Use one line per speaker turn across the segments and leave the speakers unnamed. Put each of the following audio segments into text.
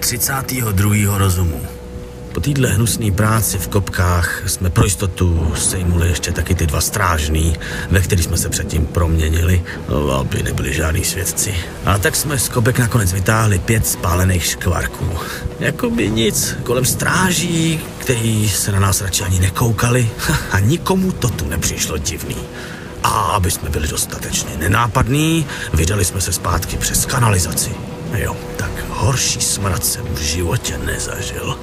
32. rozumu. Po téhle hnusné práci v kopkách jsme pro jistotu sejmuli ještě taky ty dva strážný, ve který jsme se předtím proměnili, no, aby nebyli žádní svědci. A tak jsme z kopek nakonec vytáhli pět spálených škvarků. Jakoby nic, kolem stráží, který se na nás radši ani nekoukali a nikomu to tu nepřišlo divný. A aby jsme byli dostatečně nenápadní, vydali jsme se zpátky přes kanalizaci. Jo, tak horší smrad jsem v životě nezažil.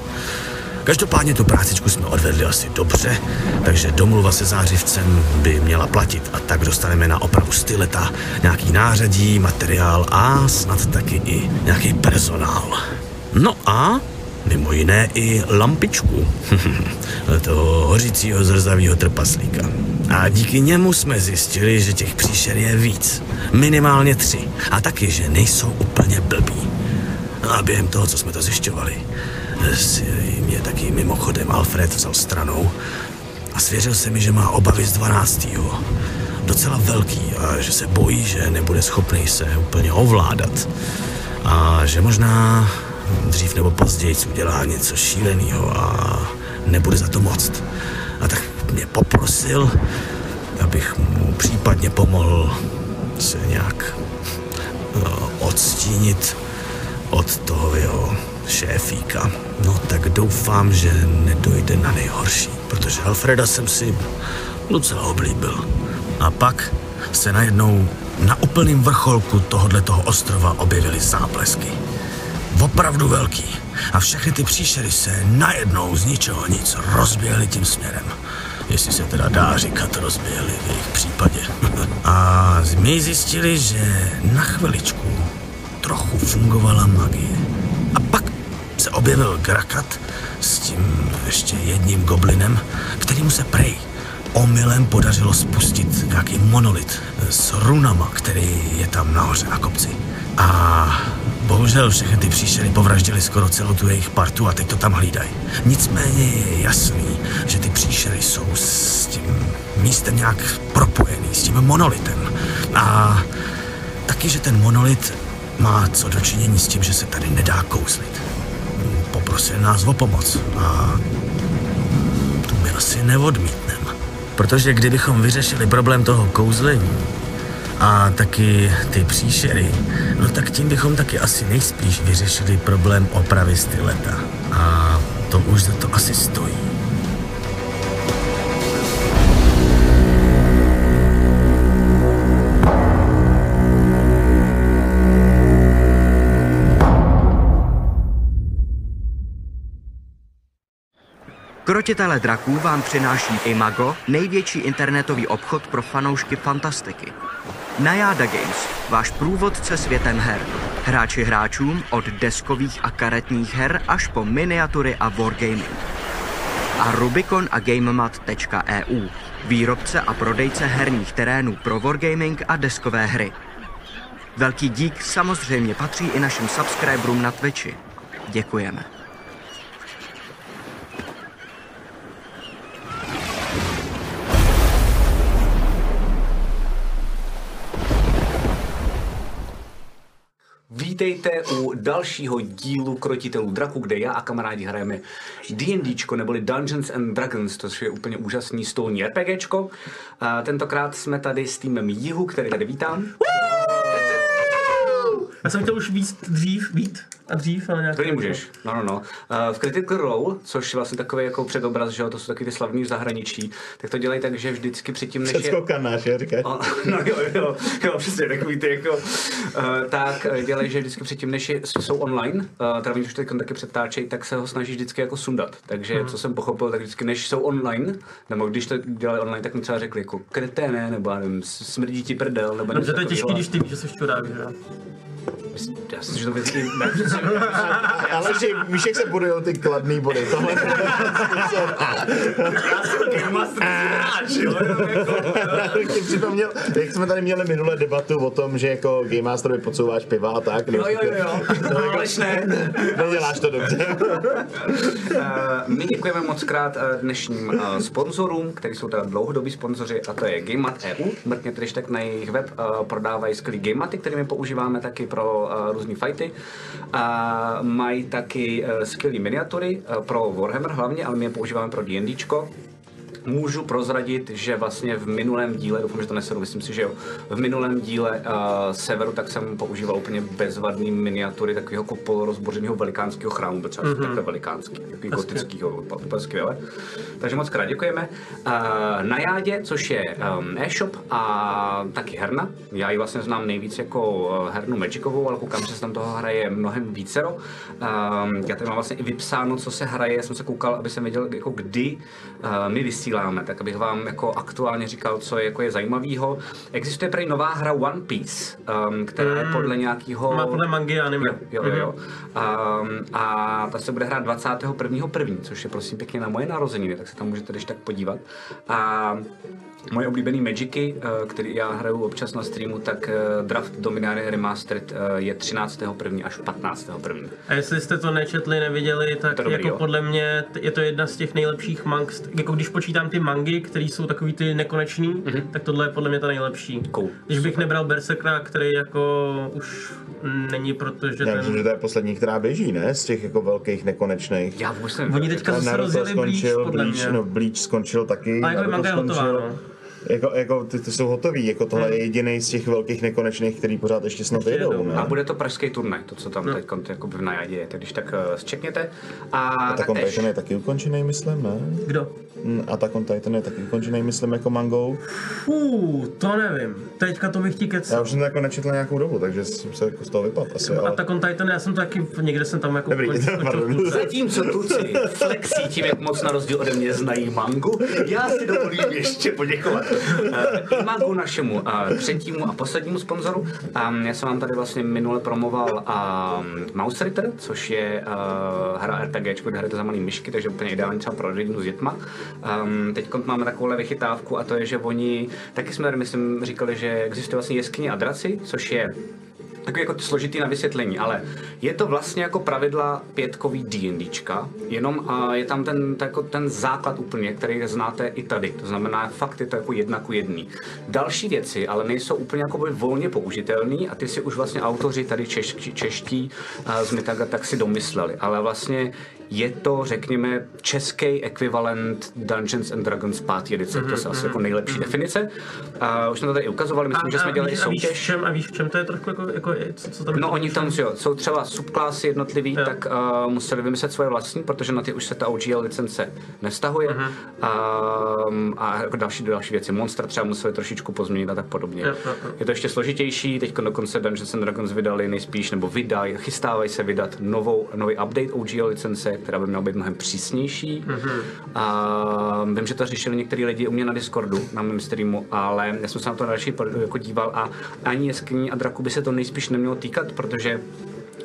Každopádně tu prácičku jsme odvedli asi dobře, takže domluva se zářivcem by měla platit a tak dostaneme na opravu styleta, nějaký nářadí, materiál a snad taky i nějaký personál. No a mimo jiné i lampičku toho hořícího zrzavého trpaslíka. A díky němu jsme zjistili, že těch příšer je víc. Minimálně tři. A taky, že nejsou úplně blbí. A během toho, co jsme to zjišťovali, si mě taky mimochodem Alfred vzal stranou a svěřil se mi, že má obavy z 12. Docela velký a že se bojí, že nebude schopný se úplně ovládat. A že možná dřív nebo později udělá něco šíleného a nebude za to moct. A tak mě poprosil, abych mu případně pomohl se nějak eh, odstínit od toho jeho šéfíka. No tak doufám, že nedojde na nejhorší, protože Alfreda jsem si docela oblíbil. A pak se najednou na úplném vrcholku tohoto ostrova objevily záblesky. Opravdu velký. A všechny ty příšery se najednou z ničeho nic rozběhly tím směrem. Jestli se teda dá říkat rozběhly v jejich případě. A my zjistili, že na chviličku trochu fungovala magie. A pak se objevil Grakat s tím ještě jedním goblinem, kterýmu se prej omylem podařilo spustit nějaký monolit s runama, který je tam nahoře na kopci. A bohužel všechny ty příšery povraždili skoro celou tu jejich partu a teď to tam hlídají. Nicméně je jasný, že ty příšery jsou s tím místem nějak propojený, s tím monolitem. A taky, že ten monolit má co dočinění s tím, že se tady nedá kouzlit. Poprosil nás o pomoc a tu my asi neodmítneme. Protože kdybychom vyřešili problém toho kouzlení a taky ty příšery, no tak tím bychom taky asi nejspíš vyřešili problém opravy styleta. A to už za to asi stojí.
Krotitele draků vám přináší Imago, největší internetový obchod pro fanoušky fantastiky. Najáda Games, váš průvodce světem her. Hráči hráčům od deskových a karetních her až po miniatury a wargaming. A Rubicon a GameMat.eu, výrobce a prodejce herních terénů pro wargaming a deskové hry. Velký dík samozřejmě patří i našim subscriberům na Twitchi. Děkujeme.
Vítejte u dalšího dílu Krotitelů draku, kde já a kamarádi hrajeme D&Dčko, neboli Dungeons and Dragons, což je úplně úžasný stolní RPGčko. A tentokrát jsme tady s týmem Jihu, který tady vítám.
Já jsem chtěl už víc dřív, vít a dřív, ale nějak...
To můžeš. No, no, no. Eh, V Critical Role, což je vlastně takový jako předobraz, že jo, to jsou taky ty slavní v zahraničí, tak to dělají tak, že vždycky předtím, než je...
Předskokaná, že říkáš.
A- No jo, jo, jo, přesně, takový ty jako, uh, tak eh, dělej, že vždycky předtím, než je, jsou online, uh, teda oni už teď taky přetáčejí, tak se ho snaží vždycky jako sundat. Takže, co jsem pochopil, tak vždycky, než jsou online, nebo když to dělali online, tak mi třeba řekli jako kreténe, nebo já nevím, s- smrdí ti prdel, nebo
Dobře,
něco
to je těžký,
takového.
když ty víš, že jsi čurák, že jo?
Já si, že to vždycky...
Ale že Míšek se budujou ty kladný body. Tohle bych ti připomněl, jak jsme tady měli minule debatu o tom, že jako Game Masterovi podsouváš piva a tak.
Jo, jo, jo, jo.
Neděláš to dobře.
vlastně- Eh, My děkujeme moc krát eh, dnešním eh, sponzorům, kteří jsou teda dlouhodobí sponzoři, a E to je GameMat EU. Mrkněte když tak na jejich web, eh, prodávají skvělý GameMaty, které my používáme taky pro pro uh, různé fighty. A mají taky uh, skvělé miniatury uh, pro Warhammer hlavně, ale my je používáme pro D&Dčko. Můžu prozradit, že vlastně v minulém díle, doufám, že to neseru, myslím si, že jo, v minulém díle uh, Severu tak jsem používal úplně bezvadný miniatury takového jako polorozbořeného velikánského chrámu, byl třeba mm-hmm. takhle velikánský, takový gotickýho, úplně úplně skvěle. Takže moc krát děkujeme. Uh, na Jádě, což je um, e-shop a taky herna. Já ji vlastně znám nejvíc jako uh, hernu Magicovou, ale koukám, že se tam toho hraje mnohem vícero. Um, já tady mám vlastně i vypsáno, co se hraje, já jsem se koukal, aby jsem věděl, jako kdy uh, my vysíláme, tak abych vám jako aktuálně říkal, co je, jako je zajímavého. Existuje prý nová hra One Piece, um, která je podle nějakého...
Hmm. Má podle mangy a anime.
Jo, jo, jo.
Mhm.
Um, a ta se bude hrát 21.1., což je prosím pěkně na moje narozeniny, tak se tam můžete když tak podívat. A moje oblíbený Magicy, eh, který já hraju občas na streamu, tak eh, draft Dominaria Remastered eh, je 13.1. až 15.1.
A jestli jste to nečetli, neviděli, tak
To dobrý,
jako
jo.
podle mě t- je to jedna z těch nejlepších mang, st- jako když počítám ty mangy, které jsou takový ty nekonečný, mm-hmm. tak tohle je podle mě ta nejlepší.
Mhm. Cool.
Když bych nebral Berserkra, který jako už není, protože
Já myslím,
ten...
že to je poslední, která běží, ne? Z těch jako velkých nekonečných.
Já vůbec nevím.
Oni teďka
Ale
zase
Naruto
rozjeli blíž,
skončil,
podle
Bleach,
mě.
no, Bleach skončil taky.
A jako
Naruto
manga je hotová,
skončil.
no.
Jako, jako ty, ty jsou hotový, jako tohle je jediný z těch velkých nekonečných, který pořád ještě snad jedou,
jedou.
ne?
A bude to pražský turnaj, to, co tam no. teď jakoby v najadě je, tak když tak eh, zčekněte. A,
A tak on
taktéž-
Titan je taky ukončený, myslím, ne?
Kdo?
Mm, A tak on Titan je taky ukončený, myslím, jako mangou.
Fú, to nevím. Teďka to bych ti
Já
kecal.
už jsem to jako nečetl nějakou dobu, takže jsem se jako z toho vypadl asi,
A
ale...
tak on Titan, já jsem to taky, někde jsem tam jako...
Dobrý,
skončil v
pardon.
půlce.
Zatímco tuci flexí tím, jak moc na rozdíl ode mě znají mangu, já si dovolím ještě poděkovat. Uh, mangu našemu uh, třetímu a poslednímu sponzoru. Um, já jsem vám tady vlastně minule promoval um, Mouse Ritter, což je uh, hra RPG, kde hrajete za malý myšky, takže úplně ideální třeba pro rodinu s dětma. Um, Teď máme takovouhle vychytávku a to je, že oni, taky jsme tady, myslím, říkali, že existuje vlastně jeskyně a draci, což je takový jako složitý na vysvětlení, ale je to vlastně jako pravidla pětkový D&Dčka, jenom a je tam ten, tak jako ten základ úplně, který znáte i tady, to znamená fakt je to jako jedna ku jedný. Další věci ale nejsou úplně jako volně použitelné a ty si už vlastně autoři tady češ, čeští a z Mitaga tak si domysleli, ale vlastně je to, řekněme, český ekvivalent Dungeons and Dragons 5. edice,
Mhm,
to je asi jako nejlepší definice. A už jsme to tady i ukazovali, myslím, že jsme dělali i
víš, a víš,
soutěž.
v čem, a víš, v čem to je trošku jako, jako co, co tam
No oni tam, že jo, jsou třeba subklásy jednotlivý,
Jo.
tak uh, museli vymyslet svoje vlastní, protože na ty už se ta OGL licence nestahuje.
Mhm.
Uh-huh. Um, a jako další další věci. Monstra třeba museli trošičku pozměnit a tak podobně.
Jo, jo, jo.
Je to ještě složitější, teď dokonce Dungeons and Dragons vydali nejspíš, nebo vydají, chystávají se vydat novou, nový update OGL licence, která by měla být mnohem přísnější.
Mhm.
Mm-hmm. A vím, že to řešili některý lidi u mě na Discordu, na mém streamu, ale já jsem se na to další pod- jako díval a ani jeskyní a draku by se to nejspíš nemělo týkat, protože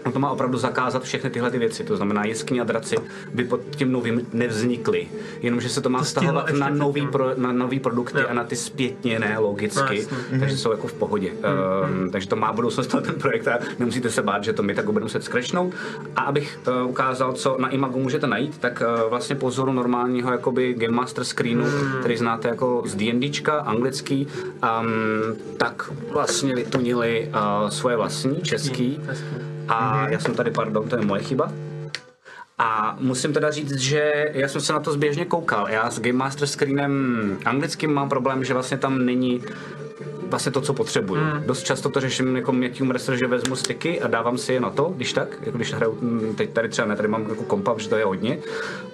On to má opravdu zakázat všechny tyhle ty věci, to znamená jeskyně a draci by pod tím novým nevznikly, jenomže se to má
stihlo
vztahovat
ještě
na
předtím.
nový, pro, na nový produkty
Jo.
a na ty zpětněné
No,
logicky,
jasně.
takže jsou jako v pohodě. Um, takže to má budoucnost tenhle ten projekt a nemusíte se bát, že to my tak budeme muset skrečnout. A abych uh, ukázal, co na Imagu můžete najít, tak uh, vlastně po vzoru normálního jakoby Game Master screenu, který znáte jako z D&Dčka, anglický, um, tak vlastně vytunili uh, svoje vlastní, český.
Český, český.
A já jsem tady, pardon, to je moje chyba. A musím teda říct, že já jsem se na to zběžně koukal. Já s Game Master Screenem anglickým mám problém, že vlastně tam není vlastně to, co potřebuju. Mm. Dost často to řeším jako mětím restr, že vezmu sticky a dávám si je na to, když tak, jako když hraju, mm, teď tady třeba ne, tady mám jako kompa, že to je hodně,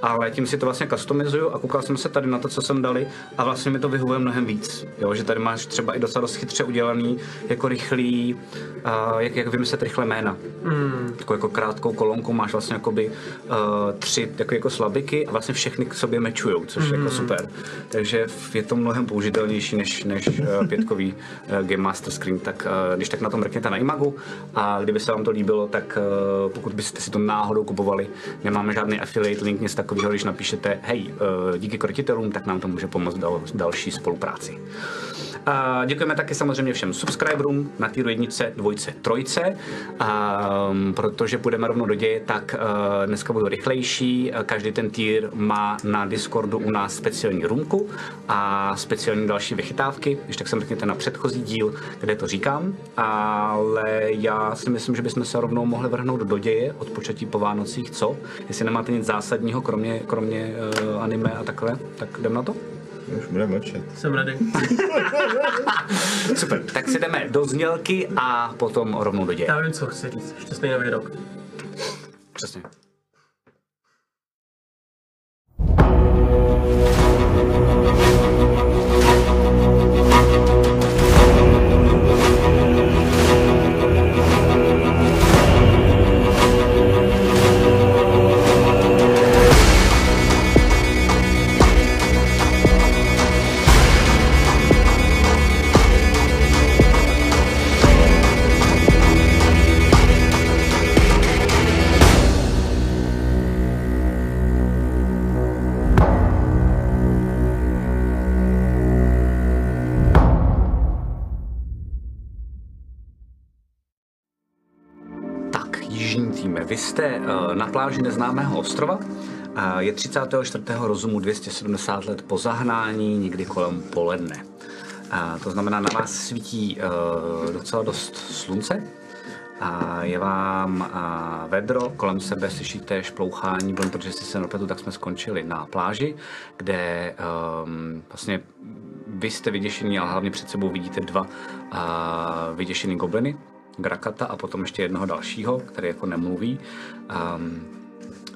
ale tím si to vlastně customizuju a koukal jsem se tady na to, co jsem dali a vlastně mi to vyhovuje mnohem víc, jo, že tady máš třeba i docela dost chytře udělaný, jako rychlý, uh, jak, jak vymyslet rychle jména. Mm. Takovou jako krátkou kolonku máš vlastně jakoby uh, tři takové jako slabiky a vlastně všechny k sobě mečujou, což je jako super. Takže je to mnohem použitelnější než, než eh, pětkový eh, Game Master Screen, tak eh, když tak na to mrkněte na Imagu a kdyby se vám to líbilo, tak eh, pokud byste si to náhodou kupovali, nemáme žádný affiliate link, nic takového, když napíšete, hej, eh, díky krotitelům, tak nám to může pomoct dal, další spolupráci. A děkujeme taky samozřejmě všem subscriberům na týru jednice, dvojce, trojce, a, mm, protože půjdeme rovnou do děje, tak eh, dneska budu rychlejší. Eh, Každý ten týr má na Discordu u nás speciální rumku a speciální další vychytávky, když tak se mrkněte na předchozí díl, kde to říkám, ale já si myslím, že bychom se rovnou mohli vrhnout do děje od početí po Vánocích, co? Jestli nemáte nic zásadního, kromě, kromě eh, anime a takhle, tak jdem na to?
Už budeme mlčet.
Jsem ready.
Super, tak si jdeme do znělky a potom rovnou do děje.
Já vím, co chci říct. Šťastný nový rok.
Přesně. Tak, jižní týme, vy jste eh, na pláži neznámého ostrova. Eh, Je 34. rozumu 270 let po zahnání, někdy kolem poledne. Eh, To znamená, na vás svítí eh, docela dost slunce. A je vám a, vedro, kolem sebe slyšíte šplouchání vln, protože jestli se nepletu, tak jsme skončili na pláži, kde um, vlastně vy jste vyděšení, ale hlavně před sebou vidíte dva uh, vyděšený gobliny, Grakata a potom ještě jednoho dalšího, který jako nemluví. Um,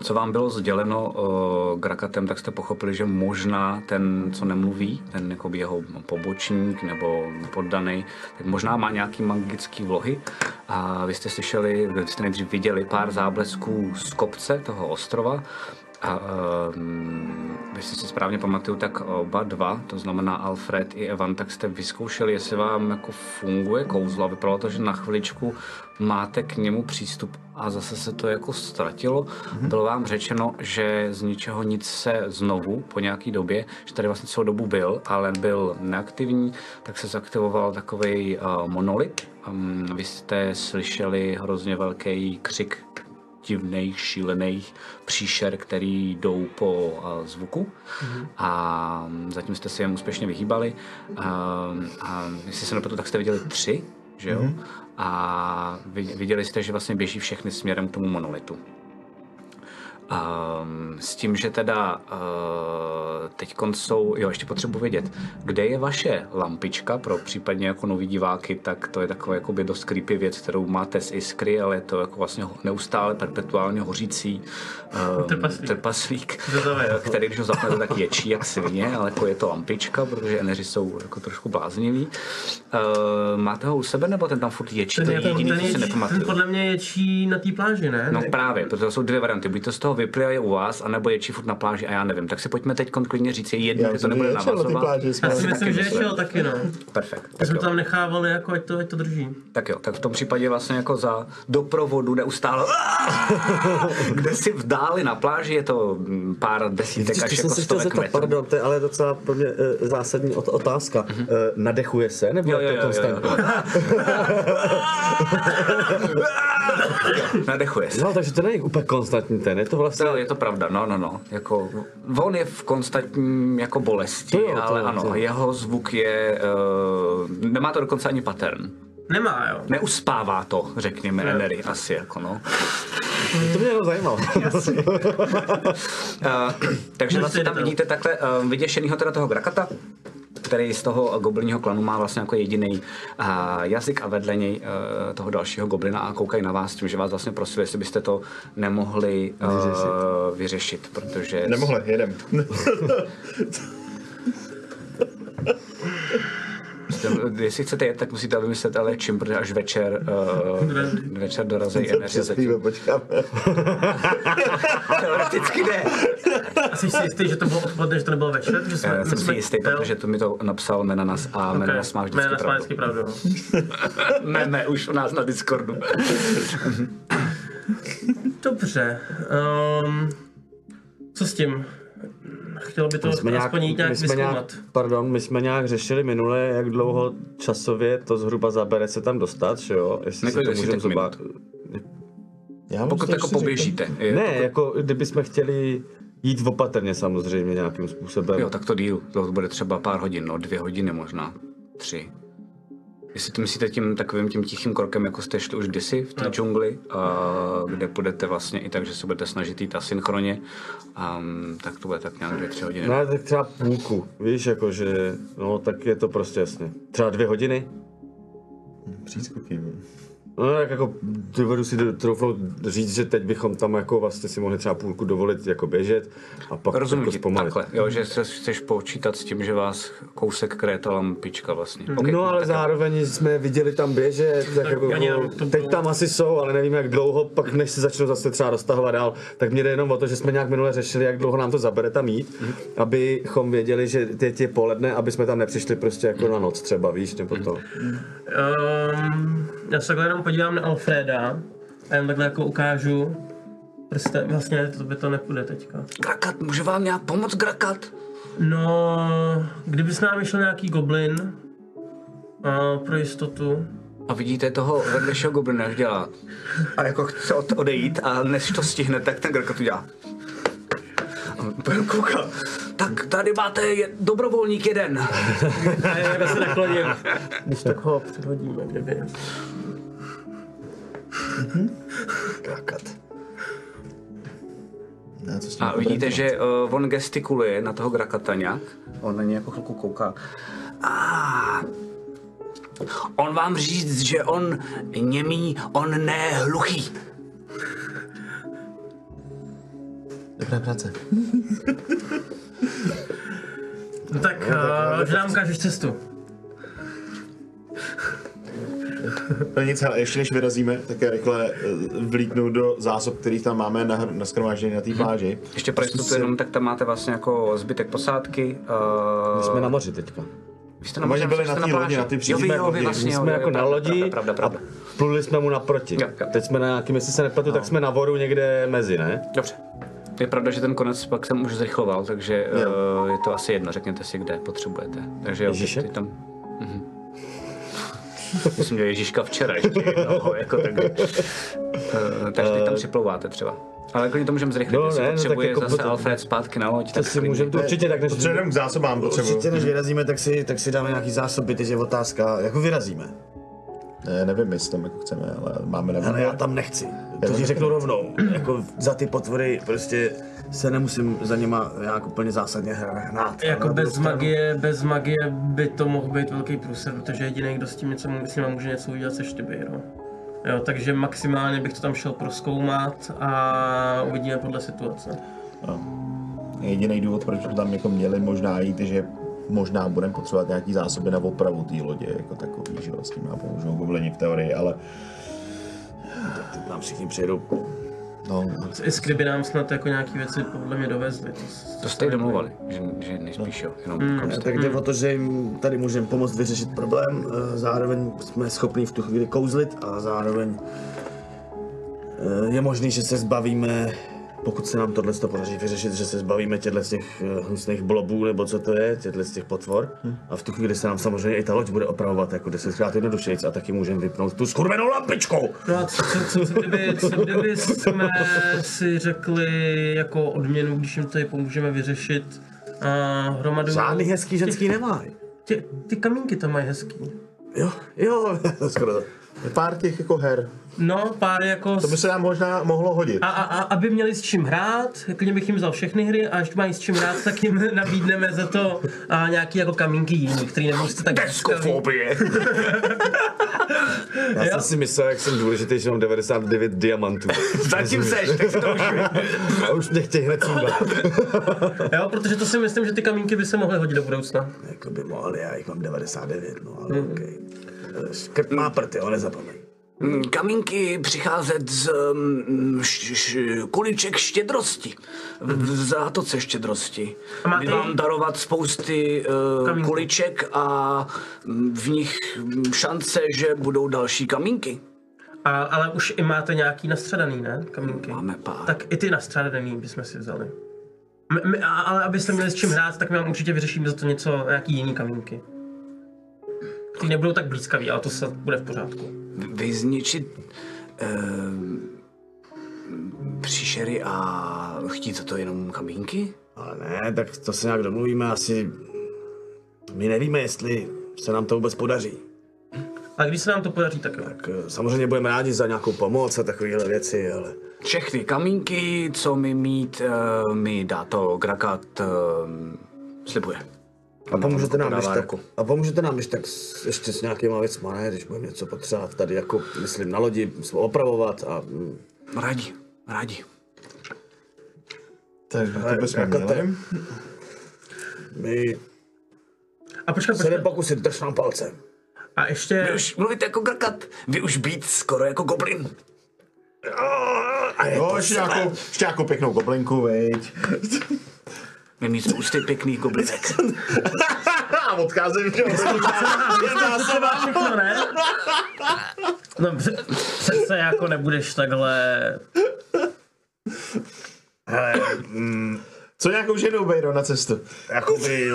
co vám bylo sděleno uh, Grakatem, tak jste pochopili, že možná ten, co nemluví, ten jako jeho pobočník nebo poddaný, tak možná má nějaký magický vlohy. A vy jste slyšeli, vy jste nejdřív viděli pár záblesků z kopce toho ostrova. A, um, jestli si správně pamatuju, tak oba dva, to znamená Alfred i Evan, tak jste vyzkoušeli, jestli vám jako funguje kouzlo. A Vypadalo to, že na chviličku máte k němu přístup a zase se to jako ztratilo. Mm-hmm. Bylo vám řečeno, že z ničeho nic se znovu po nějaký době, že tady vlastně celou dobu byl, ale byl neaktivní, tak se zaktivoval takový uh, monolit. Um, vy jste slyšeli hrozně velký křik divných, šílených příšer, který jdou po a, zvuku a zatím jste se jim úspěšně vyhýbali. A, a jestli se nepletu, tak jste viděli tři, že jo? A vi- viděli jste, že vlastně běží všechny směrem k tomu monolitu. Um, s tím, že teda uh, teď jsou, jo, ještě potřebuji vědět, kde je vaše lampička pro případně jako nový diváky, tak to je taková jako by dost creepy věc, kterou máte z Iskry, ale je to jako vlastně ho- neustále perpetuálně hořící um,
Trpaslík.
trpaslík
Zvedavý,
eh,
jako.
který když ho zapnete, tak ječí jak svině, ale jako je to lampička, protože eneři jsou jako trošku blázniví. Uh, máte ho u sebe, nebo ten tam furt ječí? to je
je-
jediný, co si
je-
nepamatuju.
ten podle mě ječí na té pláži, ne?
No
Ne.
právě, protože to jsou dvě varianty. Buď to z toho vyplý a je u vás, anebo ječí furt na pláži a já nevím. Tak si pojďme teď klidně říct, je jedno,
Já
že to
myslím, že
nebude na
ječel
vás
na ty
oba.
pláži.
Já
jsme-
si myslím, že
taky
šel taky, no.
Perfekt.
My
Tak,
jsme to
jo.
tam nechávali, jako ať to, ať to drží.
tak jo, tak v tom případě vlastně jako za doprovodu neustále kde si v dáli na pláži je to mm, pár desítek až
Ještě
jako
jsem se chtěl
stovek
zeptat,
metrů.
pardon, to je ale docela pro mě eh, zásadní ot- otázka. Mm-hmm. nadechuje se, nebo
Mhm. Jo,
je
jo,
to
jo, jo,
konstantní?
jo. Nadechuje se.
No, takže to není úplně konstantní ten, je to vlastně...
No, je to pravda, no, no, no. Jako, on je v konstantním jako bolesti,
To jo, to
ale
jo,
ano,
to jo.
jeho zvuk je, uh, nemá to dokonce ani pattern.
Nemá, jo.
Neuspává to, řekněme, Enery asi jako, no.
To mě jenom zajímalo.
Uh, takže
No,
vlastně
jde
tam
to.
vidíte takhle uh, vyděšenýho teda toho Grakata, který z toho goblinního klanu má vlastně jako jediný uh, jazyk a vedle něj uh, toho dalšího goblina a koukají na vás tím, že vás vlastně prosili, jestli byste to nemohli uh, vyřešit. vyřešit, protože...
Nemohle, jedem.
Jestli chcete jet, tak musíte vymyslet ale čím, protože až večer, uh, večer dorazí energie zatím.
Přespíme, počkáme.
Teoreticky ne.
A jsi si jistý, že to bylo odpoledne, že to nebylo večer? Že jsme,
Já
my
jsem si
jsme-
jistý,
jo.
protože to mi to napsal Menanas a
Ok,
Menanas má vždycky
Menanas má
pravdu.
vždycky pravdu. no.
Meme už u nás na Discordu.
Dobře. Um, co s ehm, tím? Chtělo by to
My jsme nějak,
aspoň jít nějak
my jsme
vyzkoumat.
nějak, pardon, my jsme nějak řešili minule, jak dlouho časově to zhruba zabere se tam dostat, že jo? Jestli si
Několik
to
desítek
můžeme zobá...
Já mám
Pokud
prostě
jako
ještě
poběžíte. je-
Ne, jako kdybychom chtěli jít opatrně samozřejmě nějakým způsobem.
Jo, tak to díl. To bude třeba pár hodin, no, dvě hodiny možná. Tři. Jestli to myslíte tím takovým tím tichým krokem, jako jste šli už kdysi v té
No.
džungli, a, kde půjdete vlastně i tak, že se budete snažit jít asynchronně, a, tak to bude tak nějak dvě, tři hodiny.
Ne, tak třeba půlku, víš, jakože, no tak je to prostě jasně. Třeba dvě hodiny?
Přískutí.
No tak jako dovedu si troufnout říct, že teď bychom tam jako vlastně si mohli třeba půlku dovolit jako běžet a pak
Rozumím
jako
ti,
zpomalit.
takhle, jo, že se chceš počítat s tím, že vás kousek krétala pička vlastně. Okay,
no ale zároveň jsme je viděli tam běžet, tak,
Tak
jako,
já nějak to
teď
bylo-
tam asi jsou, ale nevím jak dlouho, pak než se začnou zase třeba roztahovat dál, tak mě jde jenom o to, že jsme nějak minule řešili, jak dlouho nám to zabere tam jít,
Mhm.
abychom věděli, že teď je poledne, aby jsme tam nepřišli prostě jako na noc třeba, víš, nebo to.
Um, já se takhle jenom podívám na Alfreda a jen takhle jako ukážu prstem. Vlastně ne, to by to nepůjde teďka.
Grakat, může vám nějak pomoct, Grakat?
No, kdyby s námi šel nějaký goblin, uh, pro jistotu.
A vidíte toho vedlejšího goblina, jak dělá. A jako chce od, odejít a než to stihne, tak ten Grakat udělá. A on úplně kouká. Tak tady máte je, dobrovolník jeden.
A já takhle se nakloním. Když tak ho předhodíme, kdyby.
Krakat. Ne, co s tím
A vidíte, že uh, on gestikuluje na toho Grakata nějak. On na něj jako chvilku kouká. A on vám říct, že on němý, on ne hluchý.
Dobrá práce.
No tak, uh, že nám ukážeš cestu.
No nic, hele, ještě než vyrazíme, tak já rychle eh, vlítnu do zásob, kterých tam máme na, na skromáždění na té pláži.
Mhm. Ještě pro jistotu jenom, tak tam máte vlastně jako zbytek posádky. Uh,
My jsme na moři teďka.
vy jste na
Oni
moři,
byli
vy jste
na té
pláži.
lodi, na té
jo, vy,
přízemní
jo, vy
lodi.
vlastně,
My
jo,
jsme
jo,
jako
jo,
na
pravda,
lodi
Pravda, pravda, pravda.
a pluli jsme mu naproti.
Jo, jo. No.
Teď jsme na nějakým, jestli se nepletu, tak jsme na vodu někde mezi, ne?
Dobře. Je pravda, že ten konec pak jsem už zrychloval, takže uh, je to asi jedno, řekněte si, kde potřebujete. Takže jo,
Ježíše?
ty, ty tam... Mhm. Já jsem měl Ježíška včera ještě jednoho, jako takže... Uh, takže ty tam připlouváte třeba. Ale klidně to můžeme zrychlit,
Eh, No,
jestli
ne, no, tak
potřebuje
jako
zase
potom-
Alfred zpátky na loď,
To
tak
si
klidně.
můžeme, to určitě tak než...
Potřebujeme k zásobám, potřebuju.
Určitě než vyrazíme, tak si, tak si dáme nějaký zásoby, teď je otázka, jako vyrazíme.
Ne, nevím, jestli tam jako chceme, ale máme na
Ale já tam nechci. To ti řeknu rovnou. Jako za ty potvory prostě se nemusím za nima nějak úplně zásadně prostě hr- hnát.
Jako
Ale na
bez
druhou stranu-
magie, bez magie by to mohl být velký průser, protože jediný, kdo s tím něco s nima může něco udělat, se štybyr. No. Jo, takže maximálně bych to tam šel proskoumat a uvidíme podle situace.
Jediný důvod, proč to tam jako měli možná jít, je, že možná budeme potřebovat nějaký zásoby na opravu té lodě, jako takový, že jo, s tím nám pomůžou goblini v teorii, ale
Nám všichni přijedou.
no,
I kdyby nám snad jako nějaký věci podle mě dovezli. To, s-
To jste i domluvali, že, že nejspíš jo, jenom
No.
mm,
Tak jde o to, že jim tady můžeme pomoct vyřešit problém, eh, zároveň jsme schopni v tu chvíli kouzlit a zároveň eh, je možný, že se zbavíme, pokud se nám tohle podaří vyřešit, že se zbavíme těchto z těch eh, hnusných blobů, nebo co to je, těchto z těch potvor. A v tu chvíli se nám samozřejmě i ta loď bude opravovat jako desetkrát jednodušejc a taky můžeme vypnout tu skurvenou lampičku!
No a co, co, co, co, kdyby, co kdyby jsme si řekli jako odměnu, když jim tady pomůžeme vyřešit a hromadu...
Žádný hezký ženský nemá.
Ty, ty kamínky tam mají hezký.
Jo, jo, skoro.
pár těch jako her,
No, pár jako...
to by se nám možná mohlo hodit.
A, a, a aby měli s čím hrát, klidně bych jim vzal všechny hry a až mají s čím hrát, tak jim nabídneme za to a nějaký jako kamínky jiný, který nemůžete tak...
Deskofobie!
Já jsem si myslel, jak jsem důležitý, že mám 99 diamantů.
Zatím seš, tak si to už...
A už mě chtějí hned sundat.
Jo, protože to si myslím, že ty kamínky by se mohly hodit do budoucna.
Jako by mohli, já jich mám 99, no ale mm. okej. Eh, Škrt má prd, jo, nezapomeň.
Mm, Kamínky přicházet z um, š, š, kuliček štědrosti. V, v zátoce štědrosti.
A máte-
Vy vám darovat spousty uh,
Kamínků.
kuliček a mm, v nich mm, šance, že budou další kamínky.
A, ale už i máte nějaký nastřadaný, ne? Kamínky.
Máme pár.
Tak i ty nastřadaný bychom si vzali. M- m- a- ale abyste měli s čím hrát, tak my vám určitě vyřešíme za to něco, nějaký jiný kamínky. Ty nebudou tak blízkavý, ale to se bude v pořádku.
Vy zničit eh, příšery a chtít za to jenom kamínky?
Ale ne, tak to se nějak domluvíme asi. My nevíme, jestli se nám to vůbec podaří.
A když se nám to podaří, tak jo.
Tak eh, samozřejmě budeme rádi za nějakou pomoc a takovéhle věci, ale
Všechny kamínky, co mi mít, eh, mi dá to Grakat eh, slibuje.
A pomůžete nám,
Podává
když tak,
ruku.
a pomůžete nám, když tak s, ještě s nějakýma věcma, ne? Když budeme něco potřebovat tady, jako myslím, na lodi opravovat a... mm,
Rádi, rádi.
Takže
to bychom
jako
měli. my
A počkat,
se jdem
počkat.
pokusit, drž nám palce.
A ještě...
Vy už mluvíte jako Grakat, vy už být skoro jako goblin.
A je
Jo,
to
ještě
celé.
nějakou, ještě nějakou pěknou goblinku, veď.
My mít ústy pěkný goblinek.
A odcházím, že jo, jedná se vám.
No ne? No pře- přece jako nebudeš takhle...
Co nějakou ženou, Bejro, na cestu?
Jakoby,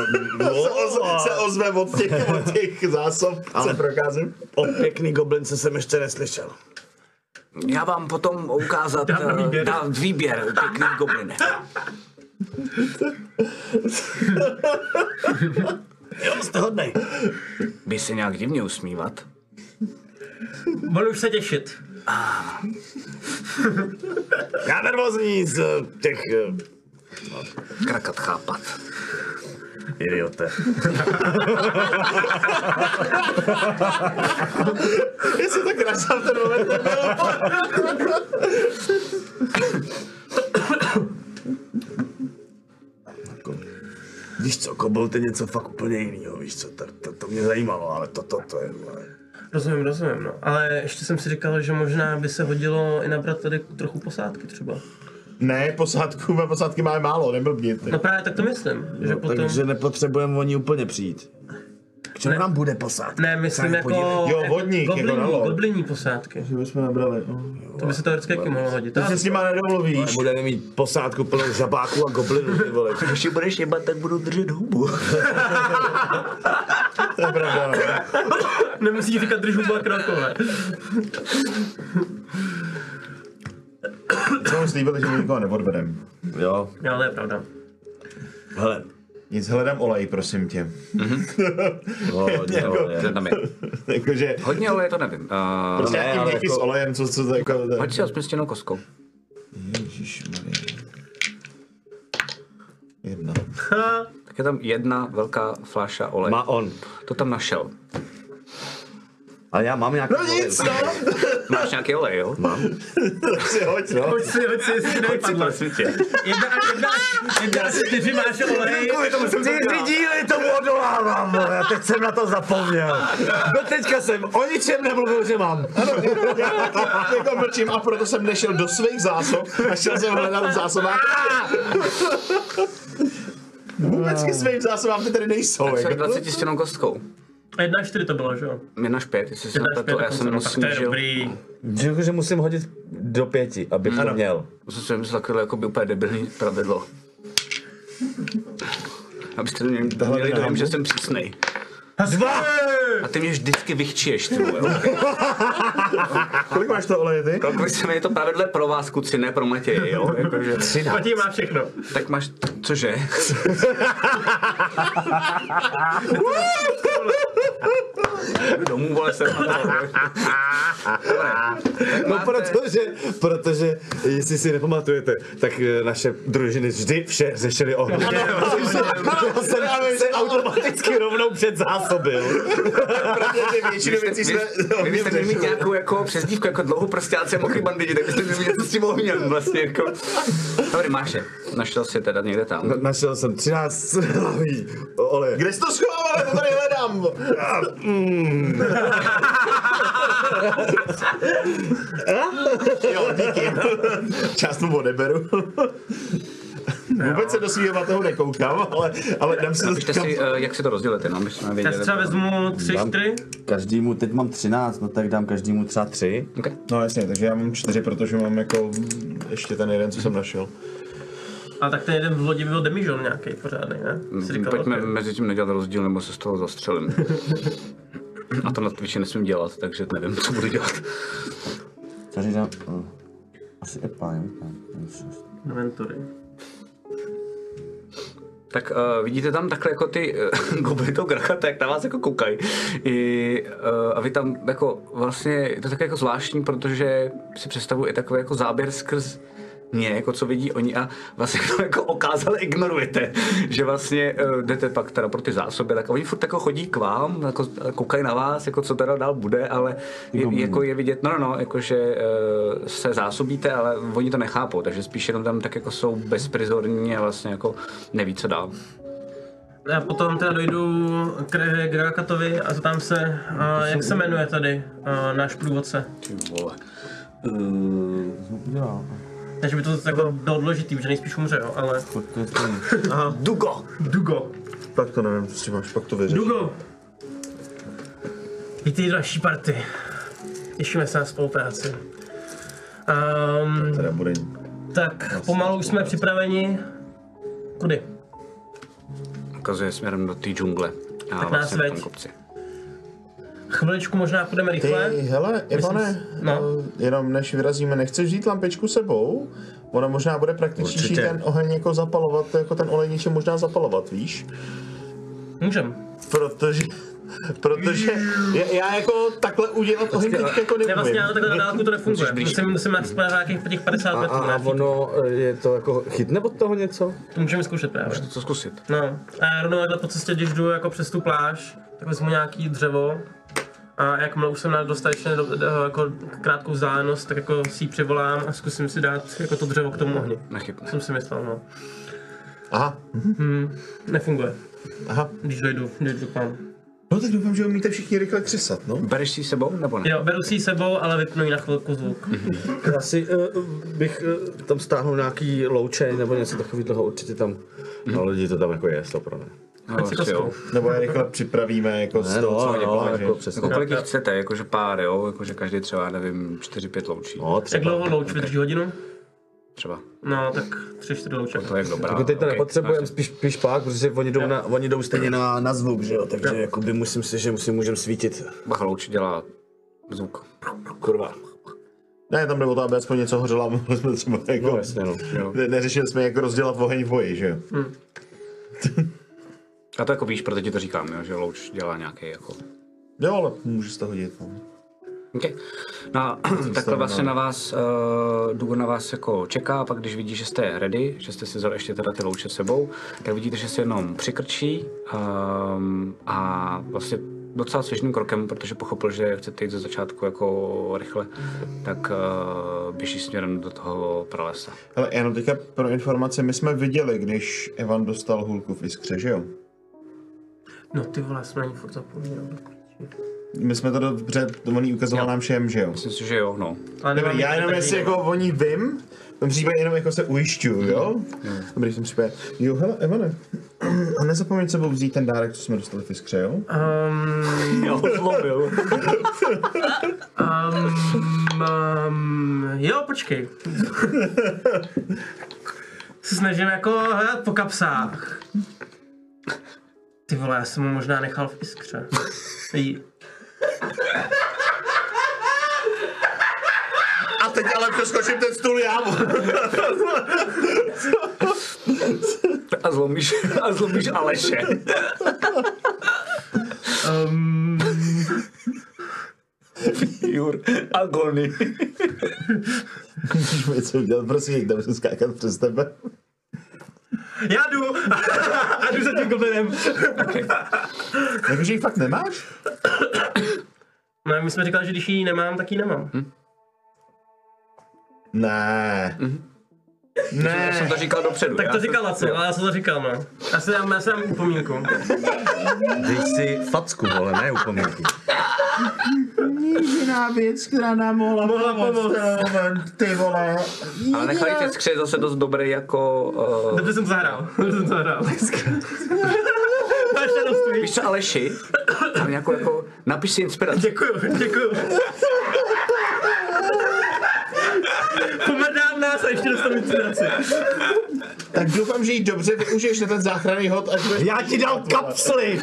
no,
Se, ozve, se ozve od těch, od těch zásob,
Ale-
co prokázím.
o pěkný goblince jsem ještě neslyšel.
Já vám potom ukázat,
Dám na
eh,
výběr.
dám výběr pěkný goblinek.
Jo, jste hodnej.
By se nějak divně usmívat.
Budu už se těšit.
Já nervózní z eh, těch...
Krakat chápat.
eh, Idiote.
Jestli tak krásám ten moment nebyl.
Jako, víš co, kobol, ty něco fakt úplně jinýho, víš co, to, to, to mě zajímalo, ale to, to, to je... vole.
Rozumím, rozumím, no. Ale ještě jsem si říkal, že možná by se hodilo i nabrat tady trochu posádky třeba.
Ne, posádku, má- posádky máme málo, neblbněte.
No právě tak to myslím, že potom...
Takže nepotřebujeme oni úplně přijít.
K čemu nám bude posádka?
Ne, myslím
se
jako...
podívej.
Jo, vodník, jako
gobliní,
na lov.
gobliní posádky.
Že bychom nabrali. no.
To by se teoreticky taky mohlo hodit.
Ty se s nima nedomluvíš.
Ale budeme mít posádku plnou žabáků a goblinů, ty vole.
Když ji budeš jebat, tak budu držet hubu.
To je pravda, no.
Nemusí říkat držu dva krokové.
Co mu slíbili, že mu nikoho neodvedem.
Jo,
Jo, to No, je pravda.
hele.
Nic, hledám olej, prosím tě.
Jo,
Jako-
jo, jo.
Tam je.
Jakože,
Hodně, ale to nevím. Uh,
prostě
Ne,
nějaký
ale
měkký
jako-
s olejem, co, co to jako...
Hoď si ho s pěstěnou kostkou.
Ježišmarja. Jedna.
Tak je tam jedna velká fláša oleje.
Má on.
To tam našel.
Ale já mám nějakou...
No nic, no,
Máš nějaký olej, jo?
tak si hoď, no.
Hoď si, hoď si, jestli nejpadlo.
světě.
Jedna a jedna, až- jedna a čtyři máš olej.
Ty díly tomu odolávám, vole, já teď jsem na to zapomněl. Do teďka jsem o ničem nemluvil, že mám.
Já jako mlčím a proto jsem nešel do svých zásob a šel jsem hledat v zásobách. Vůbec ke svým zásobám ty tady nejsou.
Jsem
Jako.
20 stěnou kostkou.
Jedna až čtyři to bylo, že jo?
Jedna až pět, jestli jsem
Jedna až
na
pět,
to, já
tak
jsem mu
tak to je
snížil.
dobrý.
Že, jako, že musím hodit do pěti, aby to měl.
To jsem si myslel, takové jako by úplně debilní pravidlo. Abyste měli, měli dojem, že jsem přísnej.
Dva!
A ty mě vždycky vychčíješ, ty vole. Okay.
Kolik máš to oleje ty?
Kolik jsem je to pravidlo pro vás, kuci, ne pro Matěje, jo? Jakože,
Matěj má všechno.
tak máš, cože? Jdu Domů, vole, jsem na to. Dobrá.
No
Máte-
protože, protože, jestli si nepamatujete, tak eh, naše družiny vždy vše řešily ohně. Já jsem se automaticky rovnou před zásobil.
Protože většinu věcí jsme...
Vy byste měli mít nějakou jako přezdívku, jako dlouhou prstáce mokrý bandidi, tak byste měli mít něco s tím ohněm vlastně jako. No, Dobrý, máš je. Našel si je teda někde tam.
Na- Našel jsem 13 lahví oleje.
Kde jsi to schoval? Já to tady hledám. jo, díky. Část mu odeberu. Vůbec se do svýho matého nekoukám, ale, ale dám si
Napište si, eh, jak si to rozdělíte, no, my jsme
Já
věděli.
si třeba vezmu tři,
Dám.
čtyři.
Každému, teď mám 13, no tak dám každému třeba 3.
No jasně, takže já mám čtyři, protože mám jako ještě ten jeden, co jsem našel.
Ale tak ten jeden v lodi byl demižon nějaký pořádný,
No,
ne? Jsi říkal,
Pojďme
ok.
mezi tím nedělat rozdíl, nebo se z toho zastřelím. A to na Twitchi nesmím dělat, takže nevím, co budu dělat.
Co říkám? Hm. Asi epa, jo? Hm, šest.
Inventory.
Tak uh, vidíte tam takhle jako ty uh, gobliny toho grachata, jak na vás jako koukají. I, uh, a vy tam jako vlastně, je to tak jako zvláštní, protože si představuji i takový jako záběr skrz mě, jako co vidí oni a vlastně to jako okázale ignorujete, že vlastně uh, jdete pak teda pro ty zásoby, tak oni furt jako chodí k vám, jako koukají na vás, jako co teda dál bude, ale je, jako je vidět, no no, no jako že uh, se zásobíte, ale oni to nechápou, takže spíš jenom tam tak jako jsou bezprizorní a vlastně jako neví, co dál.
Já potom teda dojdu k Grakatovi a zeptám se, a, jak se jmenuje tady a, náš průvodce.
Ty vole.
Ehm, Takže by to takhle bylo důležitý, že nejspíš umře, jo, ale...
Dugo!
Dugo,
Tak to nevím, co si máš, pak to vyřeš.
Dugo! Vítej do naší party. Těšíme se na spolupráci. Um,
Teda bude
tak pomalu už jsme připraveni. Kudy?
Ukazuje směrem do té džungle. A
Tak nás
vlastně na tom
veď.
kopci.
Chviličku možná půjdeme
Ty,
rychle.
hele, Ivane,
si- no.
eh, jenom než vyrazíme, nechceš vzít lampičku sebou? Ona možná bude praktičtější
Určitě.
ten oheň jako zapalovat, jako ten olej něčím možná zapalovat, víš?
Můžem.
Protože, protože já, já jako takhle udělat oheň teď jako
Ne, vlastně
neumím.
ale takhle na dálku to nefunguje.
blíž.
Musím, musím naspat nějakých těch 50
A,
metrů.
a, a
ne?
ono eh, je to jako chytne od toho něco?
To můžeme zkoušet právě.
Co zkusit?
No, a já rovnou takhle po cestě, když jdu jako přes tu pláž, tak vezmu nějaký dřevo a jakmile už jsem na dostatečně do, do, jako krátkou vzdálenost, tak jako si ji přivolám a zkusím si dát jako to dřevo k tomu ohni.
Nechybne.
Jsem si myslel, no. Hmm,
Aha,
Nefunguje,
aha.
když dojdu, když jdu k vám.
No tak doufám, že umíte všichni rychle křesat, no.
Bereš si ji sebou nebo ne?
Jo, beru si ji sebou, ale vypnu ji na chvilku zvuk.
Já si eh, bych eh, tam stáhnul nějaký loučej nebo něco takového, určitě tam na lidi to tam jako je, to pro ne.
No,
Ať si to
asi jo.
zkou.
Nebo je rychle připravíme jako z toho, co oni pláže.
no, jako přesně.
Jako kolik jich chcete, jakože pár, jo? Jakože každý třeba, nevím, 4-5 loučí.
No,
Jak
třeba.
dlouho louč vydrží hodinu?
Třeba.
No, tak tři, čtyři louče.
To je dobrá.
Jako teď to
ok.
nepotřebujeme, spíš, spíš pak, protože oni jdou, na, oni jdou stejně na, na zvuk, že jo, takže jakoby musím si, že musím, můžem svítit.
Bacha louč dělá zvuk.
Kurva.
Ne, tam jde o to, aby aspoň něco hořelo, aby jsme třeba jako...
No, jasně, no.
Ne- Neřešili jsme, jak rozdělat oheň v boji, že jo?
A to jako víš, proto ti to říkám, jo? že louč dělá nějaký jako
Jo, ale můžu si to hodit. No.
Okay. No, a takhle vlastně na vás, uh, Dugo na vás jako čeká, a pak když vidí, že jste ready, že jste si vzal ještě teda ty louče s sebou, tak vidíte, že se jenom přikrčí um, a vlastně docela svěžným krokem, protože pochopil, že chcete jít ze začátku jako rychle, tak uh, běží směrem do toho pralesa.
Ale jenom teďka pro informaci, my jsme viděli, když Evan dostal hulku v iskře, že jo?
No ty vole, jsme na ní furt zapomněl. do píči.
My jsme to dobře, on jí ukazoval nám všem, že jo?
Myslím si, že jo, no.
Ale nemám
Dobrý, já
nic
jenom jestli
takovýho.
jako o ní vím, v tom případě jenom jako se ujišťuju, jo? Dobrý, v tom případě. Jo, hele, Evane, a nezapomeň s sebou vzít ten dárek, co jsme dostali v iskře, jo?
Um,
Já ho zlomil.
Um, jo, počkej. Se snažím jako hledat po kapsách. Ty vole, já jsem mu možná nechal v iskře. Jí.
A teď ale přeskočím ten stůl já.
A zlomíš, a zlomíš Aleše.
Um,
Jur, agony.
Můžeš mi něco udělat, prosím, někdo musím skákat přes tebe.
já jdu a jdu za tím goblinem.
Jakože ji fakt nemáš?
No, my jsme říkali, že když ji nemám, tak ji nemám.
Ne.
Já jsem
Ne.
to říkal dopředu.
Tak
já
to
jsem-
říkal Laco, ale já jsem to říkal, no. Já si dám, já si dám upomínku.
Dej si facku, vole, ne upomínky.
Jediná věc, která nám mohla, mohla pomoct. Moment, ty vole.
Ale nechali tě skřet zase dost dobrý jako... Uh,
Dobře jsem to zahrál, dobře jsem to zahrál. Máš radost,
Víš co, Aleši, tam nějakou jako, napiš si inspiraci.
Děkuju, děkuju. Pomrdám nás a ještě dostanu inspiraci.
Tak Tak doufám, že ji dobře využiješ na ten záchranný hod, až budeš...
Já ti dal kapsly!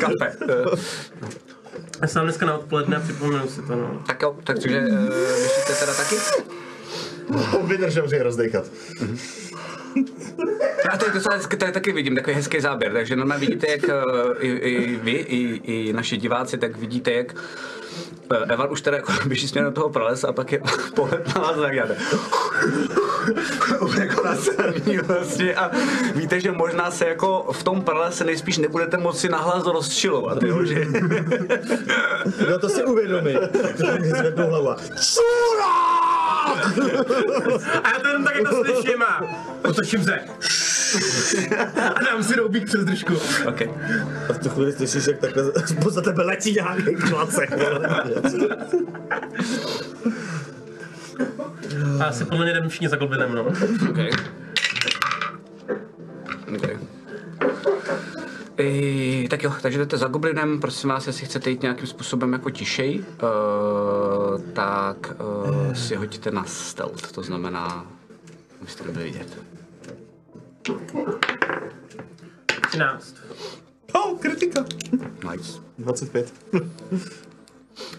Kafe. Eh,
Já jsem dneska na odpoledne a připomenu si to, no.
tak jo, takže eh, myslíte teda taky?
Vydrž dobře je rozdechat.
A tady, to, tady, tady taky vidím, takový hezký záběr, takže normálně vidíte, jak eh, i, i vy, i, i naši diváci, tak vidíte, jak eh, Evan už teda jako běží směrem do toho pralesa a pak je pohled na vás a tak děláte. jako na celý vlastně a víte, že možná se jako v tom pralese nejspíš nebudete moci nahlas rozčilovat, jo, že
No to si uvědomí. To mi zvednou hlava.
A já to jenom tak jako slyším a otočím se. A dám si roubík přes držku.
okay.
A v tu chvíli slyšíš, jak takhle poza tebe letí nějaký klacek.
A asi podle mě jdeme všichni za goblinem, no.
Okay. Okay. I, tak jo, takže jdete za goblinem, prosím vás, jestli chcete jít nějakým způsobem jako tišej, uh, tak uh, si hoďte na stealth, to znamená, abyste nebyli vidět.
13.
Oh, kritika.
Nice.
25.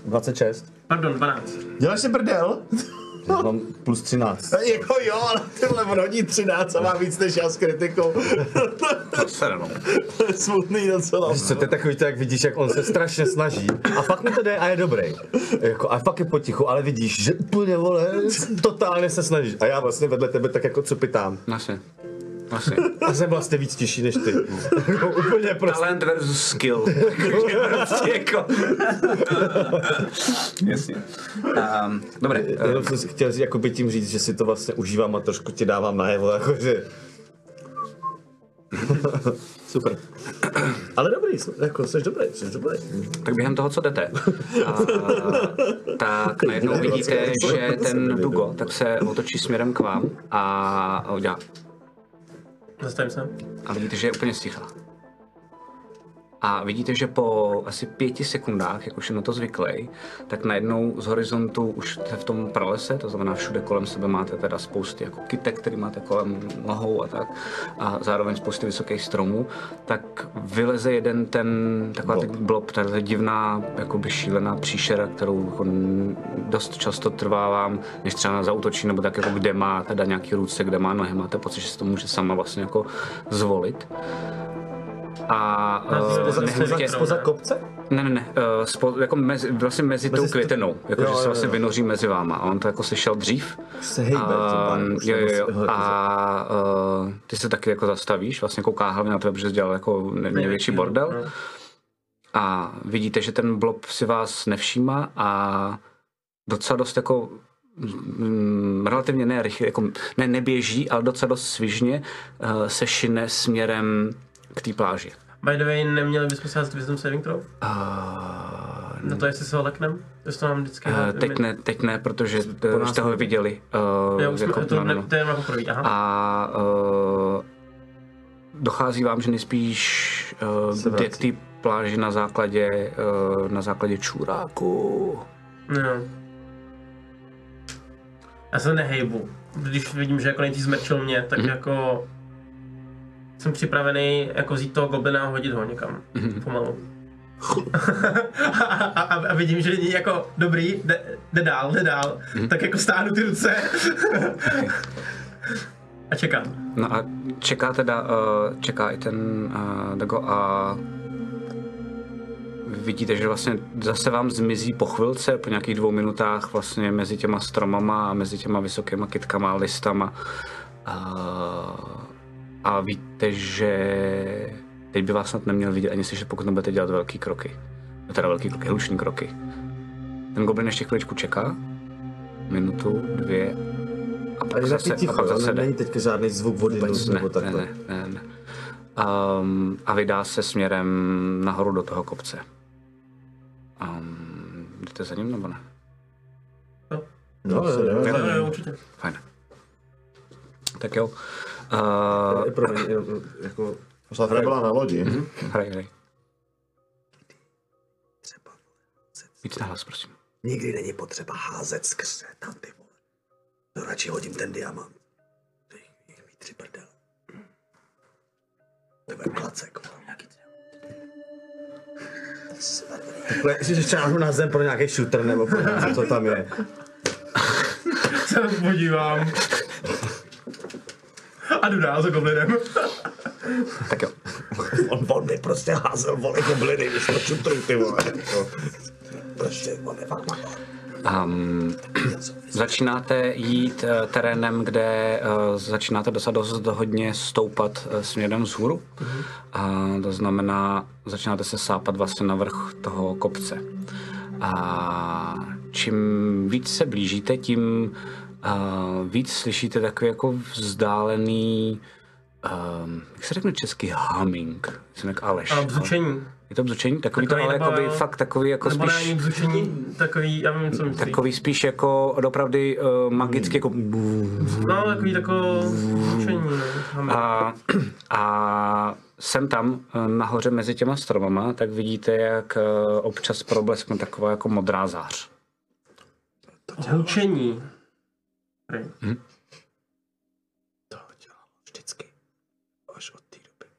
26.
Pardon, 12.
Děláš si brdel?
Já mám plus 13.
A Jako jo, ale tyhle on hodí 13 a má víc než já s kritikou.
To se no.
to je smutný docela.
Co to je takový to, jak vidíš, jak on se strašně snaží a fakt mu to jde a je dobrý. Jako, a fakt je potichu, ale vidíš, že úplně vole, totálně se snaží. A já vlastně vedle tebe tak jako cupitám.
Vlastně. Vlastně.
A jsem vlastně víc tiší než ty. Jako, úplně prostě.
Talent versus skill. Takže prostě jako... Jasně. Um, dobré.
Jenom jsem si chtěl říct, jakoby tím říct, že si to vlastně užívám a trošku ti dávám najevo, jakože...
Super. Ale dobrý, jako, jsi dobrý, jsi
Eh,
dobrý.
Tak během toho, co jdete, a, tak najednou vidíte, že ten Dugo tak se otočí směrem k vám a, a udělá.
Zastavím se.
A vidíte, že je úplně stichá. A vidíte, že po asi pěti sekundách, jak už je na to zvyklý, tak najednou z horizontu už jste v tom pralese, to znamená všude kolem sebe máte teda spousty jako kytek, který máte kolem nohou a tak, a zároveň spousty vysokých stromů, tak vyleze jeden ten taková blob, blob ta divná, jakoby šílená příšera, kterou jako n- dost často trvá vám, než třeba zautočí, nebo tak jako kde má teda nějaký ruce, kde má nohy, máte pocit, že si to může sama vlastně jako zvolit. A
Nás
eh,
spoza-
nechám tě-
spoza- spoza kopce?
ne, ne, ne, eh, spo, jako mezi, vlastně mezi, tou květenou, jako, že se vlastně vynoří mezi váma. A on to jako slyšel dřív.
Se hejbe, tím
a,
pádem, už
Eh, jo, jo,
nebo
jo.
se-
a eh, ty se taky jako zastavíš, vlastně kouká hlavně na tebe, protože jsi dělal jako ne- největší No. bordel.
No.
A vidíte, že ten blob si vás nevšímá a docela dost jako mm, relativně ne, rychle, jako, ne neběží, ale docela dost svižně eh, se šine směrem k té pláži.
By the way, neměli bychom se házet Wisdom Saving Throw?
A
Na to, jestli se ho leknem? To se nám vždycky...
Eh, teď ne, teď ne, protože eh, už jste ho viděli. Uh,
Já už jsme, to,
no, no,
ne,
no.
to je jenom poprvé, aha.
A uh, dochází vám, že nejspíš uh, jde k té pláži na základě, uh, na základě čůráku.
No. Já se nehejbu. Když vidím, že jako nejdřív zmrčil mě, tak jako jsem připravený jako vzít toho goblina a hodit ho někam. Pomalu. a, a, a, a vidím, že není jako dobrý, jde, jde dál, jde dál, tak jako stáhnu ty ruce a čekám.
No a čeká teda, uh, čeká i ten uh, Dago a vidíte, že vlastně zase vám zmizí po chvilce, po nějakých dvou minutách vlastně mezi těma stromama a mezi těma vysokýma kytkama a listama. Uh, a víte, že teď by vás snad neměl vidět ani slyšet, pokud nebudete dělat velký kroky. No Teda velký kroky, hluční kroky. Ten goblin ještě chviličku čeká. Minutu, dvě. A pak
Ale
zase,
taky
a pak
ticho,
zase
ne,
jde.
není teďka žádný zvuk vody
Vůbec
nebo
ne, ne,
takhle.
ne, ne, ne. Um, a vydá se směrem nahoru do toho kopce. Um, jdete za ním nebo ne?
No, jo, jo,
No,
jo.
jo, určitě.
Fajn. Tak jo. Uh,
Eh, Promiň, eh, jako...
Poslátka byla na lodi.
hraj, hraj. Víc na hlas, prosím.
Nikdy není
No,
potřeba házet skrze tam ty vole. To radši hodím ten diamant.
tři prdel. To bude klacek, vole, nějaký tři. Tak jsi se barvený.
Takhle, Ještě ještě náhodou nás zem pro nějaký shooter nebo pro něco, co tam je.
Se podívám. A jdu dál za goblinem.
On, on by prostě házel vole gobliny, když to čutru, ty vole. jako. Prostě, on je fakt malý.
Um, začínáte jít eh, terénem, kde eh, začínáte docela dost hodně stoupat eh, směrem vzhůru.
Mhm.
A to znamená, začínáte se sápat vlastně na vrch toho kopce. A čím víc se blížíte, tím eh, víc slyšíte takový jako vzdálený, um, jak se řekne česky, humming. Jsem jak Aleš. no.
A bzučení.
Je to bzučení? Takový,
Takový
to ale
Jako, nebo-
jakoby, fakt takový jako
Nebo ne,
spíš...
ani bzučení, takový, já vím, co myslíš.
Takový spíš jako opravdu uh, magicky jako
No, takový takové bzučení. no.
a, a sem tam eh, nahoře mezi těma stromama, tak vidíte, jak eh, občas probleskne taková jako modrá zář.
Hlučení. Prý.
To dělal vždycky. Až od té doby.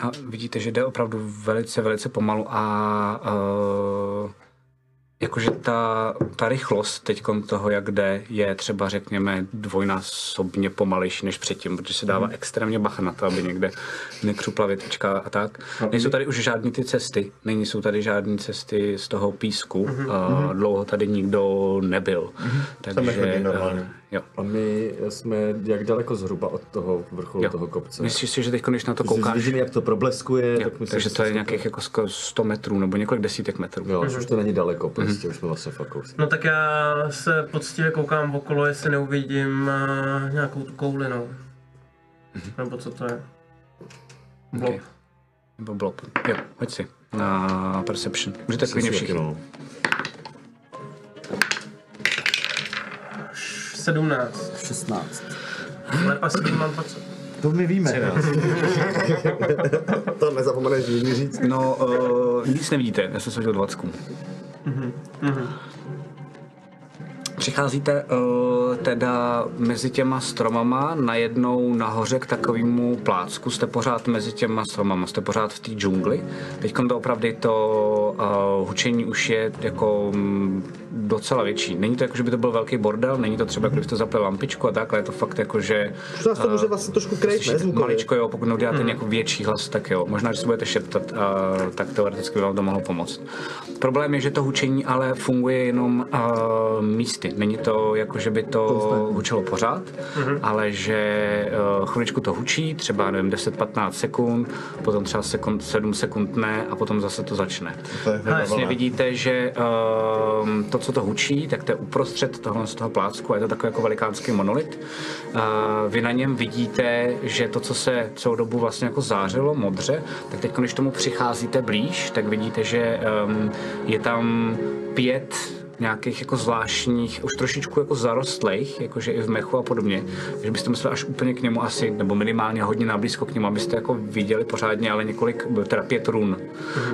A vidíte, že jde opravdu velice, velice pomalu a uh, jakože ta, ta rychlost teď toho, jak jde, je třeba řekněme dvojnásobně pomalejší než předtím, protože se dává extrémně bacha na to, aby někde nekřupla větvička a tak. Nejsou tady už žádné ty cesty, není jsou tady žádné cesty z toho písku, uh, dlouho tady nikdo nebyl.
nechodí
Takže,
normálně.
eh, jo.
A my jsme jak daleko zhruba od toho vrcholu
Jo.
toho kopce?
Myslíš si, že teď, když na to
Když
koukáš,
vidím, jak to probleskuje,
jo,
tak myslím,
takže
že
to je
jsme-
nějakých jako skoro 100 metrů nebo několik desítek metrů.
Jo, že už to není daleko,
Mhm.
prostě už jsme vlastně fakt kousek.
No tak já se poctivě koukám okolo, jestli neuvidím eh, nějakou tu kouli, no.
Mhm.
Nebo co to je? Blob.
Ok. Nebo blob. Jo, hoď si. Na А, Perception. Můžete klidně všichni.
No.
17.
16.
Lépa s tím mám pocit.
To my víme. to nezapomeneš nikdy říct.
No, uh, nic nevidíte, já jsem se hodil 20. Přicházíte uh, teda mezi těma stromama, najednou nahoře k takovému plácku, jste pořád mezi těma stromama, jste pořád v té džungli. Teď to opravdu to uh, hučení už je jako mm, docela větší. Není to jako, že by to byl velký bordel, není to třeba, kdybyste zapli lampičku a tak, ale je to fakt jako, že...
To nás to může vlastně trošku krejt, ne?
Slyšíte
Zvukově.
maličko, jo, pokud neuděláte hmm. nějakou větší hlas, tak jo. Možná, že se budete šeptat, a, tak teoreticky by vám to mohlo pomoct. Problém je, že to hučení ale funguje jenom a, místy. Není to jako, že by to hučelo pořád, ale že a, chviličku to hučí, třeba nevím, 10-15 sekund, potom třeba sekund, 7 sekund ne a potom zase to začne.
To je
A Jasně vidíte, že um, to, co to hučí, tak to je uprostřed tohle z toho plácku a je to takový jako velikánský monolit. Uh, vy na něm vidíte, že to, co se celou dobu vlastně jako zářilo modře, tak teď, když tomu přicházíte blíž, tak vidíte, že um, je tam pět nějakých jako zvláštních, už trošičku jako zarostlých, jakože i v mechu a podobně, že byste museli až úplně k němu asi, nebo minimálně hodně nablízko k němu, abyste jako viděli pořádně, ale několik, teda pět run.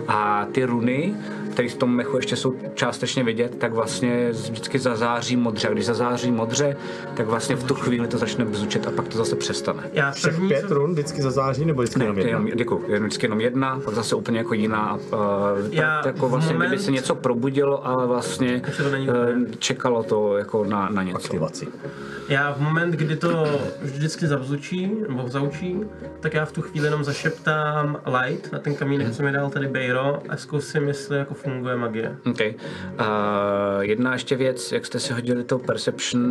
A ty runy, které v tom mechu ještě jsou částečně vidět, tak vlastně vždycky zazáří modře. A když zazáří modře, tak vlastně v tu chvíli to začne bzučet a pak to zase přestane.
Já
Všech
první,
pět
co,
run vždycky zazáří, nebo vždycky jenom
Ne,
jedna?
jenom,
no.
děkuju, jenom vždycky jenom jedna, pak zase úplně jako jiná. Uh,
Já
tak, jako
v
vlastně, moment... kdyby
moment-
se něco probudilo, ale vlastně
Ještě to není
eh,
úplně.
čekalo to jako na, na něco.
Aktivaci.
já v moment, kdy to vždycky zavzučí, nebo zaučí, tak já v tu chvíli jenom zašeptám light na ten kamínek, co mi dal tady Bejro a zkusím, jestli jako funguje magie.
Okay. Uh, Eh, jedna ještě věc, jak jste si hodili to Perception,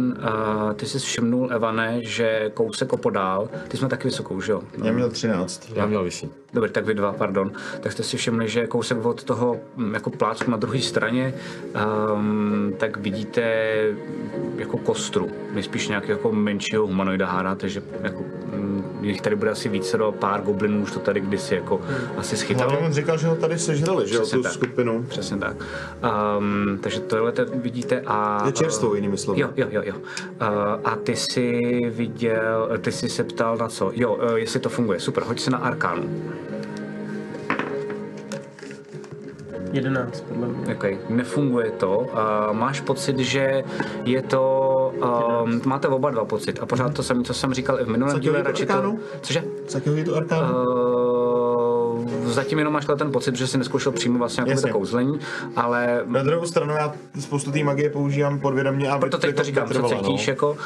uh, ty jsi všimnul, Evane, že kousek opodál, ty jsme taky vysokou, že jo?
Já měl 13.
Já měl vyšší.
Dobrý, tak vy dva, pardon. Tak jste si všimli, že kousek od toho mm, jako plácku na druhé straně, um, tak vidíte jako kostru, nejspíš nějakého jako menšího humanoida hádáte, že jako, mm, jich tady bude asi více, pár goblinů už to tady kdysi jako
Hmm.
asi
Hlavně
schytalo.
on říkal, že ho tady sežrali, že jo,
Přesně
tu
tak.
skupinu.
Přesně tak. Um, takže tohle te- vidíte a... ehm,
Je čerstvou, jinými slovy.
Jo, jo, jo, jo. Uh, a ty jsi viděl, ty jsi se ptal na co? Jo, uh, jestli to funguje. Super, hoď se na Arkánu.
11, podle mě.
Okay. Nefunguje to. Uh, máš pocit, že je to... Um, máte oba dva pocit. A pořád to samé, co jsem říkal i v minulém
Co ti
díle.
hodí do
radši to,
arkánu?
cože?
Z jakého je to arkánu?
Uh, zatím jenom máš ten pocit, že jsi neskoušel přímo vlastně jako to
Jasně.
kouzlení, ale
Na druhou stranu já spoustu té magie používám podvědomě a
proto teď to říkám, co
no.
no.
cítíš, jako,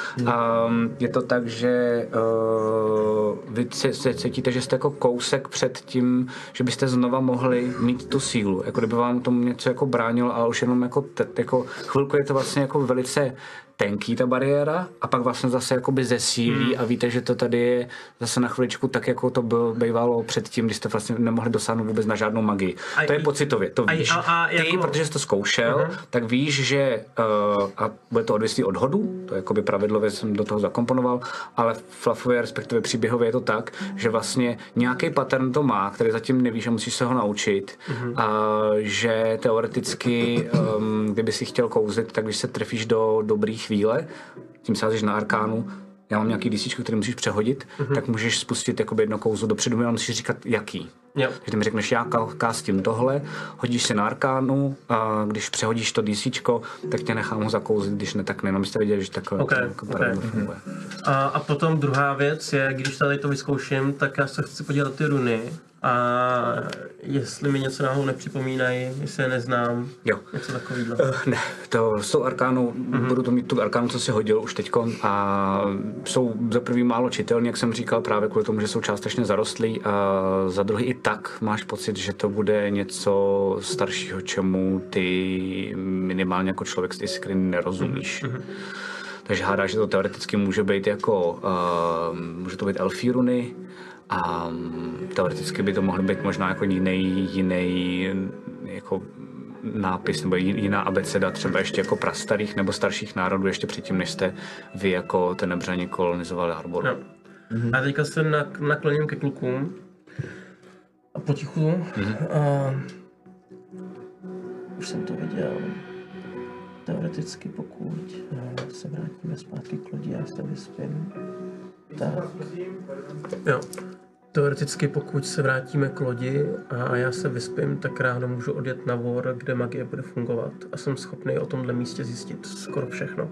um, je to tak, že uh, vy c- c- cítíte, že jste jako kousek před tím, že byste znova mohli mít tu sílu, jako kdyby vám tomu něco jako bránilo, ale už jenom jako, te- jako chvilku je to vlastně jako velice tenký ta bariéra a pak vlastně zase jakoby zesílí
Hmm.
a víte, že to tady je zase na chviličku tak, jako to bylo, bývalo předtím, když jste vlastně nemohli dosáhnout vůbec na žádnou magii.
A
to je
i-
pocitově, to
a i-
víš.
a- a
Ty,
jako-
protože že jsi to zkoušel, tak víš, že uh, a bude to odvislý od hodu, to je jakoby pravidlově jsem do toho zakomponoval, ale fluffově, respektive příběhově je to tak, že vlastně nějaký pattern to má, který zatím nevíš a musíš se ho naučit, a že teoreticky, um, kdyby si chtěl kouzlit, tak když se trefíš do dobré chvíle, tím sázíš na arkánu, já mám nějaký lístičky, který musíš přehodit, tak můžeš spustit jakoby jedno kouzlo dopředu, ale musíš říkat jaký.
Jo.
Že ty mi řekneš, já ka- kástím tohle, hodíš si na arkánu a když přehodíš to DC, tak tě nechám ho zakouzlit, když ne, tak ne. No my jste viděli, že takhle
Ok,
to jako
ok. Mhm.
pravidlo funguje.
A, a potom druhá věc je, když tady to vyzkouším, tak já se chci podívat na ty runy a jestli mi něco náhodou nepřipomínají, jestli je neznám,
Jo.
něco takového.
Eh, Ne, to s tou arkánou,
Mhm.
mm-hmm. budu to mít tu arkánu, co si hodil už teď a jsou za prvý málo čitelný, jak jsem říkal, právě kvůli tomu, že jsou částečně zarostlí a za druhý i tak máš pocit, že to bude něco staršího, čemu ty minimálně jako člověk z té skry nerozumíš.
Mhm,
Mm-hmm. Takže hádá, že to teoreticky může být jako, uh, může to být elfí runy a um, teoreticky by to mohl být možná jako jiný, jiný jako nápis nebo jin- jiná abeceda třeba ještě jako prastarých nebo starších národů ještě předtím, než jste vy jako ten nebřani kolonizovali harbor.
Jo. Mm-hmm. A teďka se nak- nakloním ke klukům. A potichu. Mm-hmm. A... Už jsem to viděl. Teoreticky pokud eh, se vrátíme zpátky k lodi, já se vyspím. Tak. Jo. Teoreticky pokud se vrátíme k lodi a já se vyspím, tak ráno můžu odjet na vor, kde magie bude fungovat. A jsem schopný o tomhle místě zjistit skoro všechno.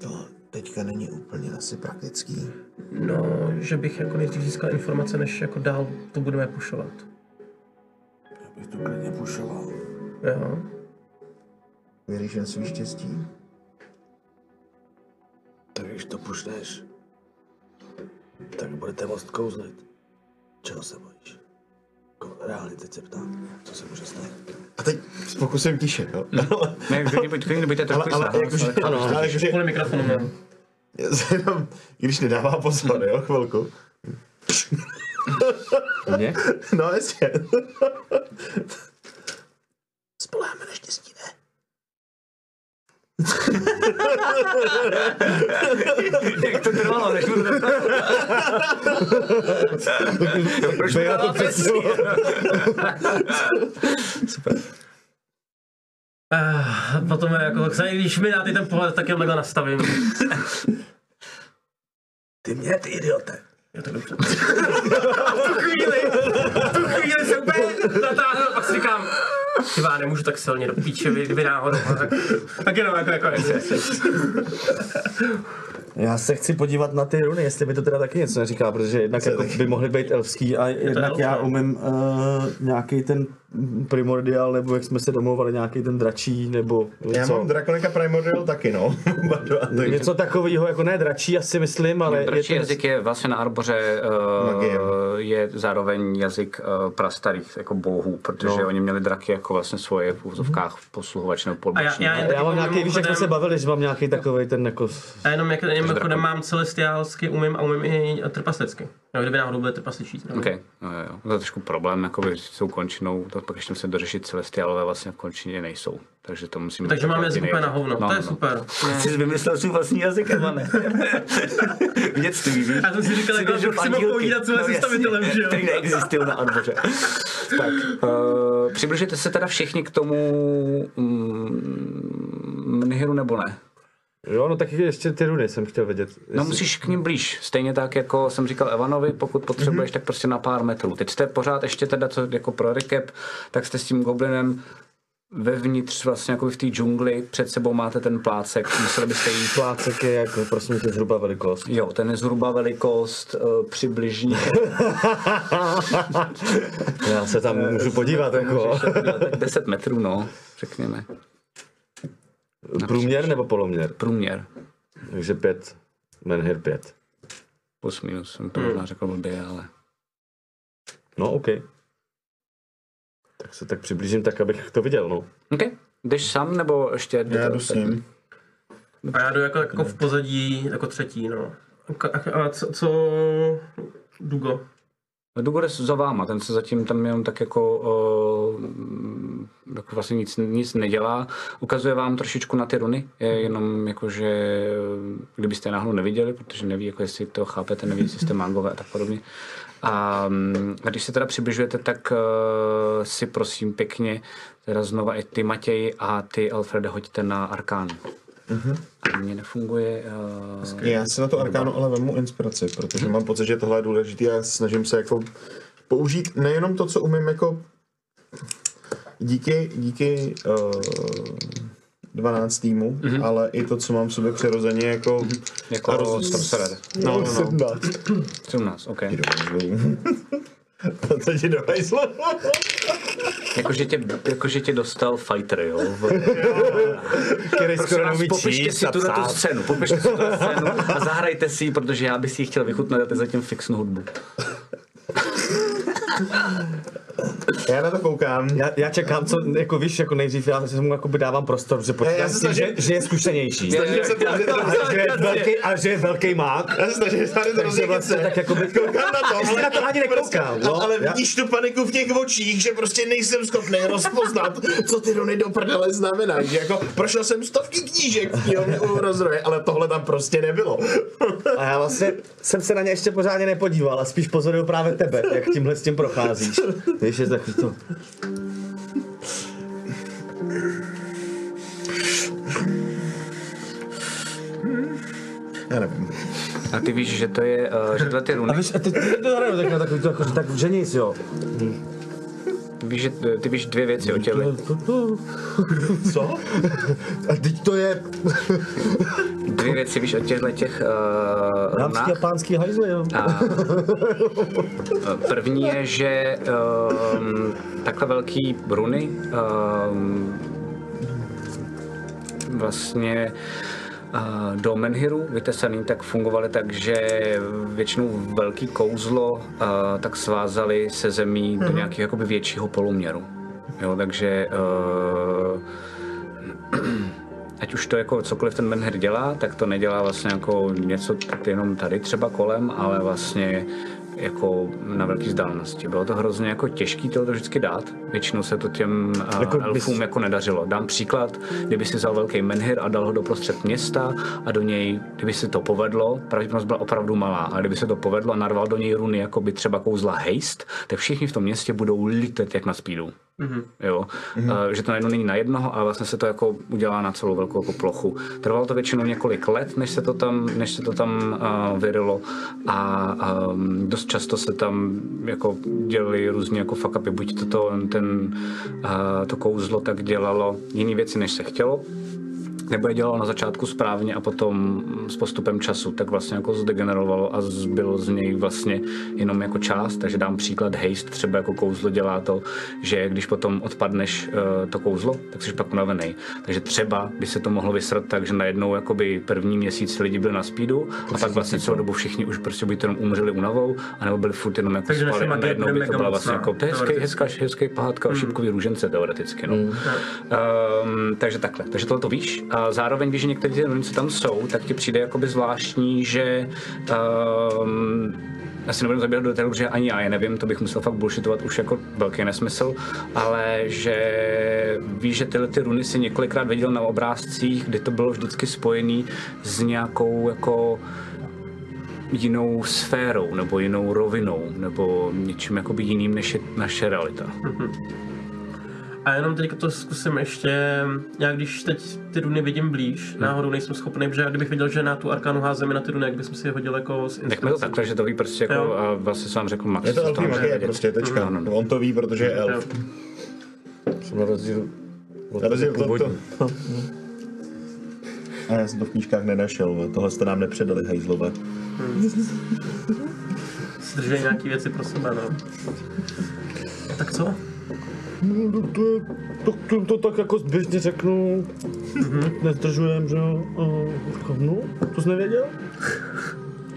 To teďka není úplně asi praktický.
No, že bych jako nejdřív získal informace, než jako dál to budeme pušovat.
Já bych to klidně pušoval.
Jo.
Věříš jen svý štěstí? Tak když to pušneš, tak budete moct kouzlit. Čeho se bojíš? Ko- Reálně teď se ptám, co se může stát. A teď s pokusem tiše, jo? ale,
Ne, klidně buď- klidně buďte
ale,
trochu
ale
sám,
jakože,
ale-
ano, ale jakože,
Kvůli mikrofonu mám.
jenom, když nedává pozor, jo, chvilku.
Mě?
No jasně. Spoláme na štěstí, ne?
Jak to trvalo, než mu to Proč mi dala pes?
Ah, potom je jako, se- když mi dáte ten pohled, tak jen takhle nastavím.
Ty mě, ty idiote.
Jo, tak dobře. V tu chvíli, v tu chvíli se úplně natáhnu, pak si říkám, ty vá, nemůžu tak silně do píče, vy, vy náhodou. Tak, tak jenom jako, jako, jasně.
Já se chci podívat na ty runy, jestli by to teda taky něco neříká, protože jednak jako by mohly být elfský a jednak
elf,
já
no.
umím uh, nějaký ten primordial, nebo jak jsme se domlouvali, nějaký ten dračí, nebo
Já
co?
mám Draconica Primordial taky, no. Oba dva, takže-
něco takového, jako ne dračí asi myslím, ale
Dračí
je to
jazyk je vlastně na arboře
Magie.
uh, je zároveň jazyk uh, prastarých jako bohů, protože no. oni měli draky jako vlastně svoje v úzovkách posluhovačné
A já,
polboční.
já, jen
Já mám
taky
nějaký, víš, jak jsme se
mimochodem-
bavili, že mám nějaký takový ten jako...
A jenom jak jenom mimochodem mám celestiálsky, umím a umím i trpastecky. No, kdyby náhodou byly trpasličí. No.
Okay. No, jo, jo. To je trošku problém, jako s tou končinou, to pak ještě se dořešit celestiálové vlastně v končině nejsou. Takže to musíme...
Takže máme jazyk úplně na hovno,
No,
to je
no.
super. No.
Jsi vymyslel svůj vlastní jazyk, Evane. v dětství, víš?
Já jsem si říkal,
Jsi
jako,
věřil
že si mohl
andílky.
povídat s vlastním
No, jasně,
stavitelem, že jo?
Který neexistují na arboře.
Tak, uh, přibližujete se teda všichni k tomu mm, Nihiru nebo ne?
Jo, no tak ještě ty runy jsem chtěl vědět.
No
jestli-
musíš k ním blíž, stejně tak, jako jsem říkal Evanovi, pokud
Mhm.
potřebuješ, tak prostě na pár metrů. Teď jste pořád ještě teda, co jako pro recap, tak jste s tím goblinem vevnitř vlastně jako v té džungli, před sebou máte ten plácek, museli byste jít
Plácek je jako, prosím tě, zhruba velikost.
Jo, ten je zhruba velikost uh, přibližně.
Já se tam můžu podívat, jako.
jo, tak 10 metrů, no, řekněme.
Průměr nebo poloměr?
Průměr.
Takže pět. Menhir pět.
Plus minus, jsem
Hmm.
to možná řekl blbě, ale...
No, OK. Tak se tak přiblížím tak, abych to viděl, no.
OK. Jdeš sám, nebo ještě...
Já jdu s ním.
A já jdu jako, jako v pozadí, jako třetí, no. Ka- A co, co Dugo?
Dugore No, za váma, ten se zatím tam jenom tak jako, uh, jako vlastně nic, nic nedělá. Ukazuje vám trošičku na ty runy, je jenom jako, že eh, kdybyste je náhodou neviděli, protože neví, jako jestli to chápete, neví, jestli jste mágové a tak podobně. A mm, když se teda přibližujete, tak uh, si prosím pěkně, teda znova i ty Matěj a ty Alfrede hoďte na Arkán.
Mhm.
A mně nefunguje... Uh,
Já si na to arkánu ale vezmu inspiraci, protože mám pocit, že tohle je důležité a snažím se jako použít nejenom to, co umím jako díky, díky uh, 12 týmu, ale i to, co mám v sobě přirozeně Mhm. jako...
jako
a roz-
Sorcerer.
No, no, no.
17, OK.
to ti dovezlo.
Jakože tě, jakože tě dostal fighter, jo.
Který
Prosím vás, popište si tu tu scénu, popište si tu scénu a zahrajte si ji, protože já bych si ji chtěl vychutnat a teď zatím fixnu hudbu.
Já na to koukám.
Já, já čekám, co, jako víš, jako nejdřív, já se mu jakoby dávám prostor, že počítám
já se
s tím,
snažím-
že, že je zkušenější.
Snažím se tady to
A že je velký, a že je velký mák.
Já se snažím tady to
Takže
rozdělit
vlastně
se.
tak jakoby...
Koukám na to,
Jestli
ale
na to ani nekoukám.
No, ale vidíš tu paniku v těch očích, že prostě nejsem schopný rozpoznat, co ty runy do prdele znamenají. Že jako prošel jsem stovky knížek v knihovně u rozroje, ale tohle tam prostě nebylo.
A já vlastně jsem se na ně ještě pořádně nepodíval a spíš pozoruju právě tebe, jak tímhle s tím procházíš. Víš, je takový to...
Já nevím.
A ty víš, že to je, uh, že tohle ty
A
runy,
víš, a ty, ty to hraju tak na takový to, jako, že tak, že nic, jo.
víš, že, eh, ty víš dvě věci o těle.
Co? A teď to je...
Dvě věci víš o těchto těch uh,
Dámský a
runách.
pánský hajzly, jo.
A, eh, první je, že um, takhle velký bruny um, vlastně eh, do Menhiru vytesaný, tak fungovaly tak, že většinou velký kouzlo uh, tak svázali se zemí do nějakého jakoby většího poloměru. Jo, takže uh, ať už to jako cokoliv ten menher dělá, tak to nedělá vlastně jako něco t- jenom tady třeba kolem, ale vlastně jako na velké vzdálenosti. Bylo to hrozně jako těžký to vždycky dát. Většinou se to těm uh,
Jako
jako
bys-
elfům jako nedařilo. Dám příklad, kdyby si vzal velký menhir a dal ho do prostřed města a do něj, kdyby si to povedlo, pravděpodobnost byla opravdu malá, ale kdyby se to povedlo a narval do něj runy jako by třeba kouzla haste, tak všichni v tom městě budou litet jak na speedu. Mm-hmm. Jo? Mm-hmm. že to najednou není na jednoho, ale vlastně se to jako udělá na celou velkou jako plochu. Trvalo to většinou několik let, než se to tam, než se to tam uh, vyrilo a um, dost často se tam jako dělali různě jako fuck upy. Buď to, to, ten, uh, to kouzlo tak dělalo jiné věci, než se chtělo, nebo je dělalo na začátku správně a potom mm, s postupem času tak vlastně jako zdegenerovalo a zbylo z něj vlastně jenom jako část, takže dám příklad haste, třeba jako kouzlo dělá to, že když potom odpadneš eh, to kouzlo, tak jsi pak unavený. Takže třeba by se to mohlo vysrat tak, že najednou jakoby první měsíc lidi byli na speedu a pak vlastně
no.
celou dobu všichni už prostě buď jenom umřeli unavou, anebo byli furt jenom jako
Takže naše
spali a
magie
najednou
bude
by to
mega
byla vlastně
mocná,
jako, to je hezký,
teoreticky.
hezká, hezký pohádka o šipkový růžence teoreticky. No. Um, takže takhle, takže tohle to víš. A zároveň víš, že některé ty runy, co tam jsou, tak ti přijde jakoby zvláštní, že um, já si nebudu zabírat do detailu, protože ani já je nevím, to bych musel fakt bullshitovat už jako velký nesmysl, ale že víš, že tyhle ty runy si několikrát viděl na obrázcích, kdy to bylo vždycky spojený s nějakou jako jinou sférou nebo jinou rovinou nebo něčím jakoby jiným, než je naše realita.
A jenom teďka to zkusím ještě, já když teď ty runy vidím blíž, hmm. náhodou nejsem schopný, protože já kdybych viděl, že na tu arkanu házeme na ty runy, jak bychom si je hodil jako s
Nechme to
instrukcí.
takhle, že to ví prostě
Jo.
jako, a vlastně jsem vám řekl Max.
Je to
co
elfní
tam
magie
vědět.
prostě, tečka.
Ano, no.
On to ví, protože je elf.
Jo.
Jsem na rozdíl od
Na rozdíl od
původní.
to. A já jsem to v knížkách nenašel, no. tohle jste nám nepředali, hejzlové.
Zdržej nějaký věci pro sebe, no. Tak co?
No, to, to, to, to, tak jako zběžně řeknu. Mhm. Nezdržujem, že jo. A říkám, No, to jsi nevěděl?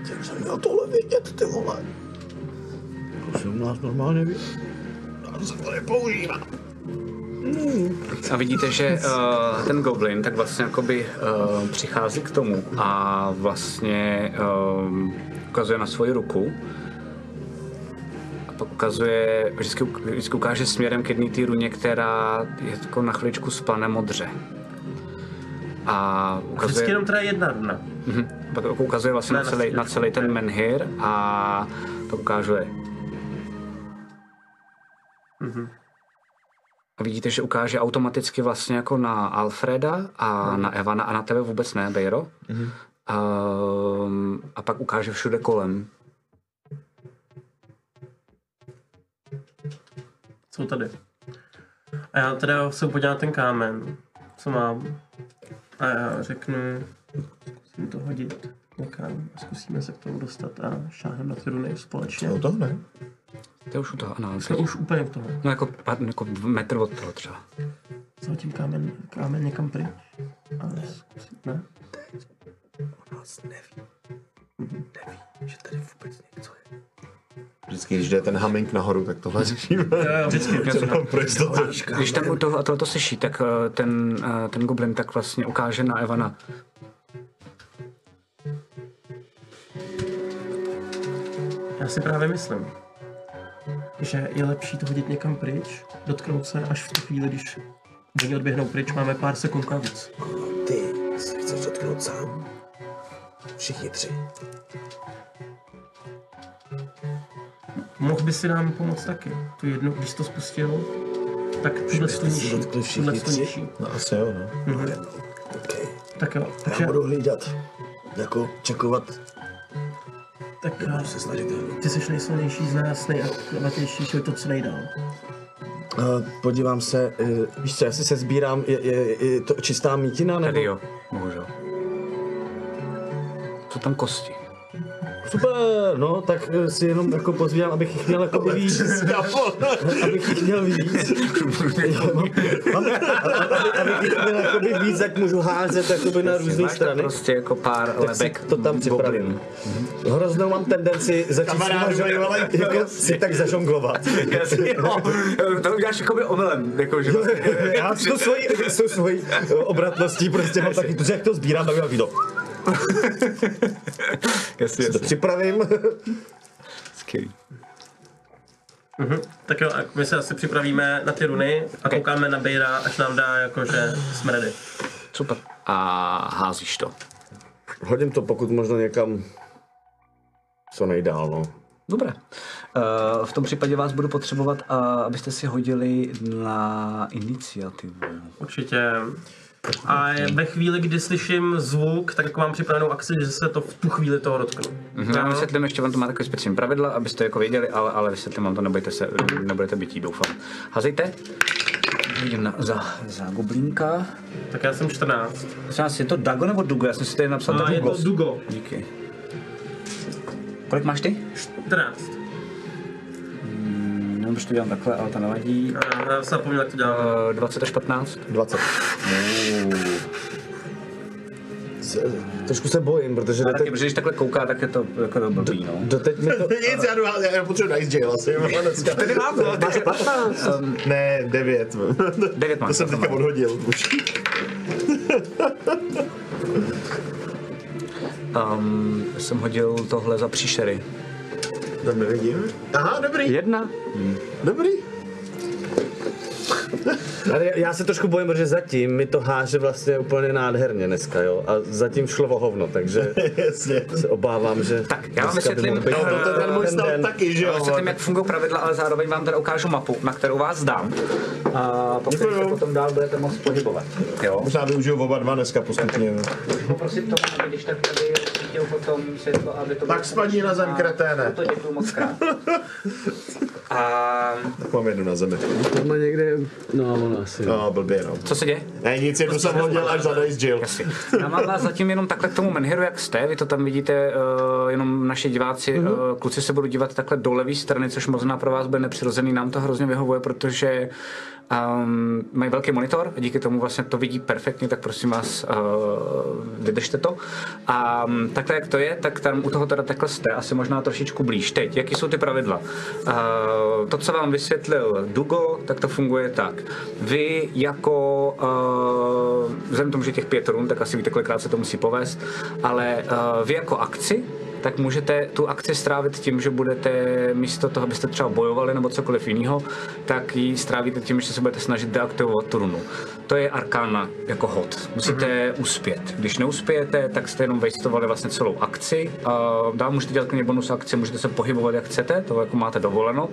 Jak jsem měl tohle vědět, ty vole?
To se u nás normálně ví.
Já jsem to nepoužívá.
A vidíte, že uh, ten goblin tak vlastně jakoby uh, přichází k tomu a vlastně um, ukazuje na svoji ruku a pak ukazuje, vždycky, uk- vždycky ukáže směrem k jedné té runě, která je jako na chviličku spane modře. A ukazuje...
Vždycky jenom teda jedna runa.
Mhm. Pak jako ukazuje vlastně
Ne,
na
na
celý, na
střídačku,
celý ten menhir a to ukáže. Mhm. A vidíte, že ukáže automaticky vlastně jako na Alfreda a na Evana a na tebe vůbec ne, Bejro. Um, a pak ukáže všude kolem.
Jsou tady. A já teda se podívám na ten kámen, co mám. A já řeknu, zkusím to hodit někam a zkusíme se k tomu dostat a šáhneme na ty runy společně.
No to ne.
To je už u toho, ano,
Jsme už úplně v toho.
No jako, pardon, jako metr od toho třeba.
Zatím kámen, kámen někam pryč. Ale zkusím, ne? Mhm.
Vždycky, když jde ten humming nahoru, tak tohle řešíme.
Jo, vždycky.
Co nám pro jistotu.
Když tam u toho, a tohle to slyší, tak eh, ten, eh, ten goblin tak vlastně ukáže na Evana.
Já si právě myslím, že je lepší to hodit někam pryč, dotknout se až v tu chvíli, když oni odběhnou pryč, máme pár sekund navíc.
Ty se chceš dotknout sám? Všichni tři.
Mohl by si nám pomoct taky. Tu jednu, když jsi to spustil, tak tuhle
byste
tu
si
nižší.
dotkli všichni
Tuhle tu
tři?
nižší.
No asi jo, no.
Mhm.
OK.
Tak jo,
Já
takže,
budu hlídat. Jako čekovat,
tak
budu
já,
se snažit.
ty jsi nejsilnější z nás, nejakrobatější, je to co nejdál.
Eh,
Uh, podívám se, uh,
Víš co, já si se sbírám, je, je, je to čistá mítina, nebo?
Tady jo, bohužel. Jsou tam kosti.
Super, no, tak eh, si jenom jako pozvírám, abych jich měl jako víc. abych jich měl víc. Jo, mám- mám- aby- abych jich měl jakoby víc, jak můžu házet jakoby na různé
Máš tam
strany.
prostě jako pár
Tak si
lebek.
to tam připravím. Mhm. Hroznou mám tendenci začít s nima žonglovat, jako si tak zažonglovat.
jo, to uděláš jako by omylem, jako že
Já s tou svojí, s tou svojí eh, obratností prostě mám taky, protože jak to sbírám, tak mám taky to.
jasně,
To připravím.
skvělý.
Mhm. Tak jo, a my se asi připravíme na ty runy a
Ok.
koukáme na Bejra, až nám dá jakože jsme ready.
Super. A házíš to.
Hodím to pokud možno někam co nejdál, no.
Dobré. Eh, V tom případě vás budu potřebovat, eh, abyste si hodili na iniciativu.
Určitě. A je- ve chvíli, kdy slyším zvuk, tak jako mám připravenou akci, že se to v tu chvíli toho dotknu.
Mhm. Já vám vysvětlím ještě, on to má takové speciální pravidla, abyste jako věděli, ale, ale vysvětlím vám to, nebojte se, nebudete bytí, doufám. Hazejte. Vidím na, za, za goblínka.
Tak já jsem 14.
Prosím vás, je to Dago nebo Dugo? Já jsem si tady napsal
A
tak
je
Dugo.
to Dugo.
Díky. Kolik máš ty?
14.
Nevím, proč to dělám takhle, ale to nevadí.
A já jsem zapomněl, jak to dělám.
Eh, 20 až 15.
20. Z, trošku se bojím, protože
A
do
taky,
teď,
protože když takhle kouká, tak je to jako to blbý, no.
do teď mi to...
Nic, já, jdu, já, já potřebuji Dice Jail asi. jo, dneska.
Um,
Ne, devět.
Devět
To
máš,
jsem
to
teďka
máš.
odhodil už.
um, jsem hodil tohle za příšery.
Tam nevidím. Aha, dobrý,
Jedna.
dobrý.
Ale já- já se trošku bojím, protože zatím mi to háže vlastně úplně nádherně dneska, jo. A zatím šlo o hovno, takže
Jasně.
se obávám, že...
Tak, já vám
dneska by
vysvětlím.
mohl být-
No,
Eh,
to je ten můj stav taky, že
Já
jo?
vysvětlím, jak fungují pravidla, ale zároveň vám teda ukážu mapu, na kterou vás dám. A pokud se potom dál budete moct pohybovat. Jo.
Možná využiju oba dva dneska postupně. no.
Poprosím to, aby když tak tady svítil potom světlo, aby to
Tak spadni na zem, kreténe.
To děkuju moc krát.
A
Tak mám jednu na zemi.
Tohle někde... No, ono asi.
No, blbě, no.
co se děje?
Ne, nic, jednu jsem hodil až za Dice Jill.
Já mám vás zatím jenom takhle k tomu menhiru, jak jste. Vy to tam vidíte, uh, jenom naši diváci, mm-hmm. uh, kluci se budou dívat takhle do levé strany, což možná pro vás bude nepřirozený. Nám to hrozně vyhovuje, protože um, mají velký monitor a díky tomu vlastně to vidí perfektně, tak prosím vás, uh, vydržte to. A um, takhle, jak to je, tak tam u toho teda takhle jste, asi možná trošičku blíž. Teď, jaký jsou ty pravidla? Uh, to, co vám vysvětlil Dugo, tak to funguje tak. Vy jako uh, vzhledem k tomu, že těch pět run, tak asi víte, kolikrát se to musí povést, ale uh, vy jako akci, tak můžete tu akci strávit tím, že budete místo toho, abyste třeba bojovali nebo cokoliv jiného, tak ji strávíte tím, že se budete snažit deaktivovat tu runu. To je arkána jako hod. Musíte mm-hmm. uspět. Když neuspějete, tak jste jenom wastovali vlastně celou akci. Uh, dál můžete dělat klidně bonus akci, můžete se pohybovat jak chcete, to jako máte dovoleno,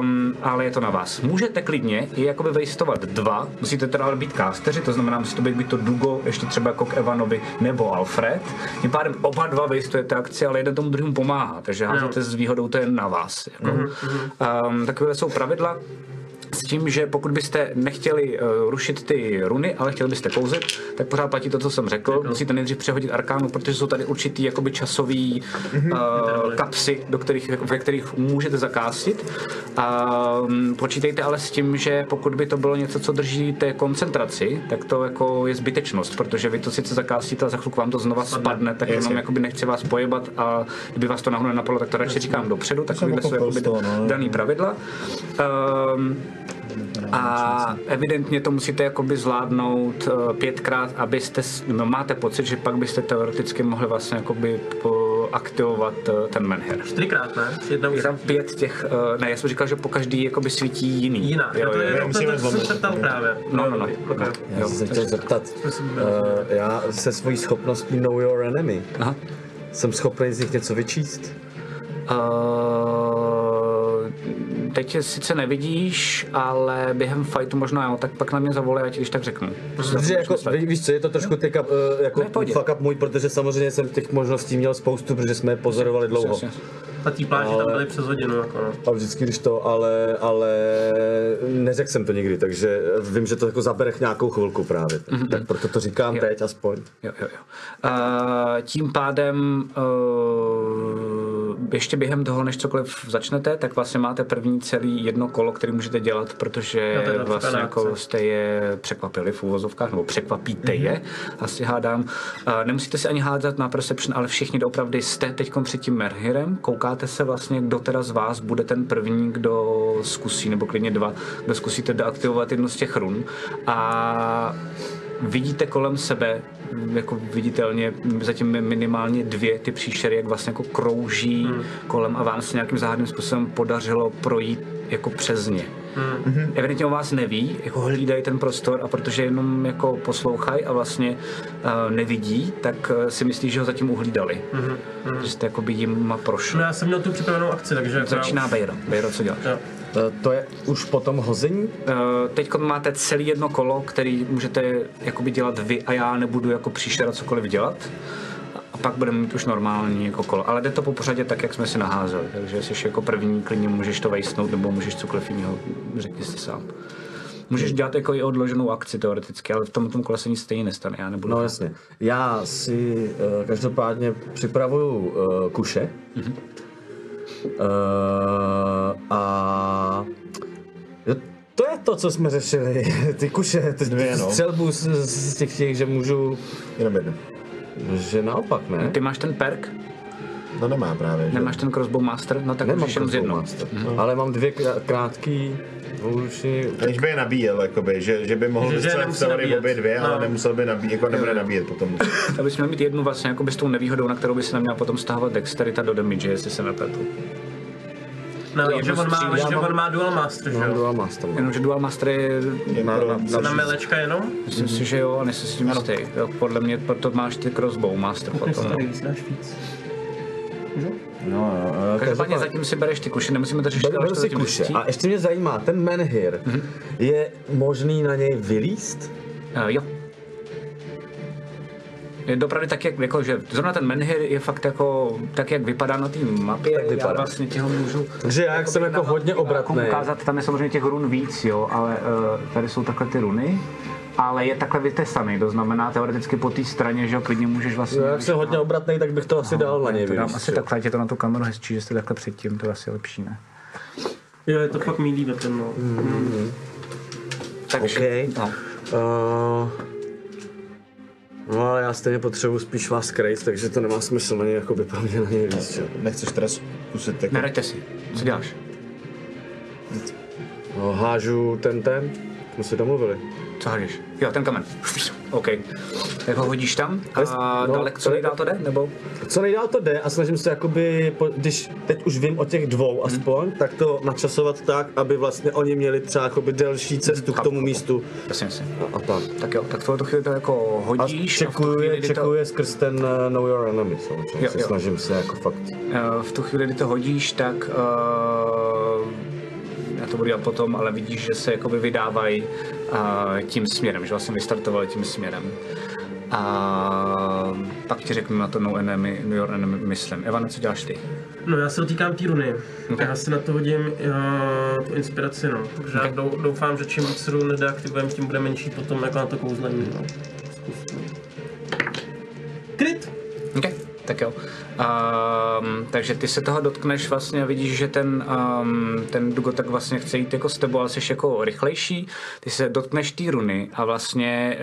um, ale je to na vás. Můžete klidně i jakoby vejstovat dva, musíte teda ale být kásteři, to znamená, musí to být, být to Dugo, ještě třeba jako k Evanovi nebo Alfred. Tím pádem oba dva vejstujete akci, ale jeden tomu druhému pomáhá, takže házíte s výhodou, to je na vás. Jako. Um, takové jsou pravidla s tím, že pokud byste nechtěli uh, rušit ty runy, ale chtěli byste kouzet, tak pořád platí to, co jsem řekl. Musíte nejdřív přehodit arkánu, protože jsou tady určitý jakoby časový uh, kapsy, do kterých, ve kterých můžete zakástit. Um, počítejte ale s tím, že pokud by to bylo něco, co držíte koncentraci, tak to jako je zbytečnost, protože vy to sice zakástíte a za chvilku vám to znova spadne, tak jenom jakoby nechci vás pojebat a kdyby vás to náhodou napadlo, tak to radši říkám dopředu, takovýhle jsou jakoby daný pravidla. Um, a evidentně to musíte jakoby zvládnout eh, pětkrát, abyste, s- no, máte pocit, že pak byste teoreticky mohli vlastně jakoby po- aktivovat eh, ten menher.
Čtyřikrát, ne? Jedna
Je tam pět těch, eh, ne, já jsem říkal, že po každý jakoby svítí jiný.
Jiná.
Jo, jo, jo.
to, to, to, to jsem se ptal právě.
No, no, no.
Okay.
Já jsem se chtěl zeptat. eh, já se svojí schopností Know Your Enemy
Aha.
jsem schopný z nich něco vyčíst.
Eh, teď je sice nevidíš, ale během fightu možná jo, tak pak na mě zavolej, já ti když tak řeknu.
Protože jako, ví, víš co, je to trošku teďka eh, jako
Ne, pojď.
fuck up můj, protože samozřejmě jsem těch možností měl spoustu, protože jsme je pozorovali dlouho.
Jasně.
A tý pláži tam byly přes hodinu, jako no.
A vždycky, když to, ale, ale neřekl jsem to nikdy, takže vím, že to jako zabere nějakou chvilku právě. Mm-hmm. Tak proto to říkám
Jo.
teď aspoň.
jo, jo, jo. Uh, tím pádem uh, ještě během toho, než cokoliv začnete, tak vlastně máte první celý jedno kolo, který můžete dělat, protože
No to je docela
vlastně
akce.
jako jste je překvapili v úvozovkách, nebo překvapíte mm-hmm. je,
Mhm.
asi hádám. Uh, nemusíte si ani hádat na Perception, ale všichni doopravdy jste teď před tím Merhirem, koukáte se vlastně, kdo teda z vás bude ten první, kdo zkusí, nebo klidně dva, kdo zkusíte deaktivovat jednu z těch run. A vidíte kolem sebe, m, jako viditelně, m, zatím minimálně dvě ty příšery, jak vlastně jako krouží hmm. kolem a vám se nějakým záhadným způsobem podařilo projít jako přes ně. Hmm. Evidentně o vás neví, jako hlídají ten prostor a protože jenom jako poslouchají a vlastně uh, nevidí, tak uh, si myslí, že ho zatím uhlídali. Hmm. Že jste jakoby jim prošli.
No já jsem měl tu připravenou akci, takže... jako já
Začíná
už-
Bejro. Bejro, co děláš?
Jo.
Eh, To je už potom hození?
Eh, Teď máte celý jedno kolo, který můžete jakoby dělat vy a já nebudu jako příšera cokoliv dělat. A pak budeme mít už normální jako kolo. Ale jde to po pořadě tak, jak jsme si naházeli. Takže jsi jako první klidně můžeš to vejsnout nebo můžeš cokoliv jiného, řekni si sám. Můžeš dělat jako i odloženou akci teoreticky, ale v tom, tom kole se nic stejně nestane. Já nebudu.
No jasně. Já si uh, každopádně připravuju uh, kuše. Mm-hmm. Uh, a jo, to je to, co jsme řešili. Ty kuše, ty
Dvě, no.
střelbu z, z těch těch, že můžu...
Jenom jednu.
Že naopak, ne?
Ty máš ten perk,
No nemá právě, že?
nemáš ten crossbow master, no tak
Nemám
můžeš jenom z
crossbow
jednou.
master, ale mám dvě krá- krátký dvouruční...
Aniž by je nabíjel, jakoby, že, že by mohl
Že- že
vystřelit
nemusí
v teorii
nabíjet.
obě dvě,
No.
ale nemusel by nabíjet, jako nebude nabíjet potom.
Abys měl mít jednu vlastně jako s tou nevýhodou, na kterou by se neměl potom stahovat dexterita do damage, jestli se nepletu.
No,
jedno
že on má,
střílí.
že on má dual master, že
Mám
jo?
dva master. no.
Jenomže Dual Master je,
Na, na, na,
Na melečka jenom?
myslím si, že jo, a nejsem si tím jistý. Jo, podle mě proto máš ty crossbow Master potom.
Tady víc, dáš víc.
No, jo, jo,
Každopádně zatím si bereš ty kuše, nemusíme to řešit,
Beru,
ale
beru
to
si
zatím
kuše.
zjistí.
A ještě mě zajímá, ten menhir, je možný na něj vylíst?
Eh, jo. Je dopravdy tak, jak, jako, že zrovna ten menhir je fakt jako, tak, jak vypadá na té mapě,
Tak vypadá.
já vlastně ti ho můžu
Takže já, jak jsem jako hodně
Komu
obratný,
ukázat, tam je samozřejmě těch run víc, jo, ale eh, tady jsou takhle ty runy, ale je takhle vytesaný, to znamená teoreticky po té straně, že jo, klidně můžeš vlastně...
jo, jak jsem hodně obratný, tak bych to asi dal na něj
to dám
vylíst.
asi
jo.
takhle, ať je to na tu kameru hezčí, že jste takhle předtím, to je asi lepší, ne?
Jo, je to fakt mý líbe ten, no.
Takže,
Okej.
no.
Uh, No ale já stejně potřebuji spíš vás krejt, takže to nemá smysl na něj jako by pro mě na něj víc, že? jo.
Nechceš teda zkusit jako...
Neraďte si. Co děláš?
No, hážu ten ten, jsme se domluvili.
Co hážeš? Jo, ten kamen. OK. Tak ho hodíš tam
Ale-
a
no,
dalek, co
to je-
nejdál to jde? Nebo?
Co nejdál to jde a snažím se jakoby, po- když teď už vím o těch
Hmm.
dvou aspoň, tak to načasovat tak, aby vlastně oni měli třeba jakoby delší cestu k
Chápu,
tomu
chápu.
místu
Prosím si.
a, a tak.
Tak jo, tak tohle tu chvíli to jako
A
hodíš. v tu
čekuje,
chvíli, kdy to-
čekuje skrz ten uh, Know Your Enemy, samozřejmě.
Jo,
Se
jo.
snažím se jako fakt.
Eh, v tu chvíli, kdy to hodíš, tak uh, já to budu dělat potom, ale vidíš, že se jakoby vydávají uh, tím směrem, že vlastně vystartovali tím směrem. A pak ti řeknu na to no enemy, no your enemy, myslím. Evane, co děláš ty?
No já se dotýkám té runy. Já si na to hodím uh, tu inspiraci, no. Takže já dou, doufám, že čím víc run deaktivujeme, tím bude menší potom jako na to kouzlení, no. Zkusme. Kryt!
Okay. Tak jo. Um, takže ty se toho dotkneš vlastně a vidíš, že ten, um, ten Dugo tak vlastně chce jít jako s tebou, ale jsi jako rychlejší. Ty se dotkneš té runy a vlastně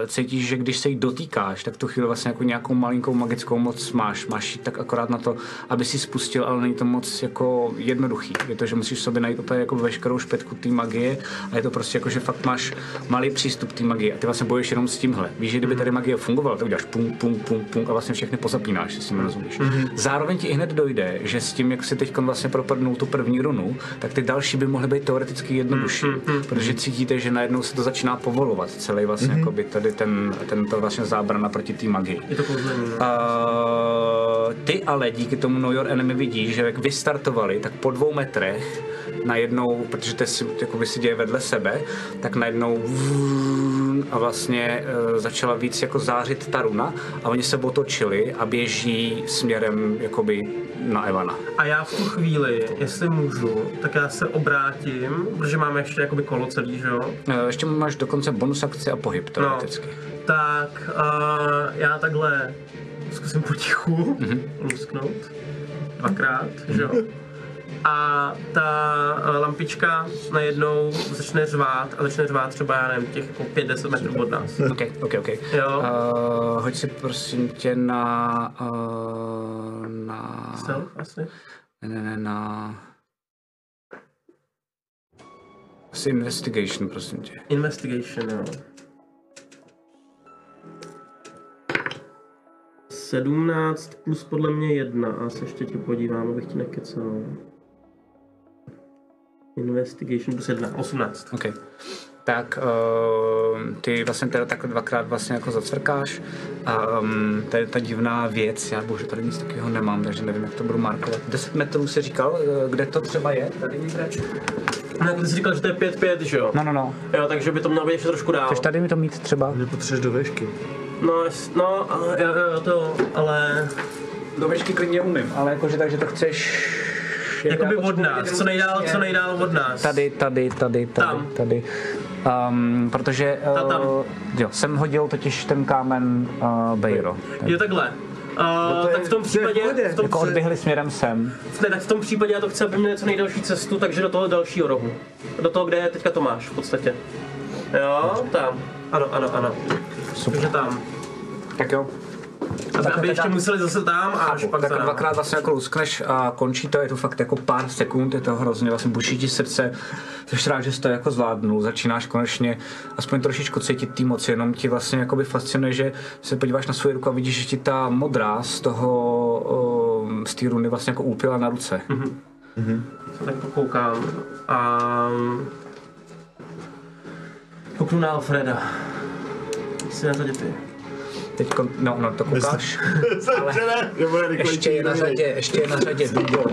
uh, cítíš, že když se jí dotýkáš, tak tu chvíli vlastně jako nějakou malinkou magickou moc máš. Máš ji tak akorát na to, aby si spustil, ale není to moc jako jednoduchý. Je to, že musíš v sobě najít úplně jako veškerou špetku té magie a je to prostě jako, že fakt máš malý přístup k té magie a ty vlastně bojuješ jenom s tímhle. Víš, že kdyby tady magie fungovala, tak uděláš pum, pum, pum, pum a vlastně všechny pozapínáš, si s tím rozumíš. Zároveň ti i hned dojde, že s tím, jak si teď vlastně propadnou tu první runu, tak ty další by mohly být teoreticky jednodušší, protože cítíte, že najednou se to začíná povolovat, celý vlastně jakoby tady ten, tento vlastně zábrana proti té magii.
Je to kouzlení, no.
Uh, ty ale díky tomu No Your Enemy vidíš, že jak vystartovali, tak po dvou metrech najednou, protože to si, jakoby si děje vedle sebe, tak najednou vrrrn a vlastně uh, začala víc jako zářit ta runa a oni se otočili a běží směrem jakoby na Evana.
A já v tu chvíli, jestli můžu, tak já se obrátím, protože máme ještě jakoby kolo celý, že jo?
Uh, ještě máš dokonce bonus akci a pohyb teoreticky. No.
Tak uh, já takhle zkusím potichu lusknout. Dvakrát, že jo? A ta eh, lampička najednou začne řvát a začne řvát třeba, já nevím, těch jako 5-10 metrů od nás.
OK, OK, OK.
Jo.
Uh, hoď si prosím tě na... Uh, na...
Co? Asi.
Ne, ne, ne, na... Asi investigation, prosím tě.
Investigation, jo. 17 plus podle mě jedna. a se ještě tě podívám, abych ti nekecal. Investigation plus jedna. 18.
OK. Tak uh, ty vlastně teda takhle dvakrát vlastně jako zacvrkáš a um, to je ta divná věc, já bohužel tady nic takového nemám, takže nevím, jak to budu markovat. 10 metrů si říkal, eh, kde to třeba je? Tady někde?
No, jako ty jsi říkal, že to je 5-5, že jo?
No, no, no.
Jo, takže by to mělo být ještě trošku dál.
Chceš tady mi to mít třeba?
Mhm.
Nepotřebuješ do vešky.
No, jas- no, ale- jo, jo, jo, to, ale...
Do vešky No, klidně umím, ale jakože takže to chceš...
Jakoby
Já to
od nás, co nejdál, co nejdál od nás.
Tady, tady, tady, tady,
Tam.
tady. Um, protože
Ta tam.
uh, jo, jsem hodil totiž ten kámen uh, Bejro.
Jo, takhle.
No
Uh, tak v tom případě, v tom,
Jako odběhli směrem sem.
ne, tak v tom případě já to chci, aby měl co nejdelší cestu, takže do toho dalšího rohu. Do toho, kde je teďka Tomáš, v podstatě. Jo, tam. Ano, ano, ano. Super. Takže tam.
Tak jo.
Aby, aby ještě museli zase tam a až pak
tak
za náma.
dvakrát vlastně jako luskneš a končí to, je to fakt jako pár sekund, je to hrozně, vlastně buší ti srdce, jsi rád, že jsi to jako zvládnul, začínáš konečně aspoň trošičku cítit té moci, jenom ti vlastně jakoby fascinuje, že se podíváš na svou ruku a eh,
Hm.
vidíš, že ti ta modrá z toho, ehm, z té runy vlastně jako úpila na ruce. Mm-hmm.
Se tak pokoukám a kouknu na Alfreda. Jsi na řadě ty.
Teď, no, no, to koukáš.
Začne, nebo je
Ještě je na řadě, ještě je na řadě Dubo.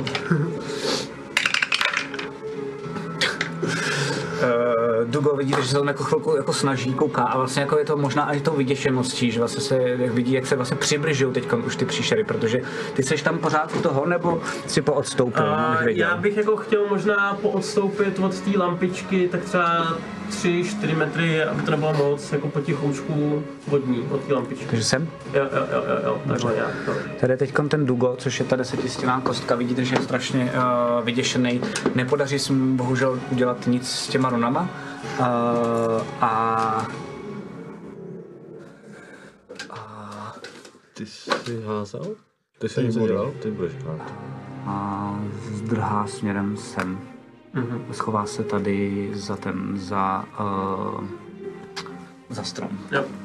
Eh, Dugo vidíte, že se tam jako chvilku jako snaží, kouká a vlastně jako je to možná i to vyděšeností, že vlastně se jak vidí, jak se vlastně přibližují teď už ty příšery, protože ty seš tam pořád u toho, nebo si poodstoupil, uh,
A
abych věděl.
Eh, já bych jako chtěl možná poodstoupit od té lampičky tak třeba 3-4 metry, aby to nebylo moc, jako potichoučku vodní od té lampičky.
Takže jsem.
Jo, jo, jo, jo, jo, takhle nějak. No.
Tady teď ten Dugo, což je ta desetistěná kostka, vidíte, že je strašně uh, vyděšený. Nepodaří se mu bohužel udělat nic s těma runama. Uh, a... a...
Ty jsi házal? Ty jsi něco dělal? Ty budeš hrát.
a zdrhá směrem sem.
Mhm.
Mm-hmm. Schová se tady za ten, za, uh, za strom.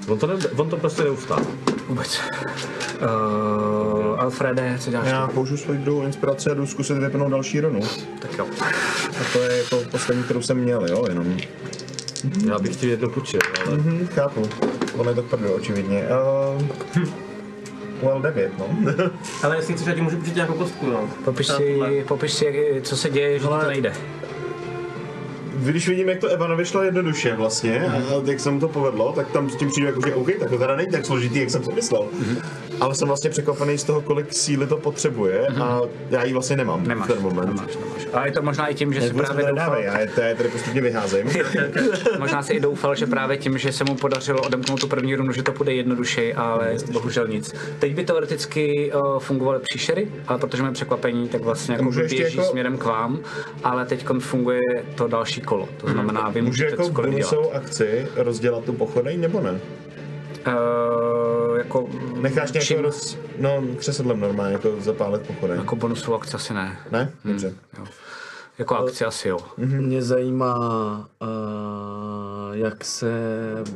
On to, ne, on to prostě neustá.
Vůbec. Uh, Alfrede, co děláš?
Já použiju svoji druhou inspiraci a jdu zkusit vypnout další runu.
Tak jo.
A to je jako poslední, kterou jsem měl, jo, jenom.
Já bych ti jedno půjčil, ale...
Mhm, chápu. On je to v prdlu, očividně. Uh, well, 9, no.
Ale jestli chceš, já ti můžu přijít nějakou kostku, no.
Popiš
Třeba
si,
tuhle.
popiš si, jak, co se děje, že ti to
Hele.
nejde.
Když vidím, jak to Evanovi šlo jednoduše vlastně,
Mhm.
a jak se mu to povedlo, tak tam s tím přijdu jako, že OK, tak to teda není tak složitý, jak jsem si myslel.
Mhm.
Ale jsem vlastně překvapený z toho, kolik síly to potřebuje a já ji vlastně nemám
Mhm. Nemáš,
v ten moment.
nemáš, nemáš. A je to možná i tím, že si
Vůbec mi
právě
to
doufal,
nedávej, já je já je tady postupně vyházím.
možná si i doufal, že právě tím, že se mu podařilo odemknout tu první runu, že to půjde jednodušeji, ale bohužel nic. Teď by teoreticky uh, fungovaly příšery, ale protože máme překvapení, tak vlastně jako
Můžu ještě
běží jako...
jako-
směrem k vám, ale teď funguje to další kolo. To znamená, vy
Můžu
můžete
jako
cokoliv dělat.
bonusovou akci rozdělat tu pochodej, nebo ne?
Uh, jako,
Necháš
čím-
nějakou roz... No, křesadlem normálně, jako zapálit pochodej.
jako bonusovou akci asi ne.
Ne?
Hmm.
Dobře.
Jo. Jako akci asi jo.
Hmm.
Mě zajímá, uh, jak se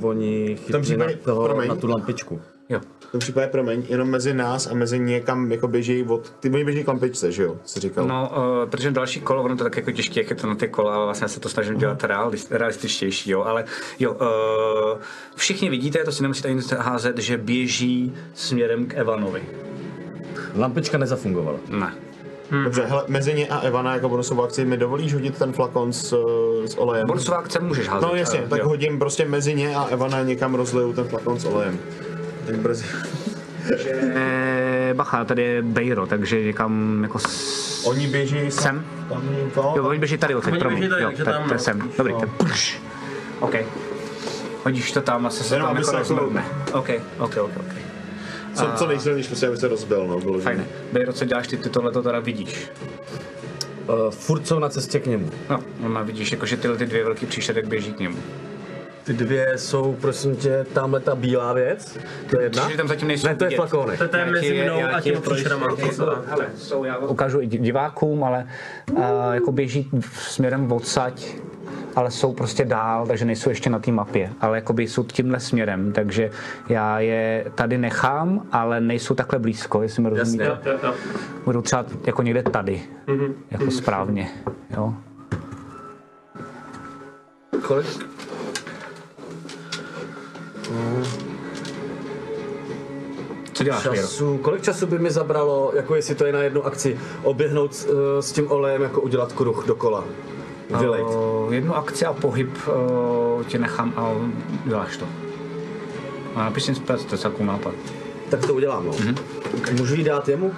oni chytli
případě-
na, toho,
promiň.
na tu lampičku.
jo.
V tom případě, promiň, jenom mezi nás a mezi někam jako běží od... Ty oni běží k lampičce, že jo? Jsi říkal.
No, uh, protože další kolo, ono to tak jako těžké, jak je to na ty kola, ale vlastně já se to snažím dělat realis- realističtější, jo, ale jo, uh, všichni vidíte, to si nemusíte ani házet, že běží směrem k Evanovi.
Lampička nezafungovala.
Ne.
Dobře, hele, mezi ně a Evana jako bonusovou akci mi dovolíš hodit ten flakon s, eh, s olejem?
Bonusová akce můžeš házet.
No jasně,
eh,
tak
jo.
hodím prostě mezi ně a Evana někam rozliju ten flakon s olejem. Tak brzy.
Eh, bacha, tady je Bejro, takže někam jako s...
Oni běží
Sem?
Tam, to,
Jo, oni běží tady odtud,
Oni
promiň.
běží tady,
jo,
takže
tak
tam,
to je
no.
sem. Dobrý, tak prš. OK. Hodíš to tam a se se
Jenom
tam
aby
jako
se jako-
rozmrdne. OK, OK, OK, OK.
co, co nejsilnější, prostě aby se rozbil, no, bylo
Fajn. Bejro, co děláš ty, ty tohle to teda vidíš.
Uh, furt jsou na cestě k němu.
No, normálně vidíš, jako, že tyhle ty dvě velký příšerek běží k němu.
Ty dvě jsou, prosím tě, tamhle ta bílá věc. To je jedna.
Že tam zatím nejsou
Ne, to je
vidět.
flakonek.
To je
Já
mezi
ti-
mnou
já
a
ti
těmi
projdu.
příšerama.
Jako,
docela.
hele, jsou, já vám ukážu i divákům, ale a, jako běží směrem odsať, ale jsou prostě dál, takže nejsou ještě na té mapě, ale jakoby jsou tímhle směrem, takže já je tady nechám, ale nejsou takhle blízko, jestli mi rozumíte.
Jo, jo, jo.
Budou třeba jako někde tady, jako správně, jo.
Kolik?
Co děláš, Věro?
Času, kolik času by mi zabralo, jako jestli to je na jednu akci, oběhnout s, eh, s tím olejem, jako udělat kruh dokola? Vylejt.
Eh, jednu akci a pohyb uh, tě nechám a děláš to. A napiš inspiraci, to je celkový nápad.
Tak to udělám, no. Můžu ji dát jemu?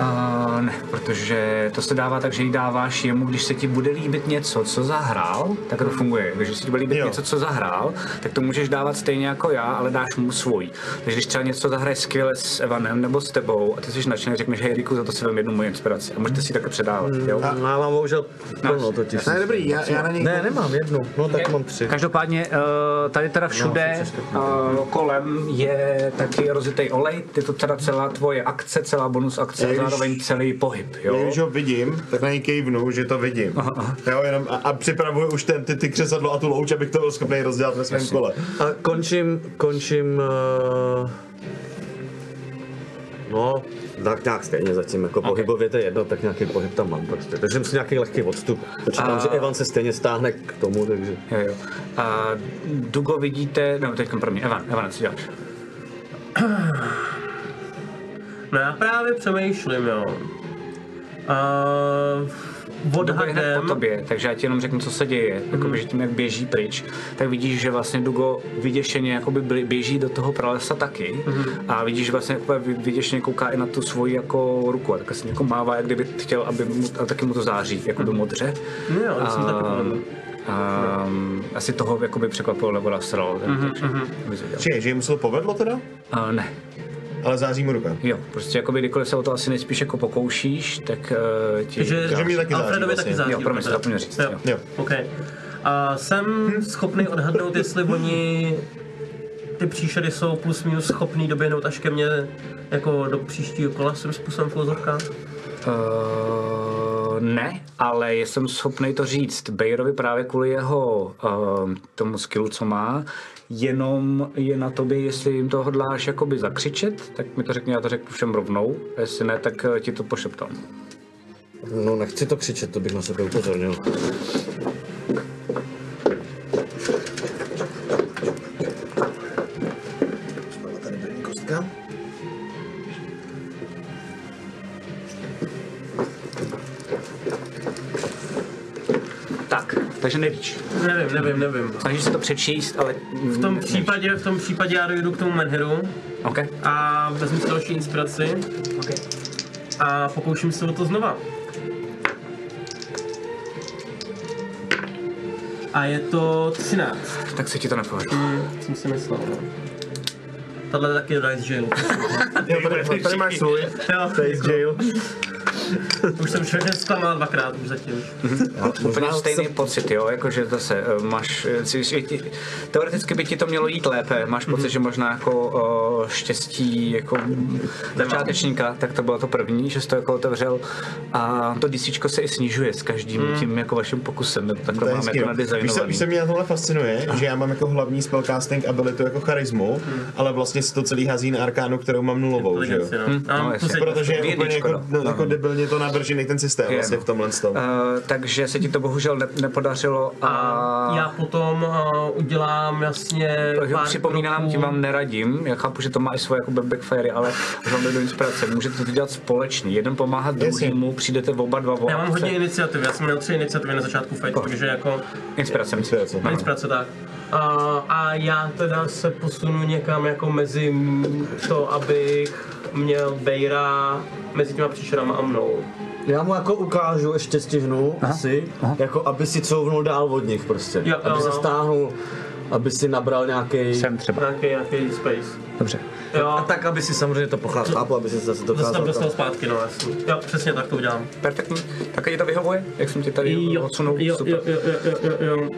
Uh, ne, protože to se dává tak, že ji dáváš jemu, když se ti bude líbit něco, co zahrál, tak to funguje. Když se ti bude líbit
Jo.
něco, co zahrál, tak to můžeš dávat stejně jako já, ale dáš mu svůj. Takže když třeba něco zahraje skvěle s Evanem nebo s tebou a ty jsi nadšený, řekneš, hej, Riku, za to si vem jednu moji inspiraci. A můžete si ji také předávat. Jo?
No, Já mám bohužel plno totiž.
Ne, dobrý, já, já na něj...
Ne, nemám jednu, no tak mám tři.
Každopádně eh, tady teda všude eh, kolem je taky rozitej olej, je to teda celá tvoje akce, celá bonus akce a
Já když-
zároveň celý pohyb,
Já
jo?
když ho vidím, tak na něj kejvnu, že to vidím. Jo, jenom a, a připravuju už ten, ty, ty křesadlo a tu louč, abych to byl schopný rozdělat ve svém kole.
A končím, končím... Uh, eh, No, tak nějak stejně zatím, jako okay. pohybově to je jedno, tak nějaký pohyb tam mám prostě. Takže jsem si nějaký lehký odstup. Počítám,
A-
že Evan se stejně stáhne k tomu, takže...
Jo, jo. A Dugo vidíte, no teď pro mě, Evan, Evan, co děláš?
No já právě přemýšlím, jo. Uh,
Dugo je hned
odhadem...
po tobě, takže já ti jenom řeknu, co se děje.
Mhm.
Jakoby, že tím, jak běží pryč, tak vidíš, že vlastně Dugo vyděšeně jakoby bli- běží do toho pralesa taky.
Mhm.
A vidíš, že vlastně jakoby vy- vyděšeně kouká i na tu svoji jako ruku. A tak asi jako mává, jak kdyby chtěl, aby mu, a taky mu to září, jako do modře.
No jo, já jsem taky
A-
podobný.
a, asi toho jakoby překvapilo nebo nasral.
Mhm,
Takže, mm-hmm.
Čiže, že jim se to povedlo teda?
A, ne,
Ale září mu ruka.
Jo, prostě jakoby kdykoliv se o to asi nejspíš jako pokoušíš, tak uh, ti...
Takže
Takže mě taky září
Alfredovi
vlastně.
taky září.
Jo, promiň,
dobře.
zapomněl říct,
Jo.
jo.
Jo.
OK. A jsem schopný odhadnout, jestli oni ty příšery jsou plus minus schopný doběhnout až ke mně jako do příštího kola svým způsobem v uvozovkách.
Uh, ne, ale jsem schopný to říct. Bejrovi právě kvůli jeho uh, tomu skillu, co má, jenom je na tobě, jestli jim to hodláš jakoby zakřičet, tak mi to řekni, já to řeknu všem rovnou, a jestli ne, tak eh, ti to pošeptám.
No nechci to křičet, to bych na sebe upozornil.
Byla tady první kostka.
Tak, takže nevíš.
Nevím, nevím, nevím.
Snažíš se to přečíst, ale...
V tom případě, v tom případě já dojdu k tomu Menhiru
OK,
a vezmu si další inspiraci
OK.
a pokouším se o to znova. A je to 13.
Tak se ti to nepovedlo.
Hmm, jsem si myslel. no. Tohle je taky Rice Jail.
Tady, tady máš svůj.
jo,
Face jail.
už jsem všechny zklamal dvakrát už zatím.
Úplně stejný pocit, jo, jakože zase eh, máš, eh, si- si- ti- teoreticky by ti to mělo jít lépe, máš
Mhm.
pocit, že možná jako eh, štěstí jako začátečníka, tak to bylo to první, že jsi to jako otevřel a to DCčko se i snižuje s každým tím jako vaším pokusem, nebo
Mhm. To
takhle
je
máme
hezký,
to jako
no. Víš, co,
nadizajnovaný.
víš, co mě na tohle fascinuje, že já mám jako hlavní spellcasting ability jako charismu, ale vlastně se to celý hazí na arkánu, kterou mám nulovou, že jo?
Inteligenci, no.
Hm,
A
no,
to
jasně.
se
Protože je
Jedničko,
úplně jako,
no.
no, jako debilně to navržený ten systém
Je,
vlastně
no.
v tomhle tom.
Eh, takže se ti to bohužel ne- nepodařilo a...
já potom uh, udělám jasně
Takže
pár
připomínám,
kroků.
tím vám neradím, já chápu, že to má i svoje jako backfire, ale už vám do inspirace. Můžete to dělat společně, jeden pomáhat druhému, přijdete oba dva o
Já mám
akce.
hodně iniciativ, já jsem měl tři iniciativy na začátku fightu, takže jako
Inspirace. myslím.
Inspirace.
nic práce tak. A, a já teda se posunu někam jako mezi m- to, abych měl Bejra mezi těma příšerama a mnou.
Já mu jako ukážu, ještě stihnu aha, asi, aha. jako aby si couvnul dál od nich prostě.
Jo,
aby
jo,
se
jo.
stáhnul, aby si nabral nějaký...
Sem třeba.
Nějaký, nějaký space.
Dobře.
Jo,
A tak, aby si samozřejmě to pochlápl, aby si zase
zase tam
dokázal...
dostal zpátky, no jasně. Jo, přesně tak to udělám.
Perfektní. Tak ti to vyhovuje, jak jsem ti tady
Jo,
odsunul.
jo,
Super.
jo, jo, jo, jo, jo.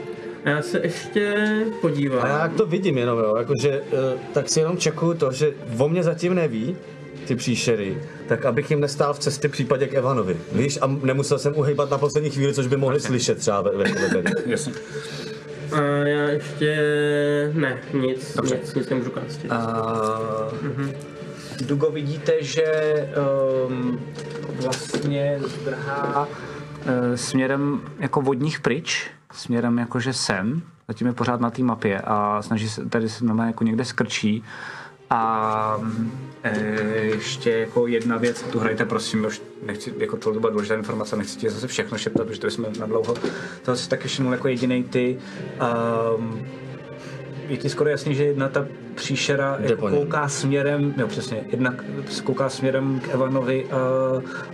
Já se ještě podívám.
A já jak to vidím jenom, jo, jakože, uh, tak si jenom čekuju to, že o mě zatím neví, ty příšery, tak abych jim nestál v cestě v případě k Evanovi. Víš, a nemusel jsem uhejbat na poslední chvíli, což by mohli slyšet třeba ve, ve, ve, ve.
Jasně.
A já ještě... ne, nic,
Dobře.
nic, nic nemůžu kástit.
A... Dugo vidíte, že um, vlastně e, zdrhá
Eh, Směrem jako vodních pryč, směrem jakože sem, zatím je pořád na té mapě a snaží se, tady se normálně jako někde skrčí
A e, ještě jako jedna věc, tu hrajte prosím, už nechci, jako to byla důležitá informace, nechci ti zase všechno šeptat, protože to jsme na dlouho. To asi taky všimnul jako jediný ty. Um, je ti skoro jasný, že jedna ta příšera jako kouká směrem, jo přesně, jedna k- kouká směrem k Evanovi a,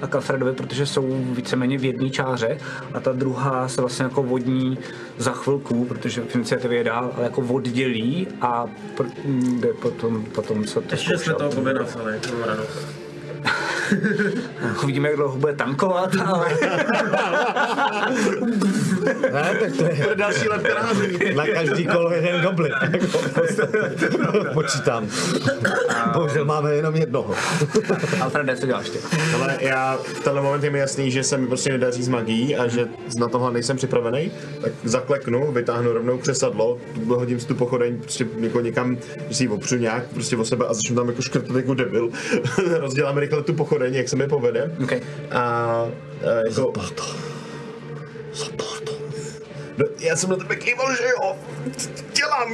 a k Alfredovi, protože jsou víceméně v jedné čáře a ta druhá se vlastně jako vodní za chvilku, protože v iniciativě je dál, ale jako oddělí a pr- jde potom, potom co to
Ještě jsme
zkoušel.
toho Bobina vzali, mám radost.
Uvidíme, jak dlouho bude tankovat, ale
Ne, tak to je... Pro další let Na každý kolo jeden goblin. Jako v podstatě. Počítám. Bohužel máme jenom jednoho.
Alfrede, co děláš ty?
Ale já v tenhle moment je mi jasný, že se mi prostě nedaří s magií a že na tohle nejsem připravený, tak zakleknu, vytáhnu rovnou křesadlo, hodím si tu pochodeň prostě jako někam, že si ji opřu nějak prostě o sebe a začnu tam jako škrtat jako debil. Rozdělám rychle tu pochodeň, jak se mi povede.
Okay.
A, a jako... Zaplato. Zaplato. No, já jsem na tebe kýval, že jo. Dělám.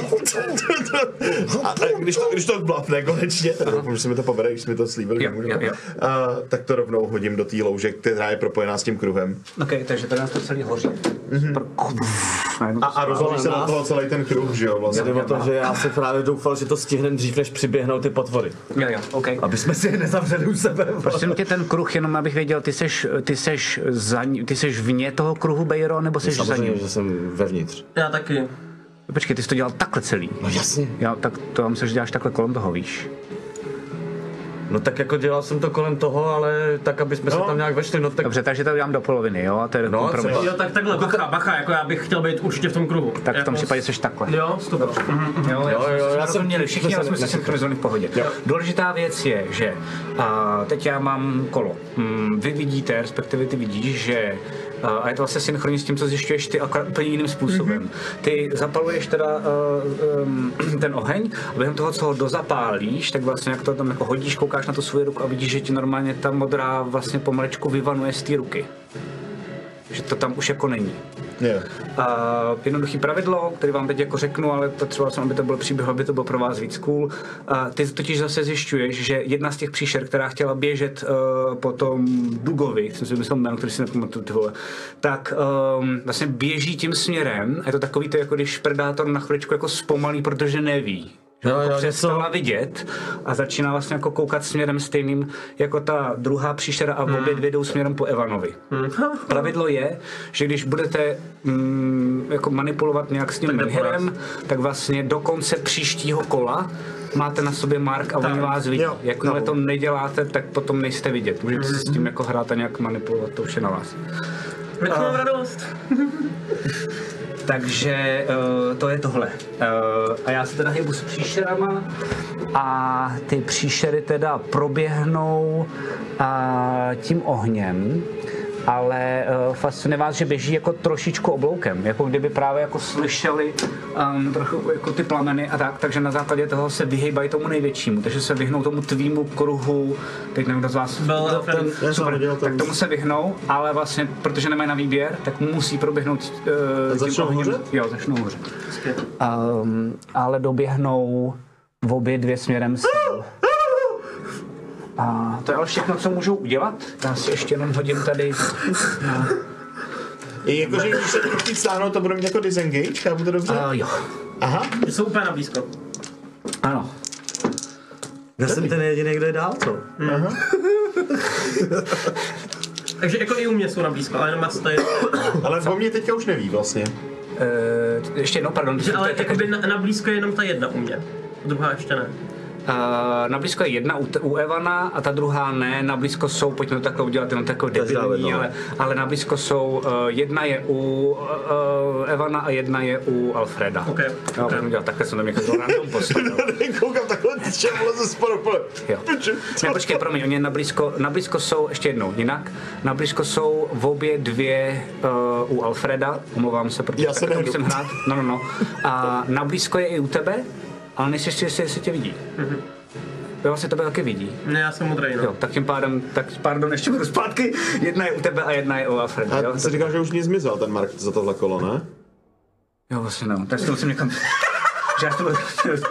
A, a když to, když to blapne konečně, tak doufám, že se mi to povede, když jsme to slíbili.
Jo,
komu,
jo,
no.
jo.
A, tak to rovnou hodím do té louže, která je propojená s tím kruhem.
OK, takže to nás to celý hoří.
A, a rozhodí se na toho celý ten kruh, že jo, vlastně.
Jde o to, že já se právě doufal, že to stihneme dřív, než přiběhnou ty potvory.
Jo, jo, OK.
Aby jsme si je nezavřeli u sebe. vole.
Prosím tě, ten kruh, jenom abych věděl, ty seš, ty seš, za, ní- ty seš vně toho kruhu, Bejro, nebo seš za
Samozřejmě,
ním?
že jsem vevnitř.
Já taky.
Počkej, ty jsi to dělal takhle celý.
No jasně.
Já, tak to já myslím, že děláš takhle kolem toho, víš.
No tak jako dělal jsem to kolem toho, ale tak, aby jsme se tam nějak vešli, no tak...
Dobře, takže to dělám do poloviny, jo? To je
No,
kompromis.
třeba.
Jo, tak takhle, bacha, bacha, jako já bych chtěl být určitě v tom kruhu.
Tak v
Jako
tom
s-
případě seš takhle.
Jo, stop. Mhm,
Jo, Mhm. jo, jo,
já
já
jsem-
jsem měli všichni, ale jsme se synchronizovali v pohodě. Důležitá věc je, že a, teď já mám kolo. Mm, Vy vidíte, respektive ty vidíš, že a, a je to vlastně synchronní s tím, co zjišťuješ ty, akorát úplně jiným způsobem. Ty zapaluješ teda a, um, ten oheň a během toho, co ho dozapálíš, tak vlastně jak to tam jako hodíš, koukáš na tu svou ruku a vidíš, že ti normálně ta modrá vlastně pomalečku vyvanuje z té ruky. Že to tam už jako není.
Jo.
Uh, jednoduchý pravidlo, který vám teď jako řeknu, ale potřeboval jsem, aby to byl příběh, aby to bylo pro vás víc cool. Uh, ty totiž zase zjišťuješ, že jedna z těch příšer, která chtěla běžet uh, po tom Dugovi, jsem si myslel jméno, který si nepamatuju, ty vole, tak um, vlastně běží tím směrem. A je to takový, to je jako když predátor na chviličku jako zpomalí, protože neví. Že
Jo,
jako
jo,
přestala vidět a začíná vlastně jako koukat směrem stejným jako ta druhá příšera a
Hmm.
obě dvě jdou směrem po Evanovi. Pravidlo je, že když budete mm, jako manipulovat nějak s tím menhirem, tak vlastně do konce příštího kola máte na sobě mark a oni vás vidí.
Jo,
Jakmile
chápu.
no.
to neděláte, tak potom nejste vidět. Můžete si s
Hmm.
tím jako hrát a nějak manipulovat, to už je na vás.
Proč Jako mám radost?
Takže eh, to je tohle. Eh, A já se teda hýbu s příšerama.
a ty příšery teda proběhnou a, tím ohněm, ale uh, fascinuje vás, že běží jako trošičku obloukem, jako kdyby právě jako slyšeli um, trochu jako ty plameny a tak, takže na základě toho se vyhýbají tomu největšímu, takže se vyhnou tomu tvýmu kruhu, teď nevím, kdo z vás
Byl Alfred.
Já jsem hodil
tak
ten...
tomu se vyhnou, ale vlastně, protože nemají na výběr, tak musí proběhnout uh, tím
začnou
ohněm.
hořet?
Jo, začnou hořet.
Um, ale doběhnou v obě dvě směrem s
A to je ale všechno, co můžou udělat. Já si ještě jenom hodím tady.
I jako, že když se to chtít stáhnout, to budu mít jako disengage, chápu to dobře?
Uh, jo.
Aha.
Jsou úplně na blízko.
Ano.
Já jsem ten jediný, kdo je dál, co?
Takže jako i u mě jsou na blízko, ale jenom na stej.
Ale o mě teďka už neví vlastně.
Uh, ještě jednou, pardon.
Že ale
To je-
jakoby na, na blízko je jenom ta jedna u mě. Druhá ještě ne.
Uh, na blízko je jedna u, t- u Evana a ta druhá ne, na blízko jsou, pojďme to takhle udělat, jenom takové debilní, ale, ale na blízko jsou, uh, jedna je u uh, uh, Evana a jedna je u Alfreda.
OK.
Jo, pojďme dělat takhle, jsem tam jako random postavil.
Koukám takhle, ty bylo ze sporu, pole.
Jo. Ne, počkej, promiň, oni na blízko, na blízko jsou, ještě jednou, jinak, na blízko jsou v obě dvě uh, u Alfreda, omlouvám se, protože
Já se
takhle to
nehnu.
musím hrát, no, no, no, a na blízko je i u tebe, ale nejsi si jistý, jestli tě vidí. Jo, vlastně tebe taky vidí.
Ne, já jsem modrej, no.
Jo, tak tím pádem, tak pardon, ještě budu zpátky. Jedna je u tebe a jedna je u Alfreda, jo?
A ty jsi říkal, že už mě zmizel ten Mark za tohle kolo, ne?
Jo, vlastně no, tak si to musím někam... Že já to budu...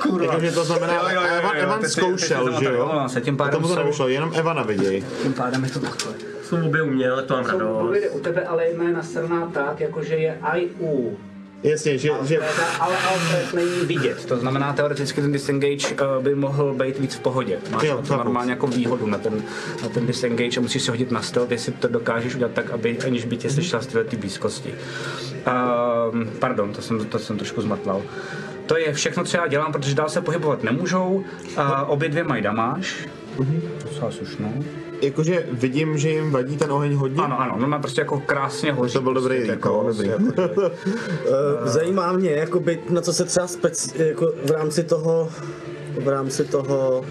Kurva.
Takže Jako, to znamená,
Jo, jo, jo, jo,
Evan,
jo,
Evan
teď si- teď
zkoušel,
si
že jo?
omlouvám se, tím
A
pádem
tomu to
jsou-
nevyšlo, jenom Evana viděj.
Tím pádem je to takhle.
Jsou obě u mě, ale to mám radost.
u tebe, ale jedna je nasrná tak, jakože je i u
Jasně, že, že
ale Alfred není vidět. To znamená, teoreticky ten disengage eh, by mohl být víc v pohodě. Máš
Jo,
jo, to
chápu.
normálně jako výhodu na ten, na ten disengage a musíš se hodit na stealth, jestli to dokážeš udělat tak, aby, aniž by tě slyšela z této blízkosti. Um, pardon, to jsem, to jsem trošku zmatlal. To je všechno, co já dělám, Eh,
Mhm.
protože dál se pohybovat nemůžou. Uh, obě dvě mají damáž. Docela slušnou.
jakože vidím, že jim vadí ten oheň hodně.
Ano, ano, no má prostě jako krásně hoří.
To byl dobrý
prostě,
lík, no, dobrý.
Eh, Zajímá mě, jakoby, na co se třeba spec, jako v rámci toho, v rámci toho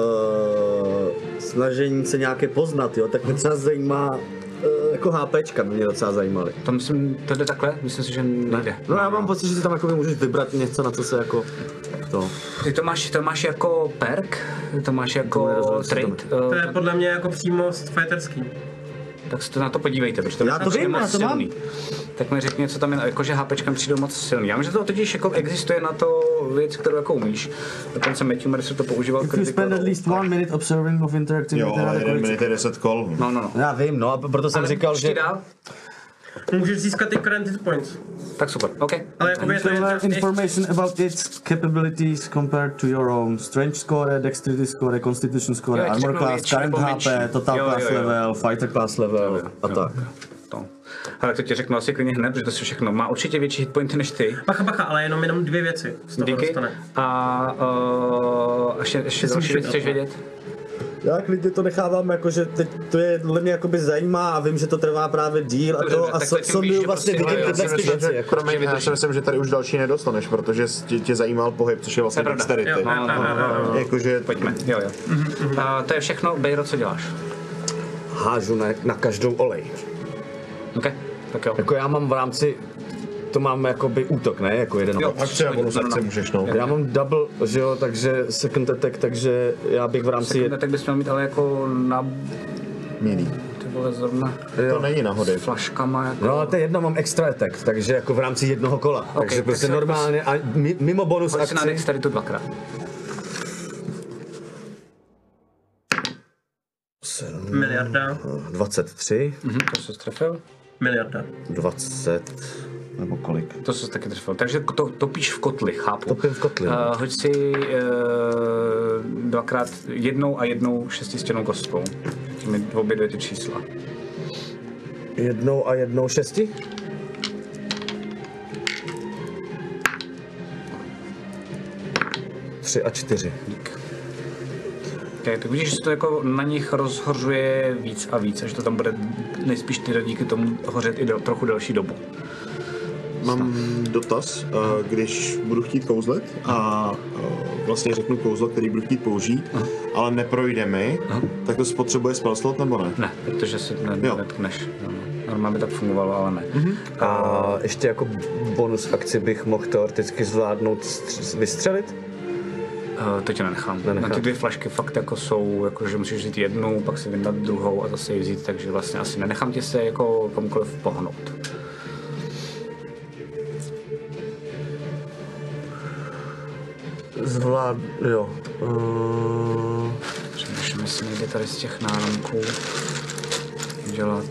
uh, snažení se nějaké poznat, jo, tak mě třeba zajímá, uh, jako HPčka by mě docela zajímaly.
To myslím, to jde takhle, myslím si, že nejde.
No já mám pocit, že si tam jakoby můžeš vybrat něco, na co se jako to.
Ty to máš, to máš jako perk, to máš jako
nerozumím, co to
trade,
To
eh,
je podle mě jako přímo fighterský.
tak se to na to podívejte, protože to
Já
je
to
prostě
vím,
moc
já to mám.
silný. Tak mi řekni, co tam je, jakože HPčkem přijde moc silný. Já vím, že to totiž jako existuje na to věc, kterou jako umíš. Dokonce Matthew Mercer to používal
If you
critical
spend at
role.
least one minute observing of interacting
Jo,
with another
jeden
colleague.
minut je 10 kol. No.
No, no, no.
Já vím, no a proto jsem
Ale
říkal,
čti
že...
dál?
Můžeš získat i current hit points.
Tak super, OK.
Ale jako je to je
Similar
třeba
information about its capabilities compared to your own. Strength score, dexterity score, constitution score,
Jo, jak
armor
řeknou
class,
větší
current
nebo menší.
HP, total
Jo, jo,
class
jo.
level, fighter class level a tak.
To. Ale to ti řeknu asi klidně hned, protože to si všechno má určitě větší hitpointy než ty.
Bacha, bacha, ale jenom, jenom dvě věci z toho
Díky.
dostane.
A uh, ještě, ještě další věc chceš vědět?
Já klidně to nechávám, jakože teď to je dle mě jakoby zajímá a vím, že to trvá právě díl a
Dobře,
to
dobře,
a
tak
so,
tím
so
víš, že prostě-
vlastně vidím
jo, jo,
tyhle ty věci.
Že,
jako.
promiň, já si myslím, že tady už další nedostaneš, protože tě, tě zajímal pohyb, což je vlastně
To je pravda.
dexterity.
Jo, no, no, no, no, no.
Jakože
Pojďme, jo, jo.
Mhm,
A to je všechno, Bejro, co děláš?
Hážu na, na každou olej.
OK, tak jo.
Jako já mám v rámci, to mám jakoby útok, ne? Jako jeden
Jo.
hod.
akce a bonus
No, no, no.
akce můžeš, no.
Já mám double, že jo, takže second attack, takže já bych v rámci...
Sekunde, tak bys měl mít ale jako na...
Milý.
Ty vole, zrovna jako
To není náhody.
flaškama jako...
No, ale to je jedno, mám extra attack, takže jako v rámci jednoho kola. Okay, takže
tak
prostě
se-
normálně, a mi- mimo bonus
Hoď si na
akci,
dexteritu dvakrát.
Miliarda,
23,
Mhm, to se strefil.
miliarda.
20, nebo kolik.
To se taky trefil. Takže to, topíš v kotli, chápu.
Topím v kotli, no.
Uh, hoď si uh, dvakrát jednou a jednou šestistěnou kostkou. Těmi obě dvě ty čísla.
Jednou a jednou šesti? Tři a čtyři.
Okay, tak vidíš, že se to jako na nich rozhořuje víc a víc, a že to tam bude nejspíš teda díky tomu hořet i del, trochu delší dobu.
Mám dotaz, eh, když budu chtít kouzlet a eh, vlastně řeknu kouzlo, který budu chtít použít, ale neprojde mi, tak to spotřebuje spell slot nebo ne?
Ne, protože se ne,
Jo.
netkneš. No, Normálně by tak fungovalo, ale ne.
A ještě jako bonus akci bych mohl teoreticky zvládnout stř- vystřelit?
Uh, to tě nenechám.
Nenechám.
Na ty dvě flašky fakt jako jsou, jako, že musíš vzít jednu, pak si vyndat druhou a zase ji vzít, takže vlastně asi nenechám tě se jako komukoliv pohnout.
Zvlád... jo. Uh...
Přemýšlím, jestli někde tady z těch náramků dělat.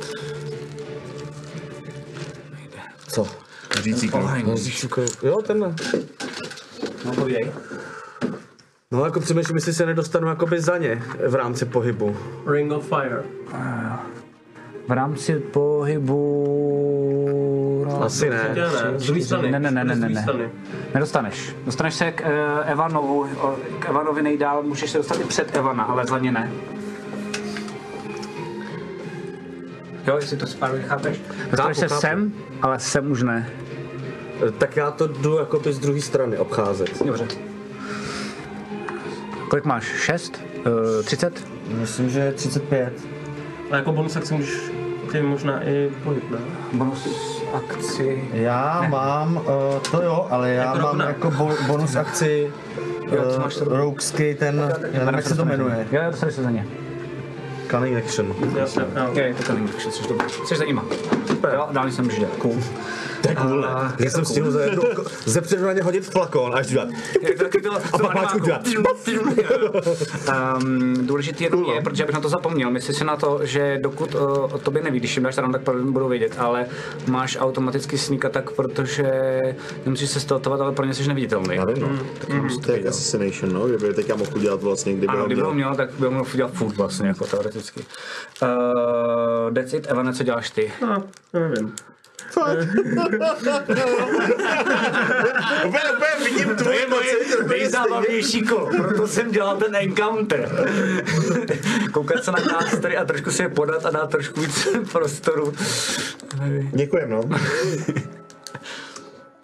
Nejde.
Co?
Řící
Oheň.
Jo, tenhle.
No, povídej.
No jako přemýšlím, jestli se nedostanu jakoby za ně v rámci pohybu.
Ring of Fire.
V rámci pohybu... No,
Asi ne.
Ne, ne, z druhé strany.
Ne, ne, ne, ne,
Z
ne,
druhé
ne.
strany.
Nedostaneš.
Dostaneš se k eh, Evanovu, o, k Evanovi nejdál, můžeš se dostat i před Evana, ale za ně ne. Jo, jestli to správně chápeš.
Dostaneš se
chápu.
sem, ale sem už ne.
Tak já to jdu jakoby z druhé strany obcházet.
Dobře.
Kolik máš? Eh, 6? 30?
Myslím, že 35.
A jako bonus akci můžeš ty možná i pohyb, ne?
Bonus akci.
Já mám, uh, to jo, ale já
Jako
mám
rovna.
jako bo- bonus akci
Jo, co máš
uh,
to?
Roguesky, ten, já nevím, jak se to jmenuje.
Jo, jo, dostaneš se za ně.
Cunning action.
Já se, jo.
Jo, je to ten action, jsi dobrý. Jsi za nima. Jo, dál jsem žil. Cool.
Tak vůle, že jsem stihl za jednu oko- ze předu na ně hodit flakon až dělat.
Je to taky to,
A
to jako
pak máčku udělat.
um, důležitý jenom je, protože bych na to zapomněl, myslím si na to, že dokud uh, o tobě neví, když jim dáš ranu, tak pravděpodobně budou vědět, ale máš automaticky sneak attack, protože nemusíš se steltovat, ale pro ně jsi neviditelný.
Já vím,
Hmm.
no. Tak mám to je jak assassination, no, kdyby teď já mohl udělat vlastně, kdyby
Ano,
ho
kdyby ho
měl.
měl, tak by ho mohl dělat furt vlastně, Eh, jako teoreticky. Uh, that's it, Evane, co děláš ty?
No, nevím.
Úplně, úplně vidím
To
tvoje
je moje nejzábavnější kolo, proto jsem dělal ten encounter. Koukat se na nás tady a trošku si je podat a dát trošku víc prostoru.
Děkujem, no.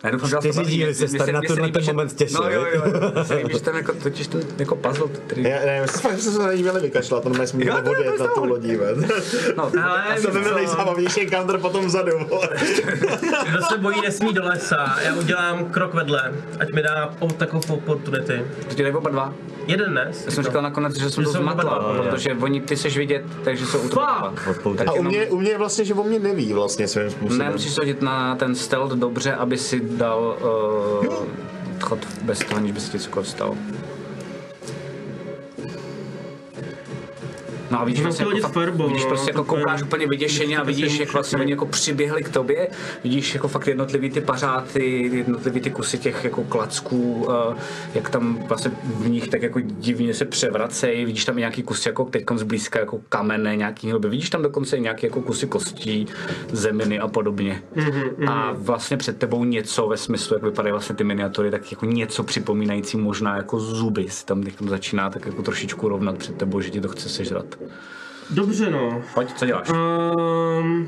Já doufám, že vás to
Čtyři
baví.
díly
Mně
se
mně
Stan na
mně
tenhle
líbí,
ten
že-
moment těšil,
No jo,
viď?
jo, mně se líbí, že ten jako, totiž ten jako puzzle, který...
Já, ne, fakt jsem se na ní měli vykašlat, protože jsme
Jo,
měli
to je
vody na
prostě
tu
on.
lodí, ven.
No,
Hele,
To by byl
víš co?
nejzábavnější encounter potom vzadu, vole.
Kdo se bojí, nesmí do lesa. Já udělám krok vedle, ať mi dá o takovou opportunity.
to ti dají oba dva.
Jeden dnes.
Já jsem říkal nakonec, že jsem
Jako- Že
to
jsou oba
zmatla,
dva,
protože oni, ty seš vidět, takže jsou u toho dva. Tak
A u
jenom-
mě, u mě je vlastně, že o mě neví vlastně svým
Ne,
způsobem.
musíš se hodit na ten stealth dobře, aby si dal uh, chod bez toho, aniž by se ti cokoliv stalo. No a vidíš,
Můžu
vlastně,
hodit
jako, fakt,
fireball,
vidíš
no,
prostě jako
to je-
koukáš úplně vyděšeně a
to si
vidíš, jak
můžu
vlastně
všimnout.
oni jako přiběhli k tobě, vidíš jako fakt jednotlivý ty pařáty, jednotlivý ty kusy těch jako klacků, eh, jak tam vlastně v nich tak jako divně se převracejí, vidíš tam i nějaký kusy jako teďkom zblízka jako kamene, nějaký hluby, vidíš tam dokonce i nějaké jako kusy kostí, zeminy a podobně. A vlastně před tebou něco ve smyslu, jak vypadají vlastně ty miniatury, tak jako něco připomínající možná jako zuby, si tam teďkom začíná tak jako trošičku rovnat před tebou, že ti to chce sežrat.
Dobře no.
Pojď, co děláš?
Um,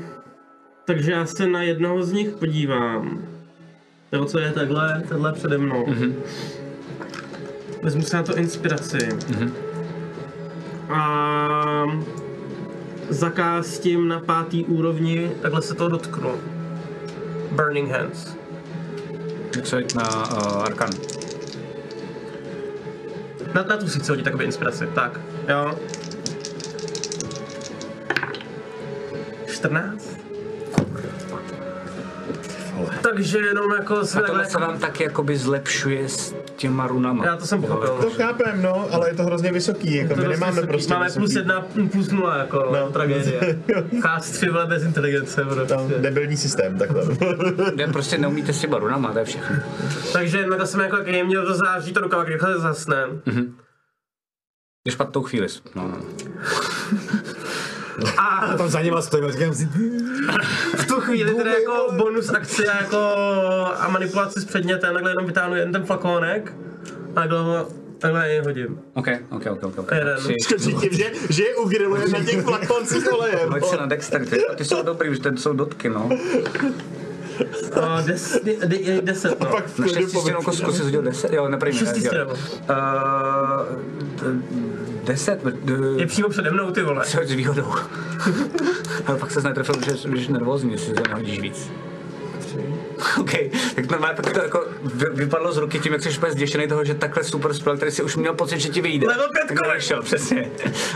takže já se na jednoho z nich podívám. Nebo co je takhle, tenhle přede mnou. Mm-hmm. Vezmu si na to inspiraci. Mm-hmm. A zakástím na pátý úrovni, takhle se to dotknu. Burning Hands.
Co je na uh, Arkan?
Na, na tu si chci hodit takové inspiraci, tak. Jo. 14? Takže jenom jako
A
jsme
tohle
takhle...
se vám tak jakoby zlepšuje s těma runama.
Já to jsem
To
pochopil.
chápem, no, ale je to hrozně vysoký, jako
To
my
dost
nemáme
vysoký.
prostě
Máme
vysoký.
plus jedna, plus nula jako no. tragédie. Cast tři vole bez inteligence prostě.
No, debilní systém, takhle.
Ne, prostě neumíte s těma runama, to je všechno.
Takže na to jsem jako jak měl to září to rukava, jak rychle zasne.
Je špatnou chvíli. No, no.
A
Tam za nima stojím a říkám si,
v tu chvíli teda jako bonus akce jako a manipulaci s předmětem, takhle jenom vytáhnu jeden ten flakónek a takhle ho takhle jej hodím.
OK, OK, OK, OK. OK.
Jeden.
Tři.
Říkám, že, že je ugriluje na těch flakoncích olejem.
Hoď se na dexterity. Ty jsou dobrý, už ten jsou dotky, no.
A des, de, de, deset, no.
Pak v
Na
klidu
šestistěnou
povím.
kostku si jako hodil 10, jo, Eh, neprvní.
Šestistěnnou.
10,
Je přímo přede mnou ty vole.
s výhodou. Ale pak se netrefil, že jsi budeš nervózní, jestli se nehodíš víc. OK, tak normálně pak to jako vy, vypadlo z ruky tím, jak jsi úplně zděšený toho, že takhle super spal, který si už měl pocit, že ti vyjde.
Level pět
Tak
kolem.
Nešel, přesně.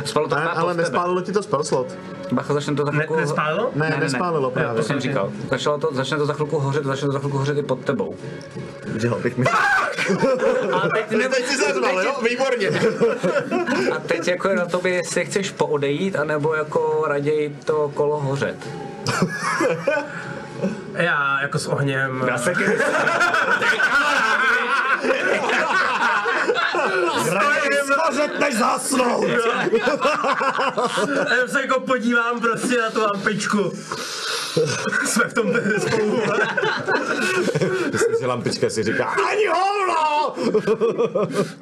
Spalo to
Ale,
akorát
ale
pod tebe.
nespálilo ti to spell slot.
Bacha, začne to za
jako- Ne,
chvilku...
nespálilo?
Ne, nespálilo
Ne,
právě.
to jsem říkal. Začalo to, začne to za chvilku hořet, začne to za chvilku hořet i pod tebou.
Dělal bych mi.
A teď, ne,
Teď jsi zazval, jo? Výborně.
a teď jako je na tobě, jestli chceš poodejít, anebo jako raději to kolo hořet.
Já jako s ohněm. Já se
Skořet než zasnout.
A jenom se jako podívám prostě na tu lampičku. Jsme v tom spolu.
myslím, že lampička si říká,
Ani hovno!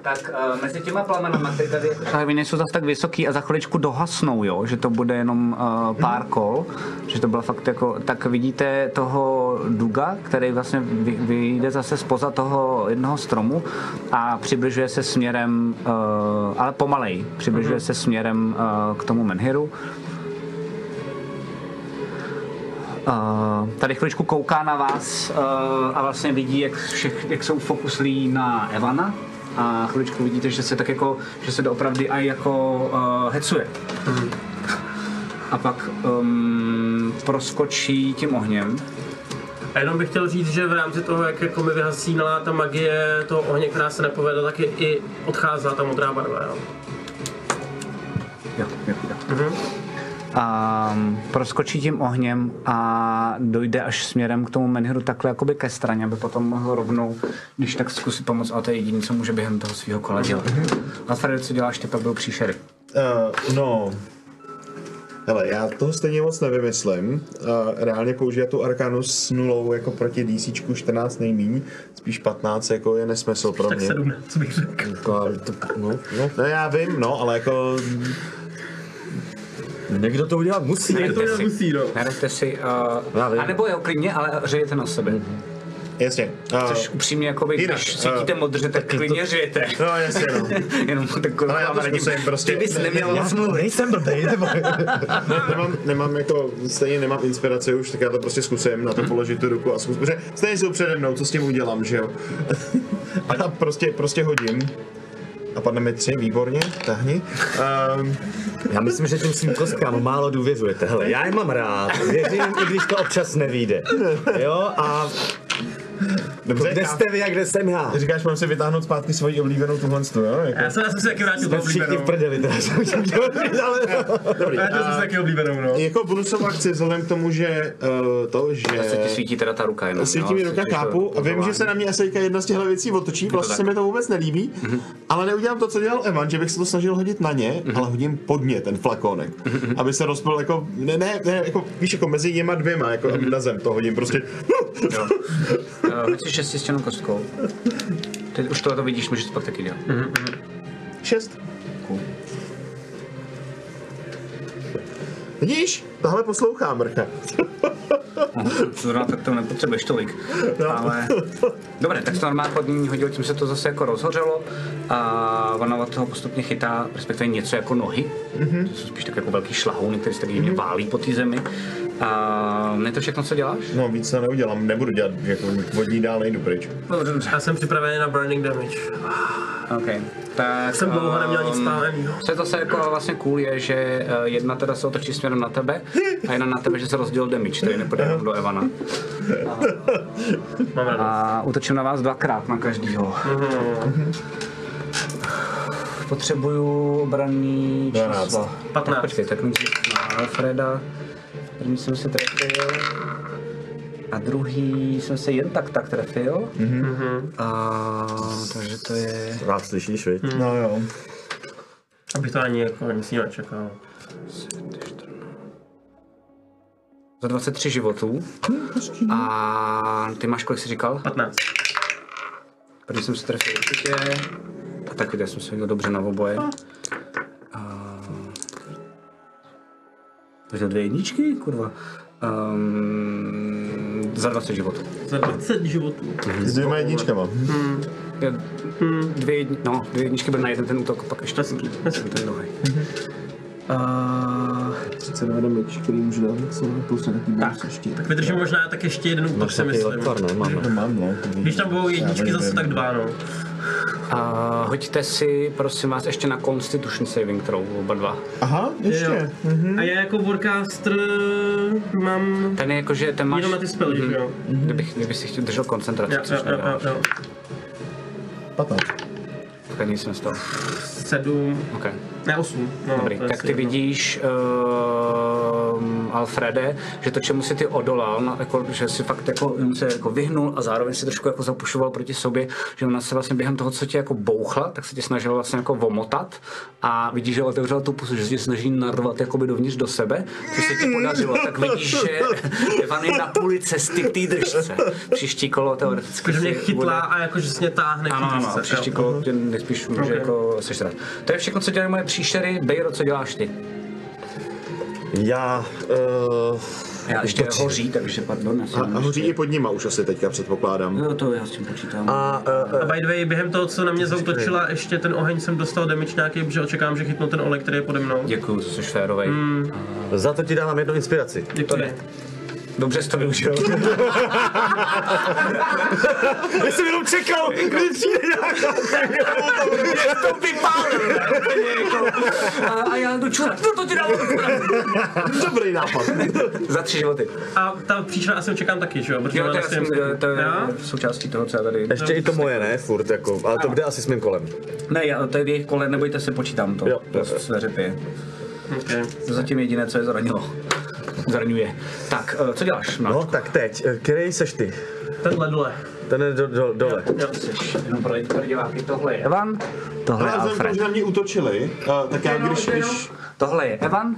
Tak uh, mezi těma plamenama, které tady jako- právě nejsou zas tak vysoký a za chviličku dohasnou, jo? že to bude jenom uh, pár kol, že to bylo fakt jako, tak vidíte toho Duga, který vlastně vy, vyjde zase spoza toho jednoho stromu a přibližuje se směrem, uh, ale pomalej, přibližuje se směrem uh, k tomu Menhiru. Uh, tady chviličku kouká na vás uh, a vlastně vidí, jak, všech, jak jsou fokuslí na Evana a chviličku vidíte, že se tak jako, že se doopravdy aj jako uh, hecuje. A pak um, proskočí tím ohněm.
A jenom bych chtěl říct, že v rámci toho, jak jako mi vyhasínala ta magie toho ohně, která se nepovedla, tak je i odcházela ta modrá barva, jo.
Jo, jo, jo.
Mhm.
Um, proskočí tím ohněm a dojde až směrem k tomu menhiru takhle jakoby ke straně, aby potom mohl rovnou, když tak zkusit pomoct, ale to je jediné, co může během toho svého Mhm. kola dělat. A Alfred, co děláš ty, pak byl příšery.
Eh, no. Eh, Hele, já toho stejně moc nevymyslím. A reálně použít tu Arkánu s nulou jako proti DC 14 nejmíň, spíš 15 jako je nesmysl pro
Tak
mě.
sedm, co bych řekl.
Jako, ale to, no, no, no, já vím, no, ale jako...
Někdo to udělat musí.
Jak to
si.
nemusí, no.
Nereďte si,
Já
uh,
vím.
anebo jo, klidně, ale řejete na sebe.
Jasně. A,
Což upřímně, jakoby,
Jinak, eh,
když cítíte modře, tak klidně žijete.
no, jasně, no.
Jenom takovou
Ale já to zkusím prostě.
Ty bys neměl
Já
moc
jsem
mluvit.
nejsem blbej, nebo...
nemám, nemám jako, stejně nemám inspiraci už, tak já to prostě zkusím na to položit tu ruku a zkusím, protože stejně jsou přede mnou, co s tím udělám, že jo. A já prostě, prostě hodím. A padne mi tři, výborně, tahni. Um,
Já myslím, že tím svým kostkám málo důvěřujete. Hele, já je mám rád, věřím, i když to občas nevíde. Jo, a
dobře,
kde
já-
jste vy a kde jsem já?
Říkáš, mám si vytáhnout zpátky svoji oblíbenou tuhle stu, jo? Jako.
Já jsem, já jsem si taky vrátil do
Jsme všichni
oblíbenou.
v prdeli, teda jsem chtěl říct, ale...
Dobrý.
Vrátil jsem si
A,
taky oblíbenou, no.
jako bonusovou akci, vzhledem k tomu, že uh, to, že...
Se ti svítí teda ta ruka jenom.
Svítí
no,
mi ruka,
slyšíš to
chápu. A vím, že
pozorování.
se na mě asi teďka jedna z těchto věcí otočí, vlastně se
tak. Mhm.
mi to vůbec nelíbí, ale neudělám to, co dělal Evan, že bych se to snažil hodit na ně, ale hodím pod ně ten flakonek,
Mhm.
aby se rozpil jako, ne, ne, ne jako, víš, jako mezi jima dvěma, jako
Mhm.
aby na zem to hodím prostě.
Eh, Hoď si šesti stěnou kostkou. Teď už tohle to vidíš, můžeš to pak taky dělat.
Šest. Vidíš? Tahle poslouchá, mrcha.
Zrovna tak to nepotřebuješ tolik. Ale... Dobré, tak se to normálně pod ní hodil, tím se to zase jako rozhořelo a ona od toho postupně chytá, respektive něco jako nohy.
Mhm.
Mm-hmm. To jsou spíš tak jako velký šlahouny, který se tak divně válí po té zemi. A je to všechno, co děláš?
No víc to neudělám, nebudu dělat, jako vodní dál nejdu pryč.
No,
Dobře, dobře.
Já jsem připravený na burning damage.
Okay. Tak,
Jsem dlouho neměl nic
ehm,
stáleného.
Co je zase jako vlastně cool je, že eh, jedna teda se otočí směrem na tebe a jedna na tebe, že se rozdělil damage, který nepůjde jenom do Evana.
Mám radost.
A útočím na vás dvakrát.
Na každýho. Potřebuju obranný
12.
číslo.
15.
Tak Počkej, tak nejdřív na Alfreda. První jsem se trefil. A druhý jsem se jen tak tak trefil. Mm-hmm. A, takže to je...
Rád slyšíš, viď?
No jo.
Abych to ani jako nic jiného čekal.
Za 23 životů. A ty máš kolik jsi říkal?
15.
První jsem se trefil určitě. A tak já jsem se hodil dobře na oboje. A... Takže dvě jedničky, kurva. Um, za 20 životů.
Za 20 životů.
S dvěma jedničkama.
Jo, Dvě, jedni, no, dvě jedničky byly na jeden ten útok, pak ještě
Hezký,
ten ten druhý.
Mhm.
32 damage, který můžu dát, co plus
prostě
nějaký bonus ještě.
Tak vydržím možná tak ještě jeden
No,
útok, si myslím.
ne, máme.
Mám, no.
Když tam budou jedničky, zase tak dva, no.
A hoďte si, prosím vás, ještě na Constitution Saving Throw, oba dva.
Aha, ještě.
Mhm.
A já jako Warcaster mám
Ten je jako, že ten máš...
jenom na ty spely, že jo?
Kdybych, kdybych si chtěl držel koncentraci,
Jo,
což
jo, jo,
nedáš,
jo, jo.
15.
tak nic nestalo.
Sedm,
Okay.
ne osm. No,
Dobrý,
to je
tak
asi
ty
jedno.
vidíš, uh, Alfrede, že to, čemu si ty odolal, no, jako, že si fakt jako, jenom se jako vyhnul a zároveň si trošku jako zapušoval proti sobě, že ona se vlastně během toho, co tě jako bouchla, tak se tě snažila vlastně jako vomotat a vidíš, že otevřela tu pusu, že se tě snaží narvat jakoby dovnitř do sebe, což se ti podařilo, tak vidíš, že Evan je na půli cesty k té držce. Příští kolo teoreticky
Jakože mě
si
chytla a jakože se mě táhne k
ano,
té
ano,
dřce,
příští
jo.
kolo tě jako, nejspíš může
Ok.
jako sežrat. To je všechno, co dělají moje příšery. Bejro, co děláš ty?
Já... Uh,
Já ještě hoří, takže pardon. Já
A, a hoří i pod nima už asi teďka předpokládám.
No to já s tím počítám. A...
a uh,
A by the way, během toho, co na mě zautočila, ještě ten oheň jsem dostal damage nějaký, protože očekávám, že chytnu ten olej, který je pode mnou.
Děkuju, jsi férovej. Mm.
za to ti dávám jednu inspiraci.
Děkuji.
Dobře jsi to využil.
Já jsem jenom čekal, kdy přijde nějaká...
Já to vypálil, ne? Úplně jako. a, a já jdu čurat. No to ti dám.
Dobrý nápad.
Za tři životy.
A ta příčina asi očekám taky, že jo? Protože
Jo,
ona
to, já
vlastně-
jsem, to je
Jo?
součástí toho, co já tady...
Ještě i to moje, ne? Furt jako, ale to bude asi s mým kolem.
Ne, já, to je jejich kole, nebojte se, počítám to.
Jo.
to své řepy.
Okay.
To zatím jediné, co je zranilo. Zraňuje. Tak, eh, co děláš?
No, tak teď, eh, který seš ty?
Tenhle dole.
Ten je do, do, dole.
Jo.
Jenom pro pro diváky, tohle je.
Evan, tohle je
Ale vzhledem k tomu,
Alfred.
no,
že na mě útočili, uh, tak já když, když
Tohle je Evan,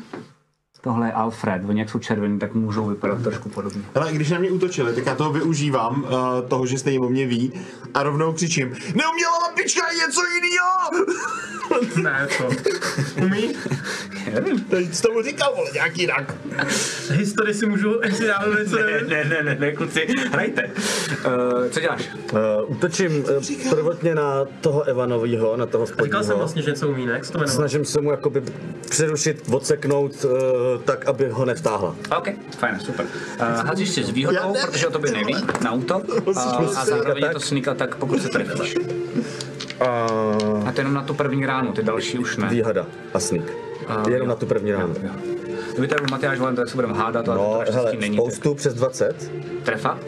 Tohle je Alfred, oni jak jsou červený, tak můžou vypadat trošku podobně.
Ale když na mě útočili, tak já toho využívám, uh, toho, že stejně o mě ví, a rovnou křičím, neuměla lampička je něco jiného!
Ne, co? Umí?
Teď jsi tomu říkal, vole, nějaký rak.
Historii si můžu, jestli já nevím, co nevím.
Ne, ne, ne, ne, kluci, hrajte. Uh, co děláš?
Uh, útočím uh, prvotně na toho Evanovýho, na toho
Říkal jsem
spodního.
vlastně, že něco umí, ne? Jak se to jmenuje?
Snažím se mu jakoby přerušit, odseknout, uh, tak, aby ho nevtáhla.
OK, fajn, super. Uh, házíš si s výhodou, protože o tobě neví, na útok. Uh, a zároveň je to sníka, tak pokud se trefíš.
Uh,
A to jenom na tu první ránu, ty další už ne.
výhada a sník. Jenom na tu první ránu.
Jo. Kdyby tady byl Matyáš Volen, tak se budeme hádat, ale to
No,
naštěstí
hele,
není.
spoustu přes 20.
tak Trefa?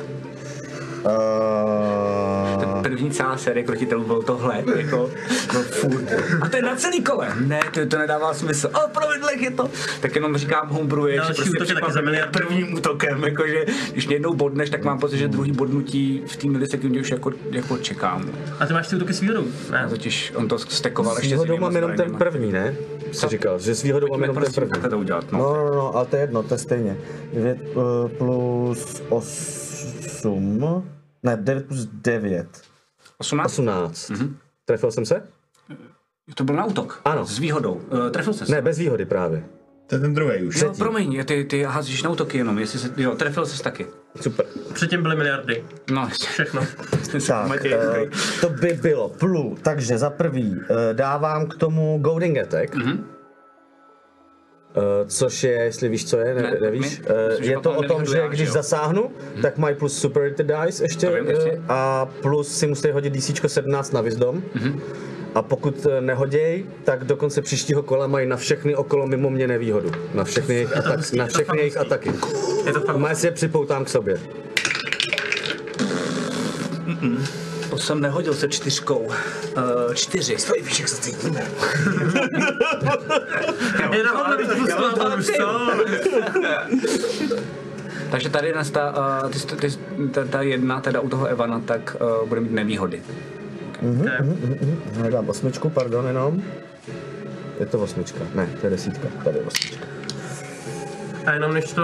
Uh,
První celá série krotitelů byl tohle, jako, no furt. A to je na celý kole. Ne, to, to nedává smysl. O, providlech je to. Tak jenom říkám homebruje, že
Další
prostě
útok je taky
překvapivě
za miliardu.
prvním útokem, jakože když mě jednou bodneš, tak mám pocit, že druhý bodnutí v té milisekundě už jako, jako čekám.
A ty máš ty útoky s výhodou? Ne.
A totiž on to stekoval
s
no, ještě
výhodou
jinýma
mám jenom ten
zbraněma.
první, ne? Jsi říkal, že s výhodou mám
Pojďme
jenom ten
prosím
první.
takhle to udělat, no.
No, no, no, ale to je jedno, to je stejně. 9 uh, plus 8, ne, 9 plus 9.
18?
18.
Mhm.
Trefil jsem se?
To byl na útok.
Ano.
S výhodou. Uh, trefil se.
Ne, bez výhody právě.
To je ten druhý už.
Jo, promiň, ty, ty házíš na útoky jenom, jestli se, jo, trefil ses taky.
Super.
Předtím byly miliardy.
No,
Všechno.
Tak, eh, to by bylo plu. Takže za prvý eh, dávám k tomu
Goading Attack.
Mhm.
Eh, což je, jestli víš, co je, ne,
Ne,
nevíš.
my-
Eh,
myslím, že
je to
potom
o tom,
nebudu
že
já, že
když
jo?
zasáhnu, tak mají plus Superiority Dice ještě
To vím,
eh,
jasně.
a plus si musí hodit DC 17 na Wisdom.
Mhm.
A pokud eh, nehoděj, tak do konce příštího kola mají na všechny okolo mimo mě nevýhodu. Na všechny jejich, atak, na všechny jejich ataky.
Je to fakt.
Má si je připoutám k sobě.
To jsem nehodil se čtyřkou. Uh, čtyři. Stojí víš, jak se cítíme.
Je na hodně víc plus
Já to
to už co?
Takže tady nás ta, uh, ty, jsi- ty, jsi- ta, ta jedna, teda u toho Evana, tak uh, bude mít nevýhody.
Já dám osmičku, pardon, jenom. Je to osmička, ne, to je desítka, tady je osmička.
A jenom než to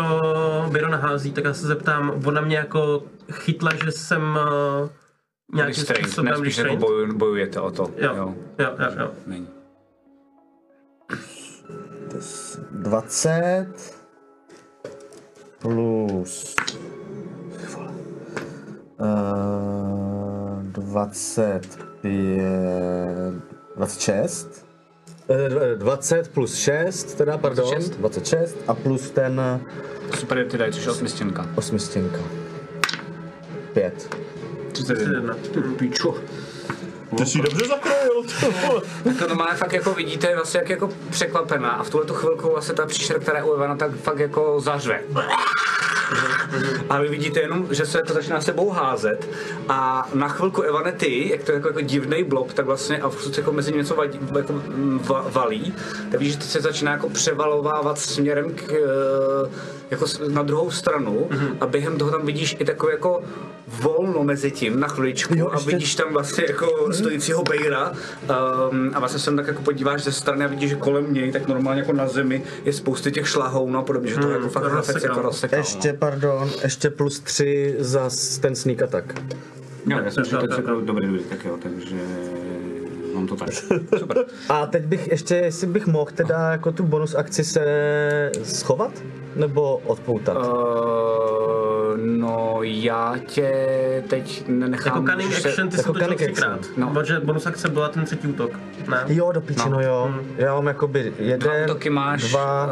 Biro nahází, tak já se zeptám, ona mě jako chytla, že jsem eh, nějakým
Restraint, ne,
způsobem
spíš jako
restraint.
boju, bojujete o to.
Jo, jo, jo, jo.
Není.
20 plus
Eh,
uh, 25, 26
Eh, 20 plus 6, teda, pardon,
26.
26 a plus ten eh,
Super, ty dají, což je osmistěnka.
osmistěnka. 5.
31.
31.
Pičo.
Ty jsi dobře zakrojil, to vole.
Tak to má fakt jako vidíte, je vlastně jak jako překvapená a v tuhle tu chvilku vlastně ta příšera, která je u Evana, tak fakt jako zařve. A vy vidíte jenom, že se to začíná sebou házet a na chvilku Evane ty, jak to je jako, jako divný blob, tak vlastně a furt jako mezi ním něco vadí, jako, mm, va, valí, tak vidíš, že to se začíná jako převalovávat směrem k, eh, jako s- na druhou stranu a během toho tam vidíš i takové jako volno mezi tím na chviličku a vidíš tam vlastně jako stojícího bejra um, a vlastně se tam tak jako podíváš ze strany a vidíš, že kolem něj tak normálně jako na zemi je spousty těch šlahounů a podobně, že to jako fakt rozsekal.
rozsekal.
jako rozsekal. no.
Ještě, pardon, ještě plus 3 za s- ten sneak attack.
Jo, já jsem
Tak, tak,
četl
tak.
celkem dobrý dobrý, tak jo, takže mám to tak. Super.
A teď bych ještě, jestli bych mohl teda jako tu bonus akci se schovat? Nebo odpoutat?
Eh, Uh, no já tě teď nenechám...
Jako cunning
že se-
action ty jsi
jako
točil
cunning action,
třikrát.
no.
Protože bonus akce byla ten třetí útok. Ne?
Jo, do píči, no. jo. Já mám jakoby
Hmm. Dva
jeden,
útoky máš,
dva,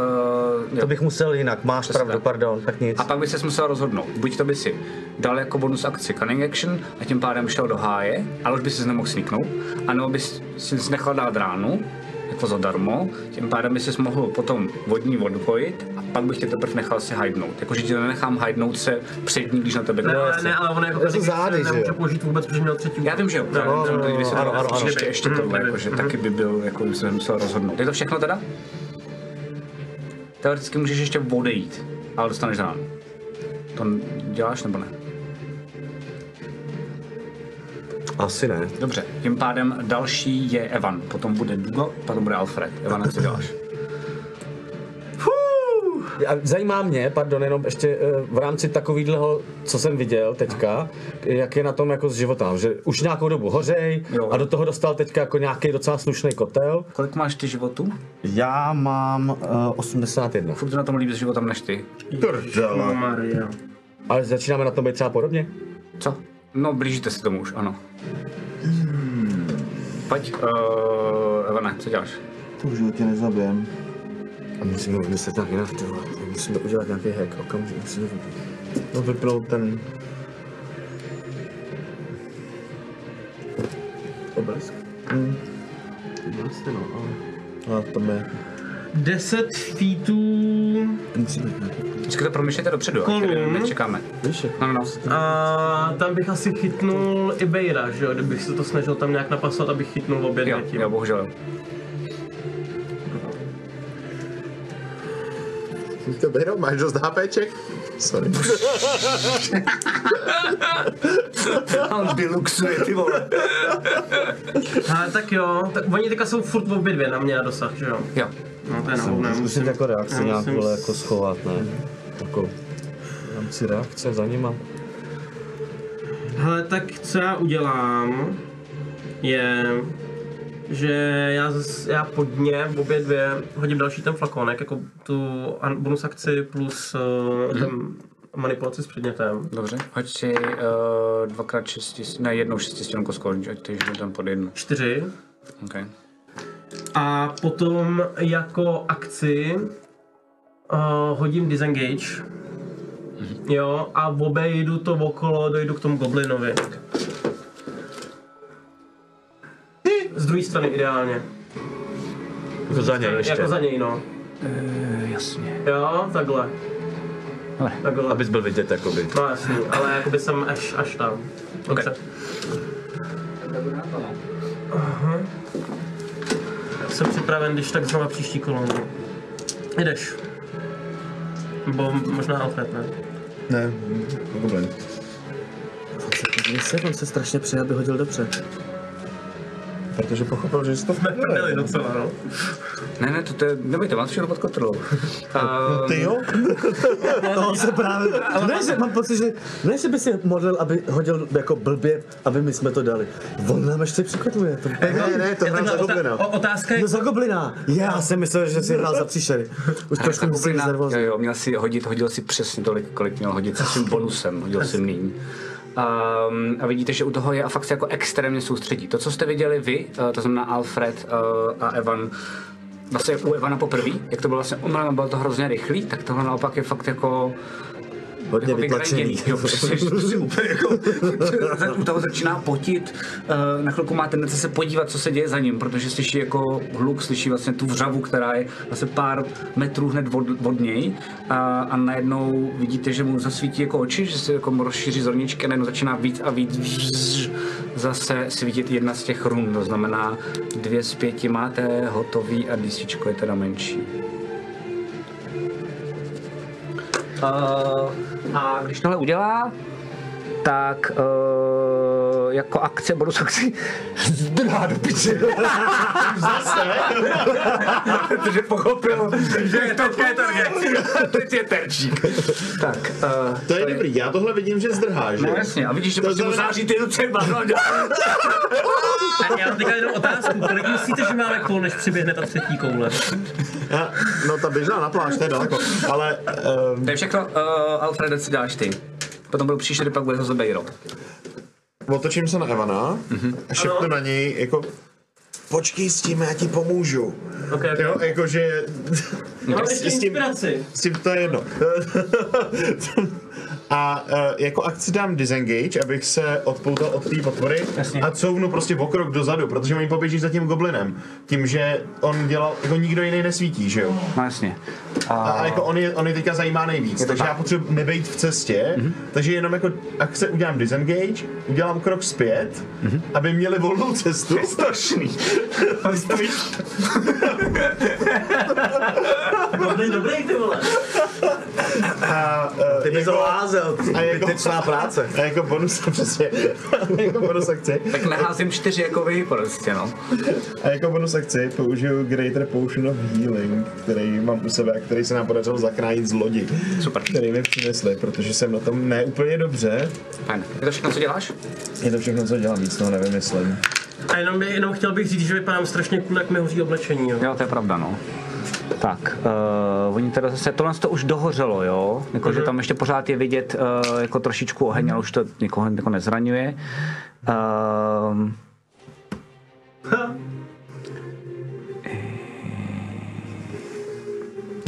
eh, jo.
to bych musel jinak, máš
Přesně
pravdu,
tak.
pardon, tak nic.
A pak by se musel rozhodnout, buď to by si dal jako bonus akci cunning action a tím pádem šel do háje, ale už by si nemohl sníknout, anebo bys si nechal dát ránu, jako zadarmo, tím pádem by si mohl potom vodní odpojit a pak bych tě teprve nechal si hajdnout. Jakože ti nenechám hajdnout se před ní, když na tebe
Ne,
kdo-
ne, ale ono jako
Já jsem
cunning action
zády, že jo?
nemůže použít vůbec, protože měl třetí útok.
Já vím, že jo.
No,
já
no,
vím, že jo,
no,
to kdyby se
ano,
dalo
ano, ano.
Ještě, ještě
Mhm,
tohle,
mhm,
jako, že
mhm.
taky by byl, jako by se musel rozhodnout. Je to všechno teda? Teoreticky můžeš ještě odejít, ale dostaneš ráno. To n- děláš nebo ne?
Asi ne.
Dobře, tím pádem další je Evan, potom bude Dugo, potom bude Alfred. Evan, co děláš? Fuh!
a zajímá mě, pardon, jenom ještě eh, v rámci takovýhleho, co jsem viděl teďka, jak je na tom jako s životem, že už nějakou dobu hořej
Jo.
a do toho dostal teďka jako nějaký docela slušný kotel.
Kolik máš ty životů?
Já mám uh, 81.
Furt na tom líp s životem než ty.
Prdele.
Maria.
Ale začínáme na tom být třeba podobně?
Co? No, blížíte se tomu už, ano. Hmm. Pojď, uh, Evane, co děláš?
To v životě nezabijem.
Musíme vymyslet tak jinak.
Musíme udělat nějaký hack, okamžitě musíme vidět.
No by byl ten...
Obraz.
No,
A tam je.
10 feetů
Musí být nějaký.
Vždycky to promýšlejte dopředu, ať
Kolum.
nevím, čekáme.
Víš, jak-
jako-
No, no, no.
a tam bych asi chytnul i Bejra, že jo, kdybych se to snažil tam nějak napasovat, abych chytnul obě
Jo,
dvě tím.
jo, No, bohužel. jo.
To Bejro, máš dost HPček? Sorry.
On deluxuje, ty vole.
Ale tak jo, tak oni teďka jsou furt obě dvě na mě na dosah, že jo.
Jo,
No to je na hovno,
Zkusit
musím.
jako reakci
já
nějak,
musím
vole,
s-
jako schovat, ne? Takovou. V rámci reakce za nima.
Hele, tak co já udělám, je, že já, zas, já pod ně v obě dvě hodím další ten flakonek, jako tu an- bonus akci plus uh, ten manipulaci s předmětem.
dobře. Hoď si uh, dvakrát šesti, ne, jednou šestistěnku skoro, ať ty tam pod jednu.
Čtyři.
Okay.
A potom jako akci uh, hodím disengage. Jo, a obejdu to okolo, dojdu k tomu goblinovi. Z druhé strany ideálně.
Jako za něj
Ještě.
ještě.
Jako za něj, no.
Jasně.
Jo, takhle.
Dobré.
Takhle.
Abys byl vidět, jakoby.
No jasný, ale jakoby jsem až, až tam. Dobře. Aha. Jsem připraven, když tak znova příští kolo. Jdeš. Nebo možná Alfred, ne?
Ne, goblin.
Mně se, on se strašně přeje, aby hodil dobře.
Protože pochopil, že jsi to
Ne, prdeli docela, no.
Ne, ne, to, to je, nebojte, máte všechno pod kontrolou. Uh,
Ty jo?
To se právě... Ne, že mám pocit, že... Ne, že by si modlil, aby hodil jako blbě, aby my jsme to dali. On nám ještě překotuje. To...
Ne, ne, to hrám za goblina.
otázka je,
No za goblina. Já jsem myslel, že si hrál za příšery. Už trošku musím být
jo,
nervózní.
jo, měl si hodit, hodil si přesně tolik, kolik měl hodit se svým bonusem, hodil si míň. Um, a vidíte, že u toho je a fakt se jako extrémně soustředí. To, co jste viděli vy, uh, to znamená Alfred uh, a Evan, vlastně u Evana poprvé, jak to bylo vlastně omylem, bylo to hrozně rychlý, tak tohle naopak je fakt jako
Hodně
jako
vytlačený.
vygranděný, Jo, přesně, že to si úplně jako, u toho začíná potit, eh, na chvilku má tendence se podívat, co se děje za ním, protože slyší jako hluk, slyší vlastně tu vřavu, která je vlastně pár metrů hned od, od něj a, a najednou vidíte, že mu zasvítí jako oči, že se jako rozšíří zorničky a najednou začíná víc a víc vzz, zase svítit jedna z těch run, to znamená dvě z pěti máte hotový a dísičko je teda menší. Uh, a když tohle udělá, eh,
Tak uh, jako akce, bonus akci, zdrhá do piče.
protože pochopil, že je to target. Teď je terčík. Tak, uh,
To je dobrý, já tohle vidím, že zdrhá, že?
no
jo?
jasně, a vidíš, že
To
prostě mu
znamená-
září ty ruce, dva, no, no.
No,
a já mám teďka jenom otázku, kolik myslíte, že máme kol, než přiběhne ta třetí koule?
Já- No ta běžela na pláž, to je daleko. Ale ehm,
To je všechno, uh, Alfrede, co děláš ty? Potom byl příšery, pak bude zase Bejro.
otočím se na Evana a šepnu na něj jako Počkej s tím, já ti pomůžu.
Ok,
Jo, jakože
Mám
s-
ještě
s tím-
inspiraci.
s tím to je jedno. A eh, jako akci dám disengage, abych se odpoutal od té potvory
Jasně.
a couvnu prostě o krok dozadu, protože oni poběží za tím goblinem. Tím, že on dělal, jako nikdo jiný nesvítí, že jo?
No jasně.
A, a jako on je, on je teďka zajímá nejvíc, takže já potřebuji nebejt v cestě, takže jenom jako akce udělám disengage, udělám krok zpět, aby měli volnou cestu. To Mhm. je strašný.
Dobrý, dobrý, ty vole.
a, ty bys jako,
Zmysel.
A jako,
Vytečná práce.
a jako bonus, přesně. A jako bonus akci.
Tak naházím čtyři jako vy prostě, no.
A jako bonus akci použiju Greater Potion of Healing, který mám u sebe a který se nám podařilo zachránit z lodi.
Super.
Který mi přinesli, protože jsem na tom ne úplně dobře.
Fajn. Je to všechno, co děláš?
Je to všechno, co dělám, víc toho nevymyslím.
A jenom, by, jenom chtěl bych říct, že vypadám strašně cool, jak mi hoří oblečení. Jo.
Jo, to je pravda, no. Tak, uh, oni teda zase, tohle to už dohořelo, jo? Jako, že tam ještě pořád je vidět uh, jako trošičku oheň, ale už to někoho jako nezraňuje. Uh,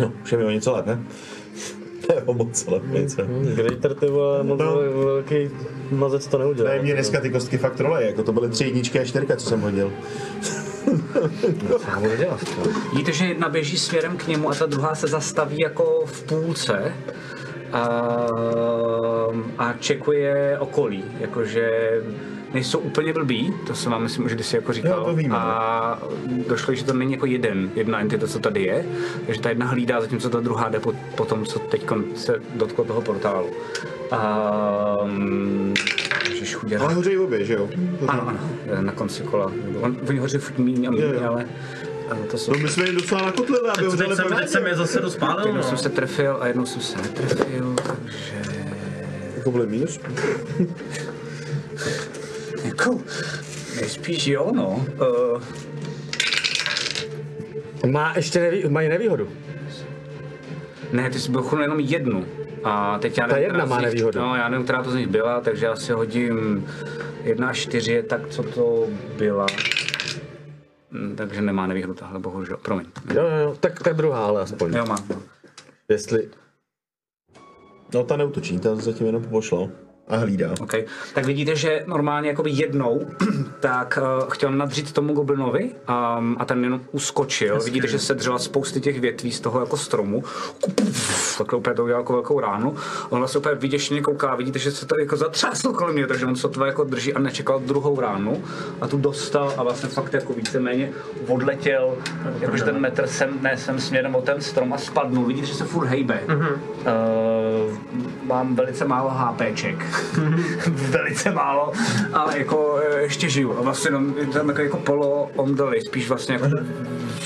No, už je mi o něco lépe. To je o moc lepnice.
Greater, ty vole, moc
No.
velký mazec to neudělal.
Ne, mě dneska ty kostky fakt trolej, jako to byly tři jedničky a čtyřka, co jsem hodil.
Vidíte, že jedna běží směrem k němu a ta druhá se zastaví jako v půlce a, a čekuje okolí, jakože nejsou úplně blbí, to jsem vám myslím, že když si jako říkal.
Jo, to víme, no.
a došlo, že to není jako jeden, jedna entita, co tady je, takže ta jedna hlídá, zatímco ta druhá jde po, po tom, co teď se dotklo toho portálu. A, mm, Ježiš, chuděra.
Ale hořejí obě, že jo?
Ano, ano, na konci kola. On, oni hoří furt míň a
Jo,
míň,
jo.
ale, ale to jsou...
No my jsme jim docela nakotlili, aby
Co teď
hořeli
jsem,
pořádně.
teď jsem je zase dospálil,
Jednou
no.
jsem se trefil a jednou jsem se netrefil, takže...
Jako byli míř?
Jako... Nejspíš jo, no. Uh,
Má ještě nevý, mají nevýhodu.
ne, ty jsi byl chudl jenom jednu. A teď já
Ta
nevím,
jedna
která z
má
nich-
nevýhodu.
No, já nevím, která to z nich byla, takže já si hodím 1 až 4 je tak, co to byla. Hm, Takže nemá nevýhodu tahle, bohužel, promiň.
Jo, jo, jo, tak, tak druhá, ale aspoň.
Jo, má.
Jestli...
No ta neutočí, ta zatím jenom pošla a hlídá.
Okay. Tak vidíte, že normálně jakoby jednou tak uh, chtěl nadřít tomu goblinovi um, a ten jenom uskočil. Jasně. Vidíte, že se dřela spousty těch větví z toho jako stromu. Takhle úplně to udělal jako velkou ránu. Ona se úplně vyděšeně kouká, vidíte, že se to jako zatřáslo kolem mě, takže on sotva jako drží a nečekal druhou ránu a tu dostal a vlastně fakt jako víceméně odletěl jakože ten metr sem, ne sem směrem o ten strom a spadnul. Vidíte, že se furt hejbe. Mm-hmm. Uh, mám velice málo HPček.
Mm-hmm.
velice málo, ale jako eh, ještě žiju. A vlastně jenom, je tam jako, jako polo omdoli, spíš vlastně jako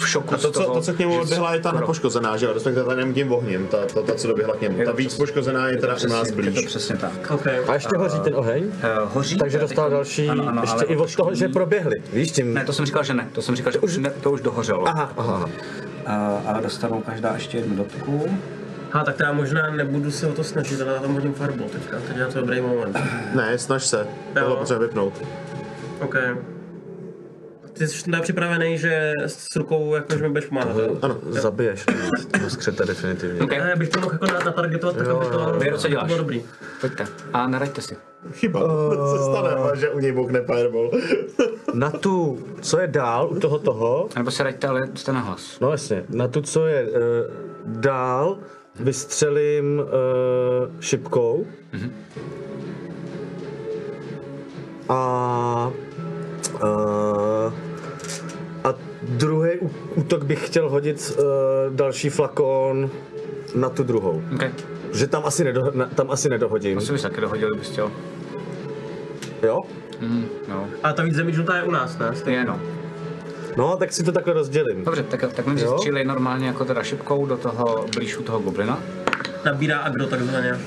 v šoku
A to,
z
co,
toho,
to, co k němu
že
odběhla, je ta
skoro-
nepoškozená, že jo? Respektive ta nem tím ohněm, ta, ta, ta, co doběhla k němu.
Je to
Ta víc
přesně-
poškozená je
je to
teda u nás
přesně- Je to
blíž.
přesně tak.
Okay.
A ještě hoří ten oheň?
Eh, hoří.
Takže
eh,
dostal
teď-
další,
ano, ano,
ještě
ale
i od toho, že proběhli. Víš, tím...
Ne, to jsem říkal, že ne. To jsem říkal, že už ne, to už dohořelo.
Aha, aha.
Uh, ale dostanou každá ještě jednu dotku.
Ha, tak já možná nebudu se o to snažit, ale já tam hodím farbu teďka, teď je to dobrý moment.
Ne, snaž se. Tohle potřeba vypnout.
OK. Ty jsi teda připravený, že s rukou jakože mi budeš pomáhat, jo?
Ano, zabiješ toho skřeta definitivně.
Okay.
Ne, já bych to mohl jako na- natargetovat, tak
Jo,
aby
jo,
to,
jo.
aby
Věro, co
to
děláš?
bylo dobrý.
Pojďte. A naraďte si.
Chyba. Co se stane, že u něj boukne fireball?
Na tu, co je dál u toho toho,
Nebo se raďte, ale jste na hlas.
no jasně, na tu, co je uh, dál, vystřelím uh, šipkou.
Mhm.
A, uh, a druhý ú- útok bych chtěl hodit uh, další flakon na tu druhou.
Okay.
Že tam asi, nedo, na, tam asi nedohodím,
Asi bys taky dohodil, kdybys chtěl.
jo?
Mm, no.
A ta víc zamítnutá je u nás, ne?
To je no.
No, tak si to takhle rozdělím.
Dobře, tak, tak mi
Jo.
střílej normálně jako teda šipkou do toho blíž u toho goblina.
Nabírá agro takzvaně.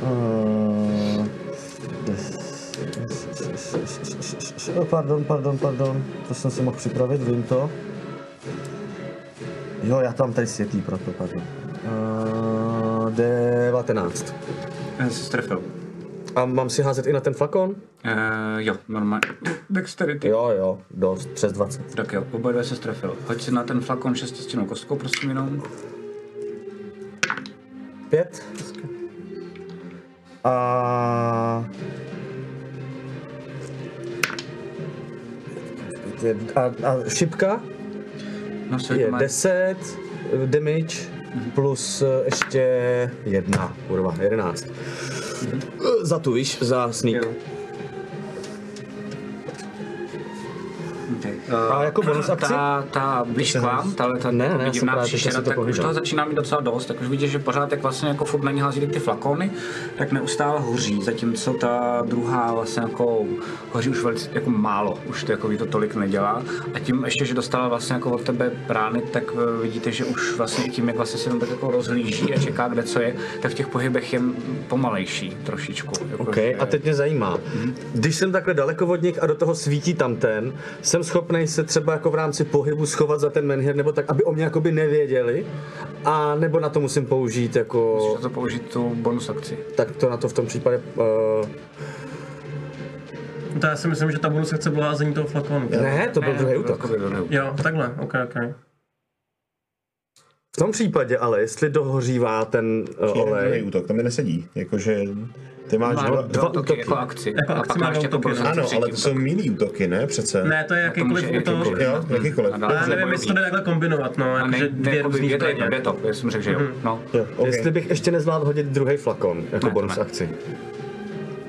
Uh, yes, yes, yes, yes, yes, yes. Oh, Pardon, pardon, pardon. To jsem si mohl připravit, vím to. Jo, já tam tady světlý proto, pardon. Uh, 19.
Já jsi strefil.
A mám si házet i na ten flakon?
Uh, jo, normálně. Dexterity. Jo.
Jo, jo, dost, přes 20.
Tak jo, oba dva se strefil. Hoď si na ten flakon šestistinnou kostkou, prosím jenom.
5.
A...
A, a šipka
No, se
je
má-
10 eh, damage plus eh, ještě jedna, kurva, 11. Eh, Za tu, víš, za sneak.
Okay.
A jako bonus akci?
Ta, ta blíž k vám, tahle ta
Ne, ne, já jsem
vidím
právě teď
příšera,
si to
tak už
pohlížel.
toho začíná mít docela dost, tak už vidíš, že pořád jak vlastně jako furt na ní hází ty flakony, tak neustále hoří, zatímco ta druhá vlastně jako hoří už velice jako málo, už to jako ví, to tolik nedělá. A tím ještě, že dostala vlastně jako od tebe rány, tak eh, vidíte, že už vlastně tím, jak vlastně se jenom tak jako rozhlíží a čeká, kde co je, tak v těch pohybech je pomalejší trošičku. Jako,
OK,
že-
a teď mě zajímá, když jsem takhle daleko od nich a do toho svítí tamten, jsem schopný se třeba jako v rámci pohybu schovat za ten menhir, nebo tak, aby o mě jakoby nevěděli, a nebo na to musím použít jako,
Musíš na to použít tu bonus akci.
tak to na to v tom případě, uh,
To já si myslím, že ta bonus akce byla házení toho flakonu.
ne, to byl druhý útok.
Jako
Jo, takhle, ok, ok.
V tom případě ale, jestli dohořívá ten uh,
Olej.
olej,
útok, to mi nesedí. Jakože ty máš
Má
dva,
dva útoky jako akci.
Jako
a
akci
pak
má
máš
dva
jako
útoky,
bonus
no.
ano,
akci
ale to
předtím.
jsou milý útoky, ne přece?
Ne, to je jakýkoliv
může i
útok.
jakýkoliv.
Jo, jakýkoliv.
A dál.
Já nevím, jestli to jde takhle kombinovat, no,
A ne,
jakože
ne,
dvě
jako
různé
je to,
zbraně.
jedno, je to, já jsem řekl, že jo. No,
jo,
OK.
jestli bych ještě nezvládl hodit druhý flakon jako
Ne, to
bonus
ne.
akci.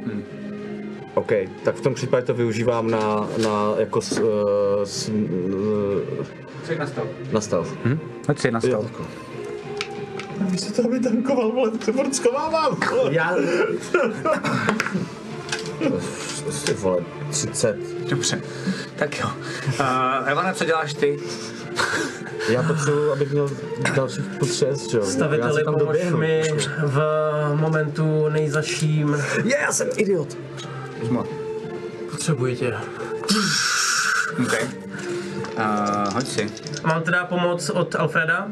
Hmm. OK, tak v tom případě to využívám na, na jako s, uh, s, uh,
co je nastal?
na stealth.
Hoď si na
Jo.
stol.
Místo toho by tankoval, vole, to furt schovávám.
Já... Jsi, vole, 30.
Dobře, tak jo. Uh, Evane, co děláš ty?
Já potřebuji, abych měl dalších plus 6, že jo? Já
Staviteli,
se tam
pomož
doběhnu.
mi v momentu nejzaším.
Je, já jsem idiot.
Zmo.
Potřebuji tě.
OK. Uh, hoď si.
Mám teda pomoc od Alfreda?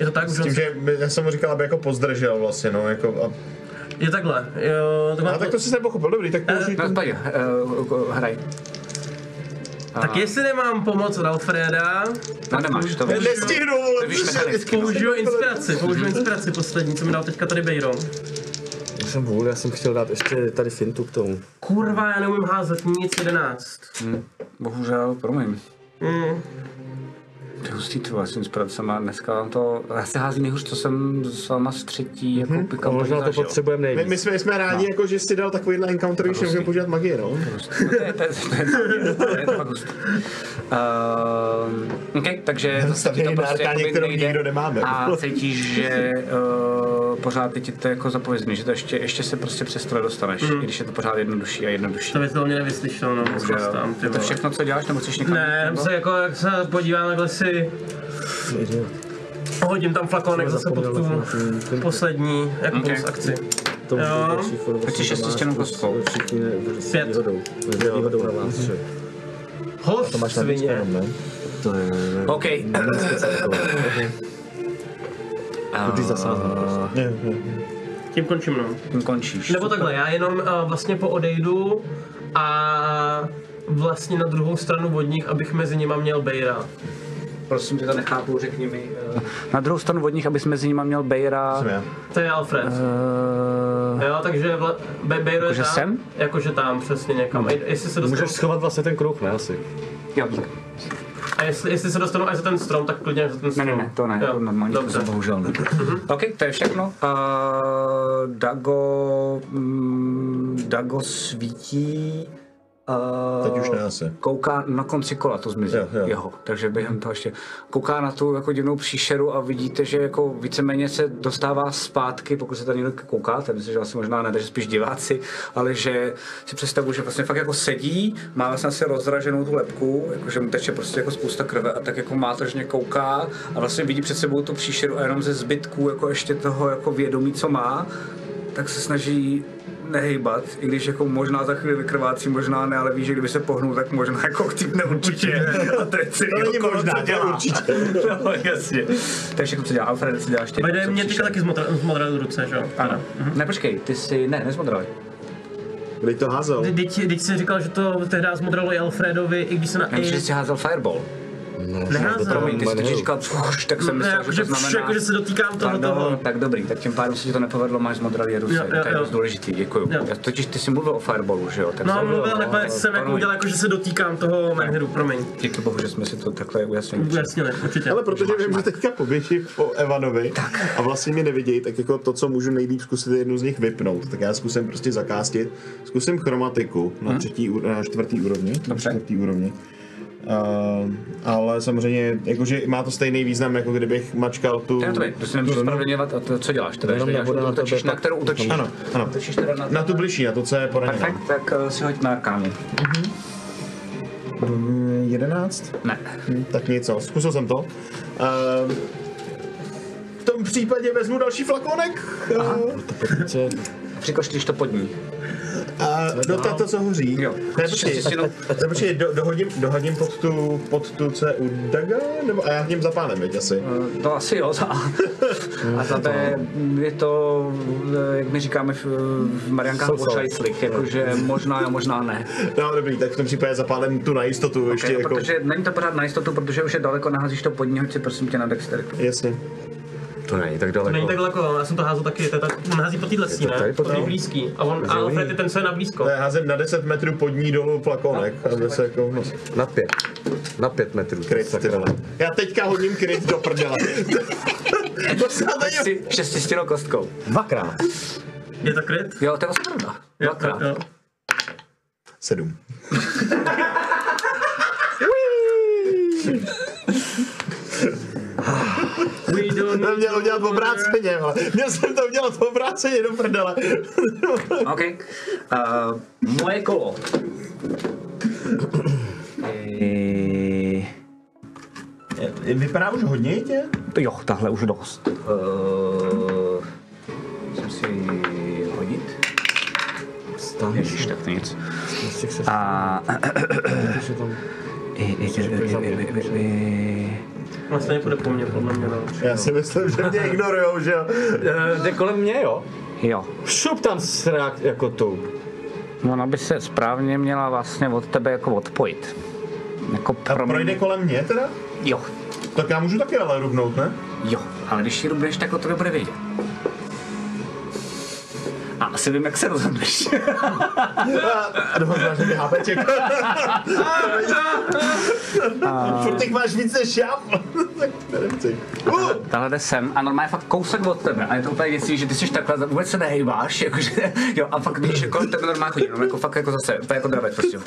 Je to tak? Už
S tím,
on-
že by- já jsem mu říkal, aby jako pozdržel vlastně, no, jako, a,
Je takhle. Jo, tak, mám
No,
a tak to jsi nepochopil, dobrý, tak použij
No,
to.
pojď, uh, hraj.
tak jestli nemám pomoc od Alfreda,
No, nemáš, to víš.
Nestihnu, vole,
To víš mechanicky.
použiju inspiraci, použiju inspiraci poslední, co mi dal teďka tady Bejro.
Já jsem vůl, já jsem chtěl dát ještě tady fintu k tomu.
Kurva, já neumím házet nic, 11.
Bohužel, promiň.
Mm.
Ty hustý ty vlastně inspirace má dneska vám to... Já se hází nejhůř, co jsem s váma z třetí jako mm-hmm.
A
pick-up
možná to
zažil.
potřebujeme
My,
nejvíc.
my, jsme, jsme rádi, jako, že jsi dal takovýhle encounter, když nemůžeme používat magii, no.
No to je- to je- to je- to je fakt hustý. Ehm, OK, takže zase ti to
Zastavěný na
prostě
arkáně,
jakoby
kterou
nejde
nikdo nemáme.
A cítíš, že eh, pořád je ti to jako zapovězný, že to ještě, ještě se prostě přes tohle dostaneš, i když je to pořád jednodušší a jednodušší.
To by to mě nevyslyšel, no, moc
Takže,
tam, ty
je to
vole.
všechno, co děláš, nebo chceš někam?
Ne, jenom se jako, jak se podívám, takhle si hodím tam flakonek zase pod tu poslední, jako
Ok.
bonus akci.
To
Jo.
Hoď si šestistěnou kostkou.
vlastně Všichni ne, všichni
Pět.
výhodou. S výhodou na vás, že?
Host svině.
ne? To je...
OK,
Když zasáznu prostě.
Tím končím, no.
tím končíš.
Nebo takhle, já jenom eh, vlastně poodejdu a vlastně na druhou stranu vodních, abych mezi nima měl Bejra.
Prosím, že to nechápu, řekni mi. Na druhou stranu vodních, abys mezi nima měl Bejra.
Já.
To je Alfred.
eh,
Jo, takže vla, Be- Bejro je
Jakože
tam.
sem? No.
Jakože tam, přesně někam. A jestli se dostanu,
Můžeš schovat vlastně ten kruh, ne asi?
Jo,
a jestli, jestli se dostanu až za ten strom, tak klidně až za ten
ne,
strom.
ne, ne, to ne,
Jo,
to normální
Dobře. Mhm.
způsob, bohužel ne. OK, to je všechno. Uh, Dago, mm, Dago svítí. Uh,
Teď už ne asi.
Kouká na konci kola, to zmizí
Jo, jo.
jeho, takže během toho ještě kouká na tu jako divnou příšeru a vidíte, že jako víceméně se dostává zpátky, pokud se tady někdo kouká, to myslím, že asi možná ne, takže spíš diváci, ale že si představu, že vlastně fakt jako sedí, má vlastně asi rozraženou tu lepku, jakože mu teče prostě jako spousta krve a tak jako mátržně kouká a vlastně vidí před sebou tu příšeru a jenom ze zbytků jako ještě toho jako vědomí, co má, tak se snaží nehejbat, i když jako možná za chvíli vykrvácí, možná ne, ale ví, že kdyby se pohnul, tak možná jako ktipne určitě. A to je celý
To není
okolo,
možná,
co
to
dělá.
určitě.
no, jasně. To je všechno, co dělá. Alfred, co děláš ty?
Bejro
Co
mě
přišel?
teďka taky zmodra- zmodral ruce, že jo?
Ano. Ne, počkej, ty jsi, ne, nezmodral.
Kdy to házel?
Teď, teď jsi říkal, že to tehdy zmodralo i Alfredovi, i když se na...
Já myslím, že jsi házel fireball.
neházel.
Promiň, ty jsi totiž říkal, "Fuš", tak jsem
Ne,
myslel, jako že
jakože,
to znamená...
jakože se dotýkám toho
Pardon,
toho.
tak dobrý, tak tím pádem se ti to nepovedlo, máš zmodralý ruce,
Jo, jo,
to je
jo.
dost důležitý, děkuju.
Jo.
Já, totiž ty jsi mluvil o fireballu, že jo? Tak
No,
jsem-
mluvil, nakonec jsem jako
Pardon.
udělal, jako, že se dotýkám toho Manheru, promiň.
Díky bohu, že jsme si to takhle ujasnili.
Ujasnili, určitě.
Ale protože vím, že teďka poběží po Evanovi a vlastně mě nevidějí, tak jako to, co můžu nejlíp zkusit, je jednu z nich vypnout. Tak já zkusím prostě zakástit. Zkusím chromatiku na třetí, úr- na čtvrtý úrovni. Na
Hm. Dobře.
čtvrtý úrovni. Uh, ale samozřejmě, jakože má to stejný význam, jako kdybych mačkal tu...
To je na tobě, to si nemůžeš
tu-
spravedlňovat, a to, co děláš? Teda,
Jenom
že děláš,
nebude na
útočíš,
tebe
na kterou útočíš.
Ano, ano.
Útočíš teda na,
Na tu bližší, na to, co je poraněno.
Perfekt, tak eh, si hoď na arkánu.
11?
Ne.
Hm, tak nic, no, zkusil jsem to. Ehm, v tom případě vezmu další flakonek eh,
Přikoštíš to pod ní.
a do to, co hoří.
Jo.
Ne, počkej,
Jsi jenom-
ne, počkej do, dohodím, dohodím pod, tu, pod tu, co je u Daga, nebo a já k něm zapálím, veď asi.
Eh, To asi jo. Za, a za B je to, eh, jak my říkáme v, v Mariankách, očajslik, jakože možná jo, možná ne.
No dobrý, tak v tom případě zapálím tu na jistotu ještě
Okay,
jako...
protože není to pořád na jistotu, protože už je daleko, naházíš to pod ní, hoď si prosím tě na dexteritu.
Jasně.
To není tak
To není
daleko.
No, tak daleko, já jsem to házel taky, to je tak, on hází po téhle stíně,
tady po
po té
tom?
blízký. A on, a Alfred je ten, co je na blízko.
To je házem na 10 metrů pod ní dolů flakonek. A zase jako... No,
Na pět. Na pět metrů.
kryt, ty
Sakra.
vole. Já teďka hodím kryt do prdele. to se na to je...
Jsi šestistěnou kostkou.
Dvakrát.
Je to kryt?
Jo, to je osmrda.
Jo, tak
Dvakrát.
jo.
Sedm.
We don't need
Neměl udělat obráceně, ale měl jsem to udělat obráceně do prdele.
OK. Uh, moje kolo. Eh,
Vypadá už hodně tě?
Jo, tahle už dost.
Uh, musím si hodit. Ježíš, tak to nic.
A... I- i- i- i- i- i- i-
On stejně Vlastně půjde po mně, podle mě, no.
Já si myslím, že mě ignorujou, že jo.
Eh, Jde kolem mě, jo?
Jo,
Šup tam srák jako tu.
No,
ona by se správně měla vlastně od tebe jako odpojit. Jako
A
prom...
projde kolem mě teda?
Jo,
Tak já můžu taky ale rubnout, ne?
Jo, ale když ji rubneš, tak o tobě bude vědět. A asi vím, jak se rozhodneš.
A dohodla, že mi hápeček. Furt jich máš víc než já. Tak to nechci. Uh,
Tahle jde sem a normálně fakt kousek od tebe. A je to úplně věcí, že ty jsi takhle, vůbec se nehejbáš, jakože, jo, a fakt víš, že kolem tebe normálně chodí, no, jako fakt jako zase, úplně jako dravec prostě.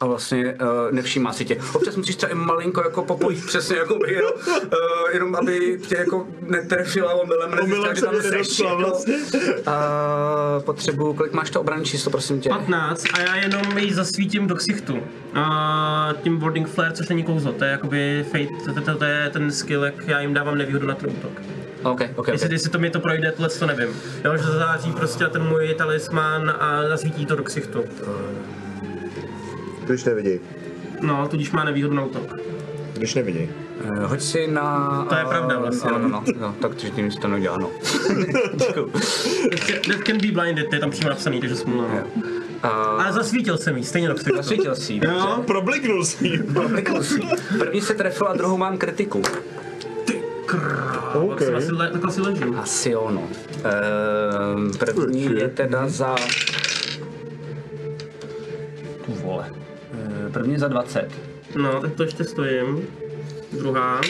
A vlastně uh, nevšímá si tě. Občas musíš třeba i malinko jako popojit přesně jako by, jo, uh, jenom aby tě jako netrefila omylem, nezjistila,
Omylem
že
se
tam
mi
seš.
nedošla vlastně.
Uh, potřebuju, kolik máš to obranné číslo, prosím tě?
15 a já jenom ji zasvítím do ksichtu. A tím boarding flare, což není kouzlo, to je jakoby fate, to, to, to, to je ten skill, jak já jim dávám nevýhodu na ten útok.
OK, OK, OK.
Jestli, jestli to mi to projde, tohle to nevím. Jo, že zazáří prostě ten můj talisman a zasvítí to do ksichtu.
Když nevidí.
No, tudíž má nevýhodu na útok.
Když nevidí.
Eh, Hoď si na...
To je pravda vlastně,
No,
no.
no, no, no tak to, že tím nic to neudělá, no.
That can be blinded, to je tam přímo napsaný, takže smůla. No.
Uh,
Ale zasvítil jsem jí, stejně do ksichtu.
Zasvítil jsi ji,
Jo,
Probliknul si ji.
Problikl jsi ji. První se trefil a druhou mám kritiku.
tak jsem asi, le, tak asi ležím.
Asi jo, no. Ehm, první je teda za... Tu vole. Eh, První za 20.
No, tak to ještě stojím. Druhá.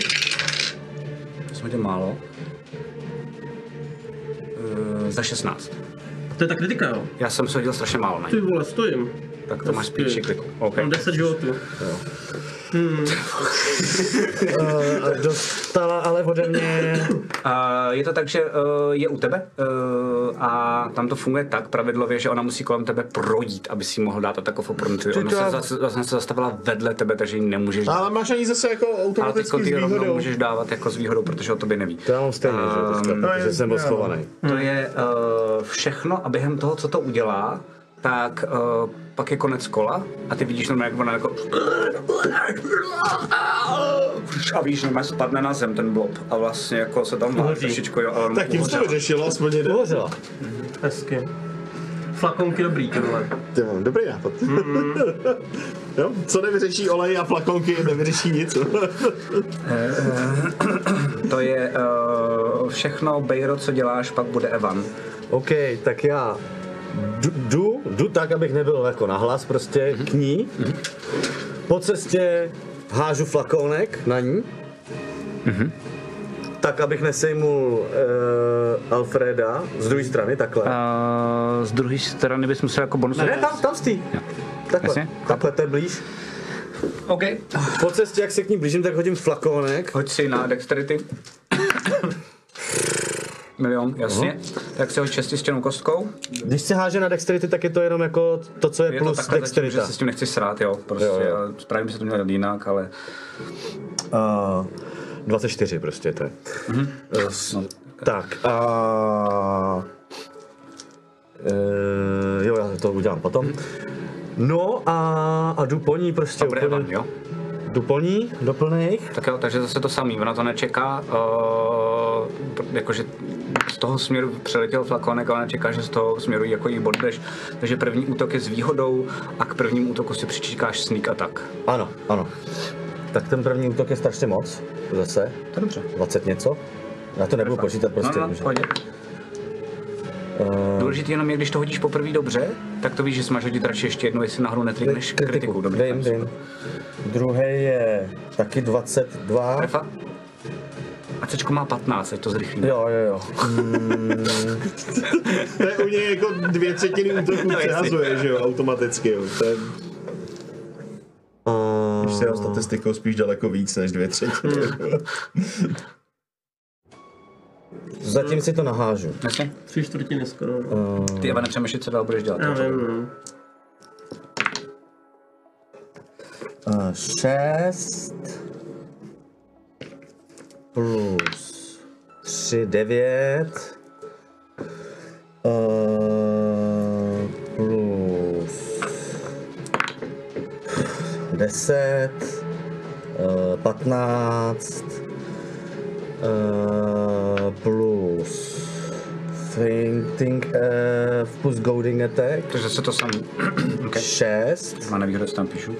To jsme tě málo. Eh, za 16.
To je ta kritika, jo.
Já jsem se hodil strašně málo na ní.
Ty vole, stojím.
Tak to máš
Hezky.
píči kliku. OK.
Mám 10 životů.
Eh, Dostala ale ode mě...
A je to tak, že eh, je u tebe eh, a tam to funguje tak pravidlově, že ona musí kolem tebe projít, aby si jí mohl dát takovou oportunitu. Ona se, zas, ona se zastavila vedle tebe, takže ji nemůžeš dát.
Ale máš ani zase jako
Ale teď
automaticky s
ty rovnou
výhodou.
můžeš dávat jako s výhodou, protože o tobě neví. Ehm,
To já mám stejný, že
Ehm,
jo, teďka,
no, je-
protože jsem byl
ano.
schovaný.
To je eh, všechno a během toho, co to udělá, tak eh, pak je konec kola a ty vidíš normálně, jak ona jako a víš, normálně spadne na zem ten blob a vlastně jako se tam má trošičku, jo, ale
Tak tím jsi to vyřešil, aspoň jeden.
Uhořela.
Hezky. Flakonky dobrý, ty vole.
Ty mám dobrý nápad. jo, co nevyřeší olej a flakonky, nevyřeší nic.
To je eh, všechno, Bejro, co děláš, pak bude Evan.
OK, tak já jdu, jdu, jdu tak, abych nebyl jako nahlas prostě
Mhm.
k ní.
Mhm.
Po cestě hážu flakonek na ní. tak, abych nesejmul uh, Alfreda z druhé strany, takhle.
Uh, z druhé strany bys musel jako bonus...
ne, tam, tam stý. Takhle,
Jasně,
takhle, to je blíž.
OK.
Po cestě, jak se k ní blížím, tak hodím flakonek.
Hoď si na dexterity. Milion, jasně.
Mhm.
Uh-huh. Tak si hoď šestistěnou kostkou.
Když se háže na dexterity, tak je to jenom jako to, co je,
Je to
plus
takhle zatím, že
dexterita.
se s tím nechci srát, jo. Prostě,
Jo,
jo,
jo.
jo. Správně by se to měl dělat jinak, ale...
Uh, 24 prostě to je.
Mhm.
Mm-hmm.
No,
Uh, tak a... Uh, jo, já to udělám potom. No a, a jdu po ní prostě.
Dobré,
úplně-
Evan, jo.
Jdu po ní, do plných.
Tak jo, takže zase to samý, ona to nečeká, uh, jakože z toho směru přeletěl flakonek a ona čeká, že z toho směru jí jako jí bodneš. Takže první útok je s výhodou a k prvnímu útoku si přičíkáš sneak attack.
Ano, ano. Tak ten první útok je strašně moc. Zase. To dobře. 20 něco. Já to nebudu počítat prostě.
no, no,
že-
pojď. Důležité jenom je, když to hodíš poprvé dobře, tak to víš, že si máš hodit radši ještě jednou, jestli nahoru netrikneš kritiku. Dobrý,
Vím, vím. Druhý je taky 22.
Trefa? A cečko má 15, ať to zrychlíme.
Jo, jo, jo.
To je u něj jako dvě třetiny útoků
No,
přehazuje, že jo, automaticky, jo. To je... Když se jeho statistikou spíš daleko víc než dvě třetiny.
Hmm.
Zatím si to nahážu.
Jasně?
Tři čtvrtiny skoro. no.
Ty, Evane, přemýšlej, co dál budeš dělat.
Já vím, no.
6 plus 3, 9 uh, plus 10 uh, 15 uh, plus Fainting uh, plus Goading Attack
Takže zase to samý. okay.
6
Má nevýhoda, co tam píšu.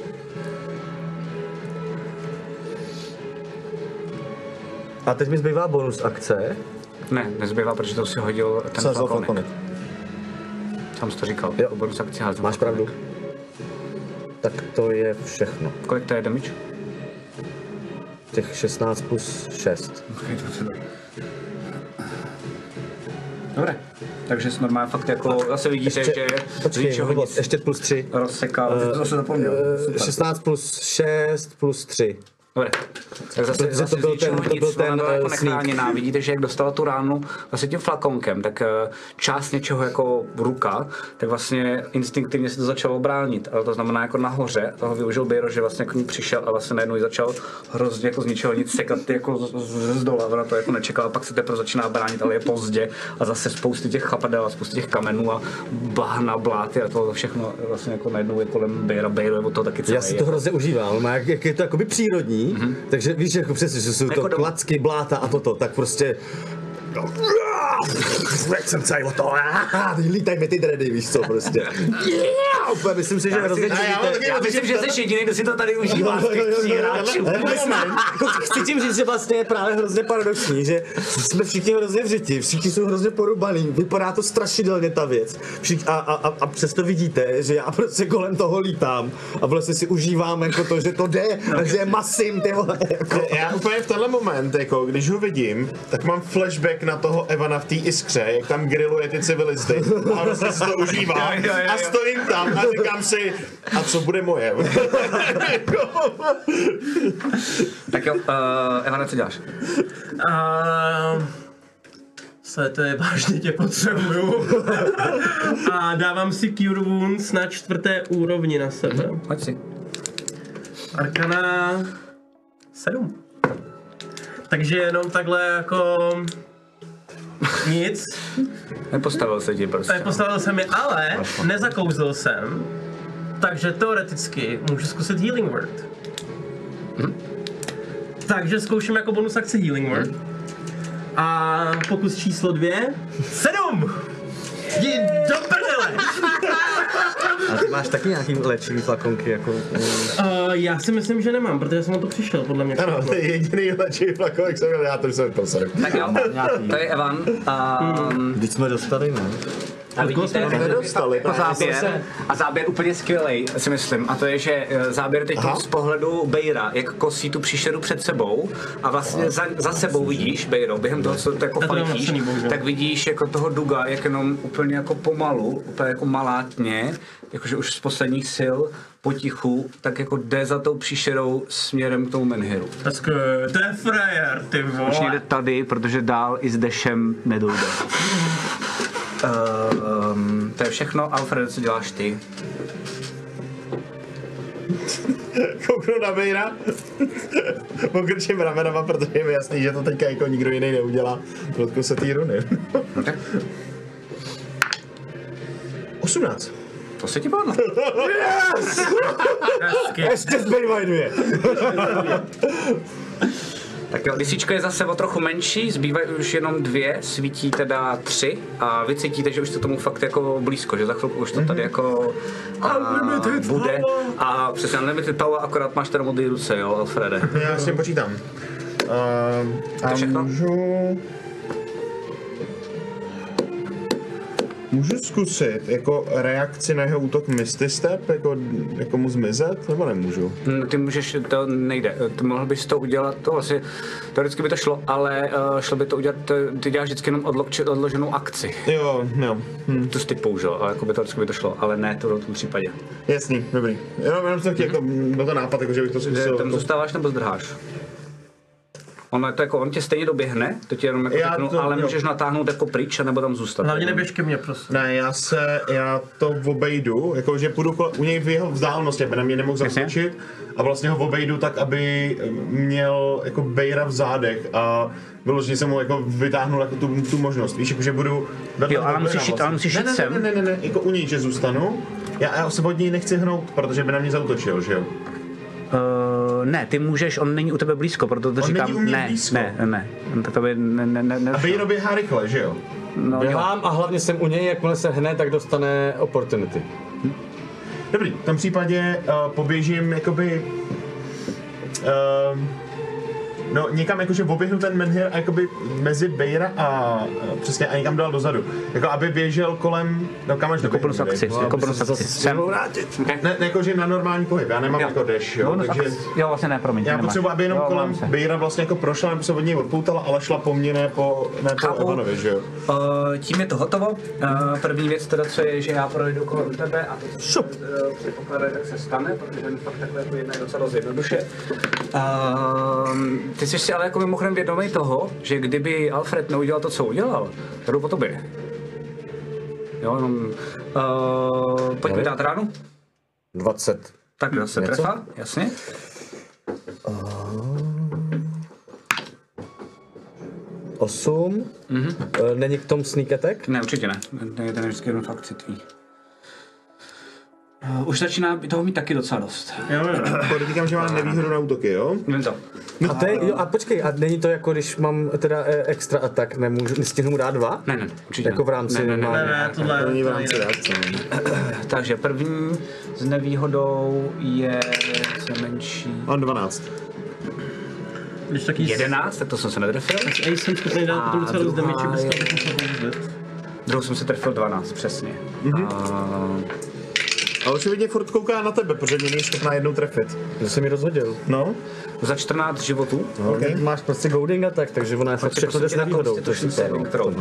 a teď mi zbývá bonus akce.
Ne, nezbývá, protože to si hodil ten
Sázal
falkonek.
flakonek.
Tam jsi to říkal.
Jo.
Jo. Bonus akci házím.
Máš pravdu. Tak to je všechno.
Kolik to je damage?
Těch 16 plus 6.
Dobré. Takže jsi normálně fakt jako, zase vidíte, že
počkej,
že ho
vůbec,
nic
ještě Eh, plus 3.
rozsekal.
To se zapomněl.
16 plus 6 plus 3.
Dobré. Tak zase,
Protože
zase to byl ten, to
byl
nic, ten,
ten,
ona byla
eh,
jako
sneak.
nechráněná. Vidíte, že jak dostala tu ránu vlastně tím flakonkem, tak eh, část něčeho jako ruka, tak vlastně instinktivně se to začalo bránit. Ale to znamená jako nahoře, toho využil Bejro, že vlastně k ní přišel a vlastně najednou ji začal hrozně jako z ničeho nic sekat ty jako z, z, z dola. Ona to jako nečekala, pak se teprve začíná bránit, ale je pozdě a zase spousty těch chapadel a spousty těch kamenů a bahna, bláty a to všechno vlastně jako najednou je kolem Bejra, Bejro je od toho taky celý.
Já si to hrozně užívám, má jak, jak je to jakoby přírodní, mm-hmm. takže víš, jako přesně, že jsou to
Jako doma.
klacky, bláta a toto, tak prostě... No, jak jsem celý o to, ah, lítaj mi ty dredy, víš co, prostě. Yeah, úplně, myslím si, že hrozně
taky
Já myslím, že jsi jediný, kdo si to tady užívá z těch tří hráčů.
Ale jako Chci tím říct, že vlastně je právě hrozně paradoxní, že jsme všichni hrozně vřiti, všichni jsou hrozně porubaný, vypadá to strašidelně ta věc. Všichni, a, a, a, a přesto vidíte, že já prostě kolem toho lítám a vlastně si užívám jako to, že to jde, a že je masím, ty vole, jako.
Já úplně v tenhle moment, jako, když ho vidím, tak mám flashback na toho Evana v té iskře, jak tam grilluje ty civilisty. A prostě si to užívám.
Jo, jo, jo.
A stojím tam a říkám si, a co bude moje?
Tak jo, uh, Evane, co děláš?
A... Se to je vážně tě potřebuju. a dávám si Cure Wounds na čtvrté úrovni na sebe.
Hoď si.
Arkana 7. Takže jenom takhle jako nic.
Nepostavil se ti prostě.
Tady postavil jsem je, ale nezakouzl jsem. Takže teoreticky můžu zkusit Healing Word. Takže zkouším jako bonus akci Healing Word. A pokus číslo dvě. Sedm! Jdi do prdele!
A ty máš taky nějaký léčivý flakonky, jako.
Uh, já si myslím, že nemám, protože jsem na to přišel, podle mě.
Ano, to je jediný lečivý flako, jak jsem měl, já to už jsem to jsem.
Hmm.
Tak jo, to je Evan. A,
Vždyť jsme dostali, ne?
A vidíte,
jsme nedostali,
jako
právě.
záběr, a záběr úplně skvělej, si myslím. A to je, že eh, záběr teď z pohledu Bejra, jak kosí tu příšeru před sebou a vlastně za, za sebou vidíš, Bejro, během toho, co to jako
Já to mám
fajtíš,
napsaný, bohužel.
tak vidíš jako toho Duga, jak jenom úplně jako pomalu, úplně jako malátně, jakože už z posledních sil, potichu, tak jako jde za tou příšerou směrem k tomu Menhiru.
Hezky, eh, to je frajer, ty
Už někde
vole.
tady, protože dál i s dešem nedojde. Uh, um, to je všechno. Alfred, co děláš ty?
Kouknu na Bejra, pokrčím ramenama, protože je mi jasný, že to teďka jako nikdo jiný neudělá. Protku se té runy.
No
18.
To se ti povedlo.
Hezky.
Ještě zbývají dvě.
Tak jo, lisička je zase o trochu menší, zbývají už jenom dvě, svítí teda tři a vy cítíte, že už jste tomu fakt jako blízko, že za chvilku už to tady jako a, bude. A přesně Unlimited Power, akorát máš teda modrý ruce, jo, Alfrede.
Já s tím počítám. Uh, a
Eh, To všechno?
můžu... Můžu zkusit jako reakci na jeho útok Misty Step, jako, jako mu zmizet, nebo nemůžu?
Mm, Ty můžeš, to nejde, ty mohl bys to udělat, to asi, teoreticky by to šlo, ale uh, šlo by to udělat, eh, ty děláš vždycky jenom odlo, či- odloženou akci.
Jo, jo. Hm.
Tu jsi ty použil, ale jako by teoreticky by to šlo, ale ne to v tom případě.
Jasný, dobrý. Jenom, jenom jsem chtěl, jako, byl to nápad, jako, že bych to
Že
zkusil.
tam
jako-
zůstáváš nebo zdrháš? Ono je to jako, on tě stejně doběhne, to ti jenom jako
Já
řeknu,
to-
ale
jo.
můžeš natáhnout jako pryč, nebo tam zůstat.
Hlavně neběž ke mně, prosím.
Ne, já se, já to obejdu, jakože půjdu kole, u něj v jeho vzdálenosti, aby na mě nemohl zaskočit a vlastně ho obejdu tak, aby měl jako bejra v zádech a vyloženě jsem mu jako vytáhnul jako tu, tu možnost, víš, jakože budu vedle
Jo, ale
toho bejra
musíš jít- ale musíš
ne,
jít
ne,
sem.
Ne, ne, ne, ne, jako u něj, že zůstanu, já, já se od něj nechci hnout, protože by na mě zautočil, že jo.
Uh, ne, ty můžeš, on není u tebe blízko, proto to
On
říkám,
není u mě
ne,
blízko.
ne, ne, ne, to by ne, ne, ne, ne
A bejro běhá rychle, že jo.
no, jo.
Dělám a hlavně jsem u něj, jakmile se hne, tak dostane opportunity.
Dobrý, v tom případě uh, poběžím jakoby... Uh, no někam jakože oběhnu ten menhir a jakoby mezi Bejra a uh, přesně a někam dál dozadu. Jako aby běžel kolem, no kam až do
bonus akci, jako bonus akci, sem,
Ne, ne jakože na normální pohyb, já nemám
Jo.
jako dash, jo,
bonus
takže...
akci, jo, vlastně ne, promiň,
Já
nemáš.
potřebuji, aby jenom
Jo,
kolem
omlouvám se.
Bejra vlastně jako prošla, nebo se od něj odpoutala, ale šla po mně, ne po, ne po
Chápu.
Evanovi, že jo.
Uh, tím je to hotovo. Uh, první věc teda, co je, že já projdu kolem tebe a to, co uh, předpokládá, tak se stane, protože mi fakt takhle jako jedná docela dost jednoduše. Uh, ty jsi si ale jako mimochodem vědomý toho, že kdyby Alfred neudělal to, co udělal, tak jdu po tobě. Jo, jenom... Uh, pojď mi dát ránu.
20.
Tak jo, se trefa, jasně.
Osm.
Mhm.
Mm-hmm. Není k tomu sneak attack?
Ne, určitě ne. To je ten vždycky jenom fakt citlivý. Uh, už začíná toho mít taky docela dost.
Jo, jo.
Podotýkám, že mám nevýhodu na útoky, jo.
Vím to.
A, to je, jo, a počkej, a není to jako, když mám teda eh, extra attack, nemůžu, nestihnu mu dát dva?
Ne, ne, určitě
Jako
ne.
v rámci
Ne, ne, ne,
Ne,
normálně.
ne, tohle
Není v
tohle
rámci
je-
reakce. no.
Takže první s nevýhodou je co je menší.
Mám 12.
Když taky
11, tak to jsem se netrefil.
Ej, jsem schopný dát potom docela dost
druhá
damage,
je-
bez toho bychom se použili.
Druhou jsem se trefil 12, přesně. Eh, A,
A očividně furt kouká na tebe, protože mě není schopná jednou trefit.
To jsem mi rozhodil.
No,
za 14 životů.
No, okay. Máš prostě golding attack, takže ona je fakt
Prostě
všechno jde s nevýhodou. To je super, no.
kterou.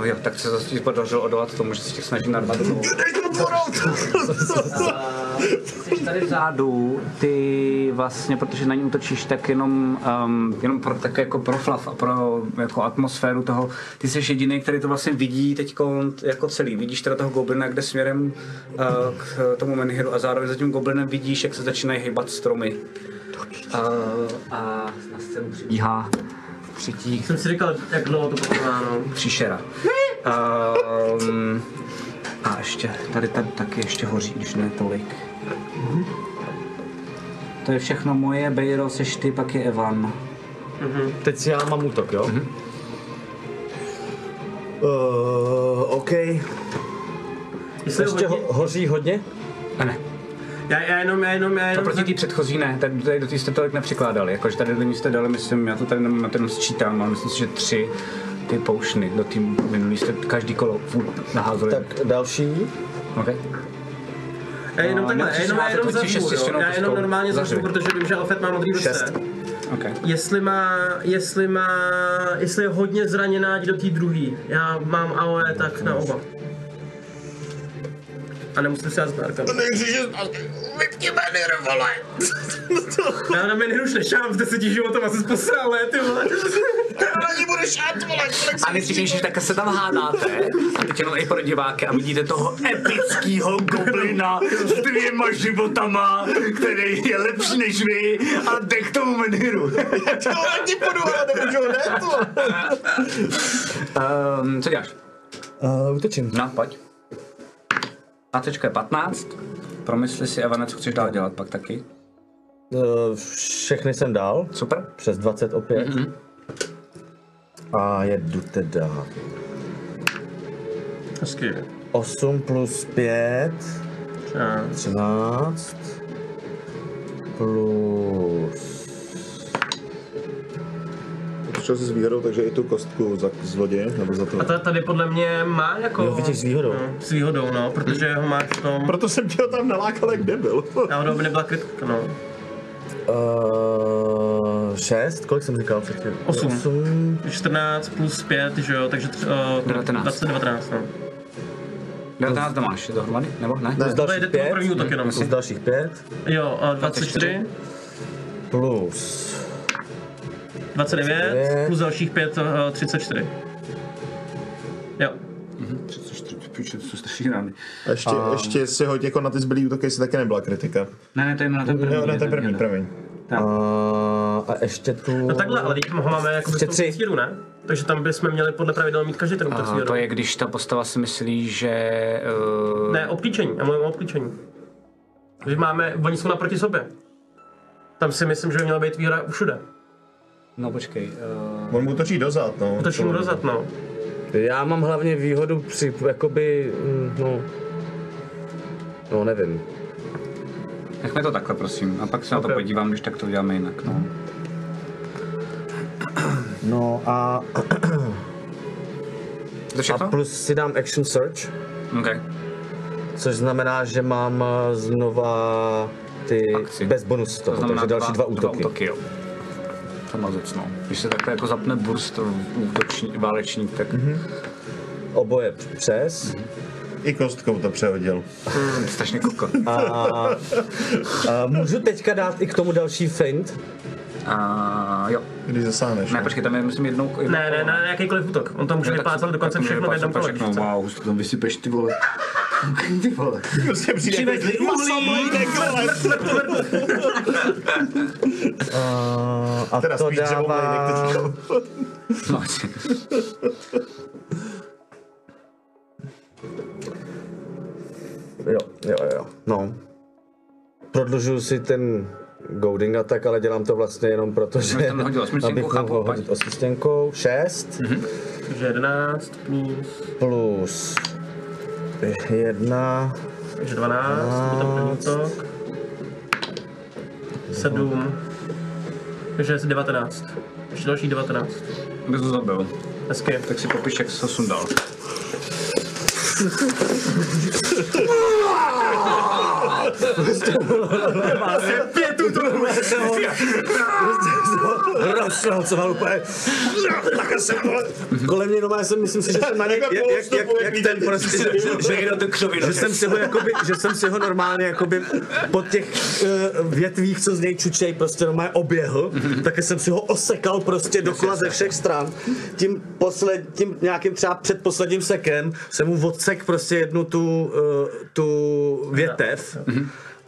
Uh, jo, tak se zase podařilo odolat tomu, že se těch snažím narvat. Jsi tady vzadu, ty vlastně, protože na ní útočíš, tak jenom, um, jenom pro, tak jako pro flav a pro jako atmosféru toho, ty jsi jediný, který to vlastně vidí teď jako celý. Vidíš teda toho goblina, kde směrem uh, k tomu menhiru a zároveň za tím goblinem vidíš, jak se začínají hýbat stromy. Uh, a na scénu přibíhá třetí
Jsem si říkal, jak dlouho to potrvá, no.
příšera. Um, a ještě, tady, tady taky ještě hoří, když ne tolik. To je všechno moje, Bejro, seš ty, pak je Evan.
Teď si já mám útok, jo?
Mhm.
Mm-hmm. Uh, OK.
Jestli
Eh, Ještě
hodně,
ho, hoří hodně?
A ne.
Já, já jenom, já jenom, já jenom...
Proti té předchozí ne, tady, tady do té jste tolik nepřikládali, jakože tady do ní jste dali, myslím, já to tady jenom, já to jenom sčítám, ale myslím si, že tři ty poušny do té minulý jste každý kolo furt naházeli. Tak.
Tak další.
Okay.
Já jenom
No,
takhle,
nemusíš házet,
já jenom, já jenom
to ti
zazvu,
šest
jo.
stěnou
Já jenom
pistol.
normálně zazvu,
Zařvi.
protože vím, že Alfred má modrý ruce.
Šest.
Okay.
Jestli má, jestli má, jestli je hodně zraněná, jdi do té druhý. Já mám AOE tak na oba. A nemusím si házet na arkanu. Já na mě neruš nešám, v deseti životem asi posral, ty vole.
A nesmíš, že takhle se tam hádáte. A teď jenom i pro diváky a vidíte toho epického goblina s dvěma životama, který je lepší než vy a jde k tomu menhiru. um, co děláš?
Uh, utočím.
No, pojď. AC je 15. Promysli si, Evane, co chceš dál dělat pak taky.
Eh, Všechny jsem dal.
Super.
Přes 20 opět. A jedu teda
Hezky.
8 plus 5, 13 plus...
Přišel jsi s výhodou, takže i tu kostku za zloděje, nebo za to.
A ta, tady podle mě má jako...
Jo, vidíš, s výhodou.
No, s výhodou, no, protože ho máš v tom...
Proto jsem tě ho tam nalákal, jak debil.
Náhodou by nebyla kritka, no.
Uh, 6, kolik jsem říkal předtím?
Osm.
8,
14 plus 5, že jo, takže tři, uh,
19.
20, 19, no.
19 máš dohromady, nebo ne?
plus
To
dalších
jde to
5,
první útok jenom.
plus dalších 5,
Jo, uh, 24,
plus
29,
29.
plus dalších 5, uh, 34. Jo.
34, píče, to jsou strašně rány.
A ještě, ještě si hoď jako na ty zbylý útoky, jestli taky nebyla kritika.
Ne, ne, to je na ten první.
Jo, na
je
ten první,
jeden.
promiň.
a, a ještě tu...
No takhle, ale teď ho máme jako
Ještě
bez
tři.
svíru, ne? Takže tam bychom měli podle pravidel mít každý ten útok
A
svíru.
to je, když ta postava si myslí, že... Uh,
Ne, obklíčení, já mluvím o obklíčení. Že máme, oni jsou naproti sobě. Tam si myslím, že by měla být výhra všude.
No počkej. Uh,
On mu točí dozad, no.
Otočím mu dozad, no.
Já mám hlavně výhodu při, jakoby, mm, no... No, nevím.
nechme to takhle, prosím. A pak se na to
Ok.
podívám, když tak to uděláme jinak. No.
No a,
To
a
všechno?
plus si dám action search,
Okay.
což znamená, že mám eh, znova ty
Akci.
bez bonus toho, takže další dva útoky.
Dva útoky jo. To má zecno. Když se takhle jako zapne burst útoční, válečník, tak mm-hmm.
Mhm. Oboje přes.
I kostkou to přehodil.
strašně koko.
A můžu teďka dát i k tomu další feint?
A jo.
Když zasáhneš. no.
Ne, počkej, tam je myslím jednou... jednou
Ne, ne, na jakýkoliv útok. On to může vyplácat dokonce všechno v jednom kole. když chce.
Wow, už to tam vysypeš ty vole. Ty vole.
Prostě přijde jako masoblídek,
A
Teda
to
spíš dává...
dává...
No, asi.
Jo, jo, jo. No. Prodlužuju si ten goading attack, ale dělám to vlastně jenom proto,
jsi
že
tam hodil osmičtěnkou,
abych
chápu,
mohl
fajn.
hodit osmičtěnkou. 6
Takže 11 plus,
plus 1,
takže 12, to byl ten první útok. 7, takže asi 19. Ještě další 19.
Bys to zabil.
Hezky.
Tak si popiš, jak jsi ho sundal.
rozslancoval úplně. Takhle se vole. Kolem mě doma, já jsem myslím si, že jsem na něj, jak, jak, jak, jak ten prostě, že, že, že, jsem si ho jakoby, že jsem si ho normálně jakoby po těch uh, větvích, co z něj čučej, prostě normálně oběhl, tak jsem si ho osekal prostě dokola ze všech stran. Tím, posled, tím nějakým třeba předposledním sekem jsem mu odsek prostě jednu tu, uh, tu větev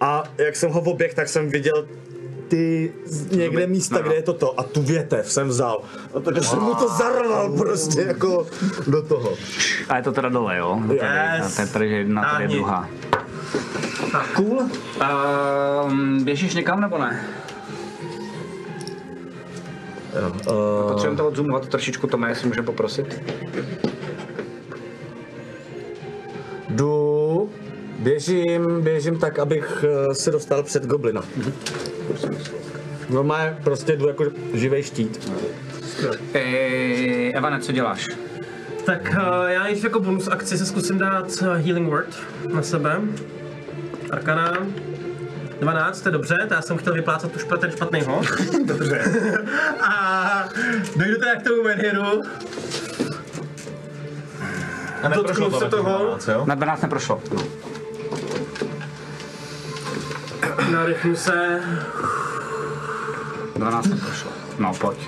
a jak jsem ho oběhl, tak jsem viděl ty z- někde místa,
no, no.
kde je toto a tu větev jsem vzal. A takže jsem mu to zarval prostě jako do toho.
A je to teda dole, jo?
Yes.
To je tady jedna, tady je
Táhni.
druhá.
Cool.
Um, běžíš někam nebo ne? Uh... Potřebujeme to odzumovat trošičku, Tome, jestli můžeme poprosit.
Jdu Běžím, běžím tak, abych eh, se dostal před goblina. No má prostě jdu jako živej štít.
Eee, Eh, Evane, co děláš?
Tak eh, já než jako bonus akci se zkusím dát eh, Healing Word na sebe. Arkana. 12, to je dobře, to já jsem chtěl vyplácat tu špat, ten špatný hod. dobře. a dojdu teda k tomu menhiru.
A
Dotknu se toho,
jo?
Na 12 neprošlo.
No,
nadechnu se.
12 neprošlo. No, pojď.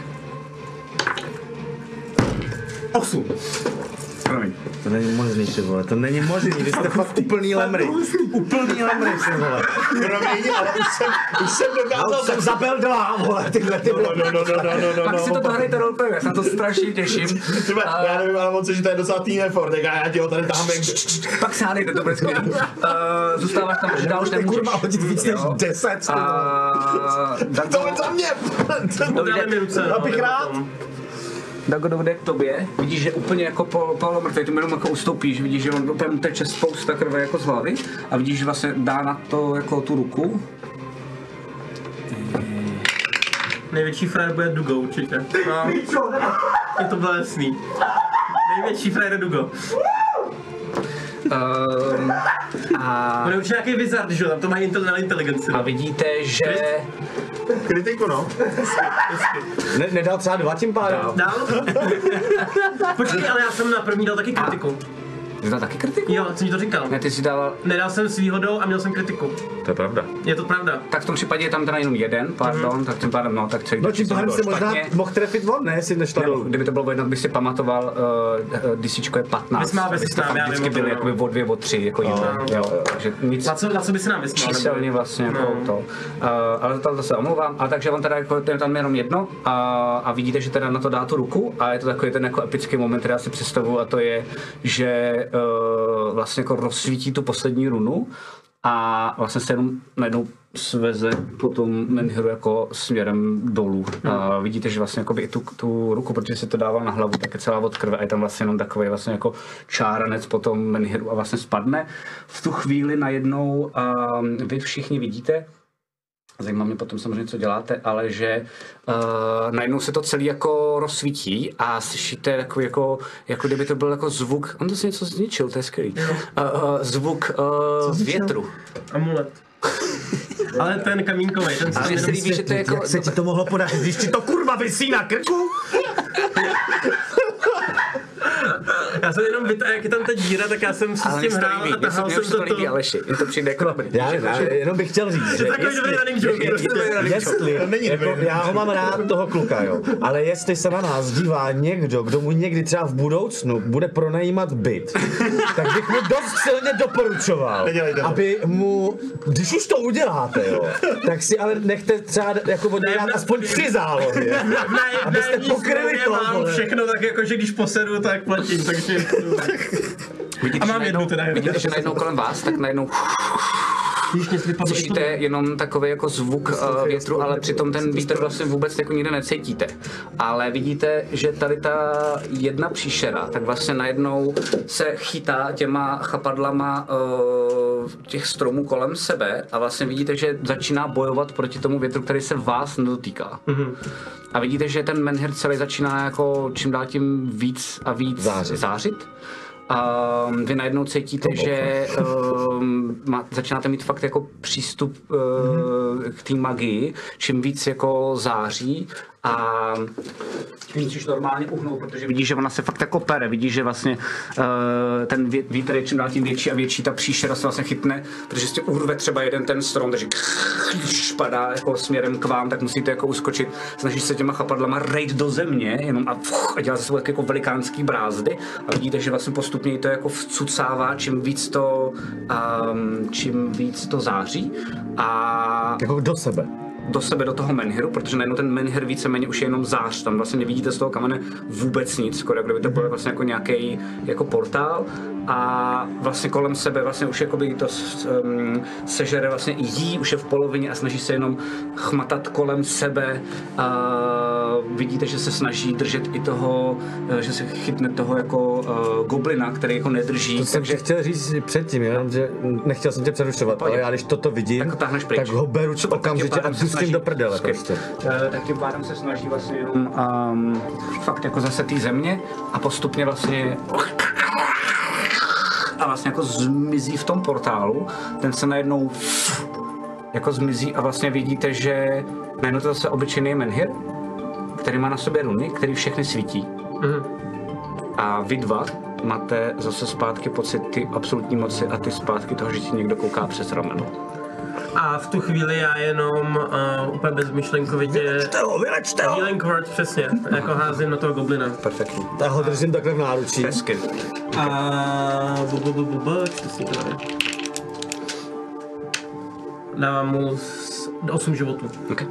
8.
Promiň.
To není možný, ty vole, to není možný, vy jste fakt úplný lemry. Úplný lemry, ty vole.
Promiň, ale už jsem, už jsem
Já
dokázal
už jsem zabil dva, vole, tyhle, ty vole.
No, no, no, no, no, no, no,
Pak si to
no,
dohrajte roleplay, já se na to strašně těším.
Třeba, já nevím, ale on se, že to je docela tým effort, tak já já ti ho tady tahám jak...
Pak se hádejte, to bude skvělé. Uh, zůstáváš tam, že dál už nemůžeš.
Kurva, hodit víc než
Jo.
10, ty vole.
A- tak
To je za mě!
Dáme mi ruce. no,
bych rád.
potom.
Dago dojde k tobě, vidíš, že úplně jako po, Paolo mrtvý, tu jenom jako ustoupíš, vidíš, že on tam teče spousta krve jako z hlavy a vidíš, že vlastně dá na to jako tu ruku.
Největší frajer bude Dugo určitě. No. Je to bylo jasný. Největší frajer je Dugo.
Ehm, a,
Bude určitě nějaký wizard, že jo, tam to mají intel na inteligenci.
a vidíte, že
Kritiku, no.
Ne, nedal třeba dva tím pádem?
Dál? Počkej, ale já jsem na první dal taky kritiku.
Jsi dal taky kritiku?
Jo, co mi to říkal.
Ne, ty jsi dal...
Nedal jsem s výhodou a měl jsem kritiku.
To je pravda.
Je to pravda.
Tak v tom případě je tam teda jenom jeden, pardon, tak tím pádem, no, tak celý
No
den
tím
jsem
pádem
byl
se možná
špatně.
mohl trefit on, ne, jestli nešla
Nebo,
dolů.
kdyby to bylo o jedno, bych si pamatoval, uh, disíčko je 15.
My jsme ale
abyste
vysnám, já
tam vždycky
vím
byli
No. o tom, no.
jakoby o dvě, o tři, jako jedno. Jo, jo, takže nic
Na co, na co by se nám vysmál?
číselně vlastně jako
No.
to. Uh, ale to se omlouvám. A takže on teda jako, je tam jenom jedno a, a, vidíte, že teda na to dá tu ruku a je to takový ten jako epický moment, který já si představuju a to je, že uh, vlastně jako rozsvítí tu poslední runu a vlastně se jenom najednou sveze potom menhiru jako směrem dolů.
Hmm.
A vidíte, že vlastně jakoby i tu, tu ruku, protože si to dával na hlavu, tak je celá od krve a je tam vlastně jenom takový vlastně jako čáranec potom menhiru a vlastně spadne. V tu chvíli najednou um, vy všichni vidíte, Zajímá mě potom samozřejmě, co děláte, ale že uh, najednou se to celý jako rozsvítí a slyšíte takový jako, jako kdyby to byl jako zvuk, on to si něco zničil, to je skvělý, uh, uh, zvuk uh, větru.
Amulet. Ale ten kamínkový, ten se
A mně se líbí, že to je jako...
Jak se ti to mohlo podařit, když ti to kurva vysí na krku?
Já jsem jenom vytáhl, jak je tam ta díra, tak já jsem si s
Ale mně
tím
se to
hrál
líbí,
a
mně se,
tahal
mně
jsem
už se to
to
líbí,
to.
Aleši, je to přijde jako dobrý.
Já, já jenom bych chtěl říct, že
Takový dobrý running joke.
jestli, jako, já ho mám rád toho kluka, jo, ale jestli se na nás dívá někdo, kdo mu někdy třeba v budoucnu bude pronajímat byt, tak bych mu dost silně doporučoval,
Nedělejte to.
aby mu, když už to uděláte, jo, tak si ale nechte třeba jako od něj dát aspoň tři zálohy. Abyste pokryli to,
mám
vole.
všechno tak jako, že když posedu, tak platím, takže...
Vidíte,
A
že
mám jednu
najednou-
teda, jenom.
Vidíte, že najednou kolem vás, tak najednou
Víš, mě slyšíte,
slyšíte jenom takový jako zvuk eh, větru, ale přitom ten vítr vlastně vůbec jako nikde necítíte. Ale vidíte, že tady ta jedna příšera, tak vlastně najednou se chytá těma chapadlama eh, těch stromů kolem sebe a vlastně vidíte, že začíná bojovat proti tomu větru, který se vás nedotýká. A vidíte, že ten menhir celý začíná jako čím dál tím víc a víc
Zářit.
zářit. A vy najednou cítíte, že um, má, začínáte mít fakt jako přístup uh, k té magii, čím víc jako září a tím musíš normálně uhnout, protože vidíš, že ona se fakt jako pere, vidíš, že vlastně uh, ten vě- vítr je čím dál tím větší a větší, ta příšera se vlastně chytne, protože si urve třeba jeden ten strom, takže padá jako směrem k vám, tak musíte jako uskočit, snažíš se těma chapadlama rejt do země, jenom a, fuch, a dělá se sebou taky jako velikánský brázdy a vidíte, že vlastně postupně ji to jako vcucává, čím víc to, um, čím víc to září a
Jako do sebe.
do sebe, do toho menhiru, protože najednou ten menhir víceméně už je jenom zář, tam vlastně nevidíte z toho kamene vůbec nic, skoro jako kdyby to byl vlastně jako nějaký jako portál a vlastně kolem sebe vlastně už jakoby to um, sežere vlastně i jí, už je v polovině a snaží se jenom chmatat kolem sebe a Uh, vidíte, že se snaží držet i toho, uh, že se chytne toho jako uh, goblina, který jako nedrží.
To jsem ti chtěl říct předtím, jenom, že nechtěl jsem tě přerušovat, ale já když toto vidím,
Tak ho táhneš pryč.
tak ho beru
Super, tak tě
okamžitě a
pádem se
pustím
snaží-
do prdele
Skvělý.
prostě.
Eh, tak tím pádem se snaží vlastně jenom um, fakt jako zase té země a postupně vlastně a vlastně jako zmizí v tom portálu, ten se najednou jako zmizí a vlastně vidíte, že najednou to je zase obyčejný menhir, který má na sobě runy, který všechny svítí. A vy dva máte zase zpátky pocit ty absolutní moci a ty zpátky toho, že ti někdo kouká přes rameno.
A v tu chvíli já jenom uh, úplně bezmyšlenkovitě... Vylečte ho, vylečte ho! Healing word, přesně. Jako házím na toho goblina.
Perfektní.
Já ho držím takhle v náručí.
Hezky.
A bu, bu, bu, bu, bu, čtu si to tady. Dávám mu 8 životů.
Okay.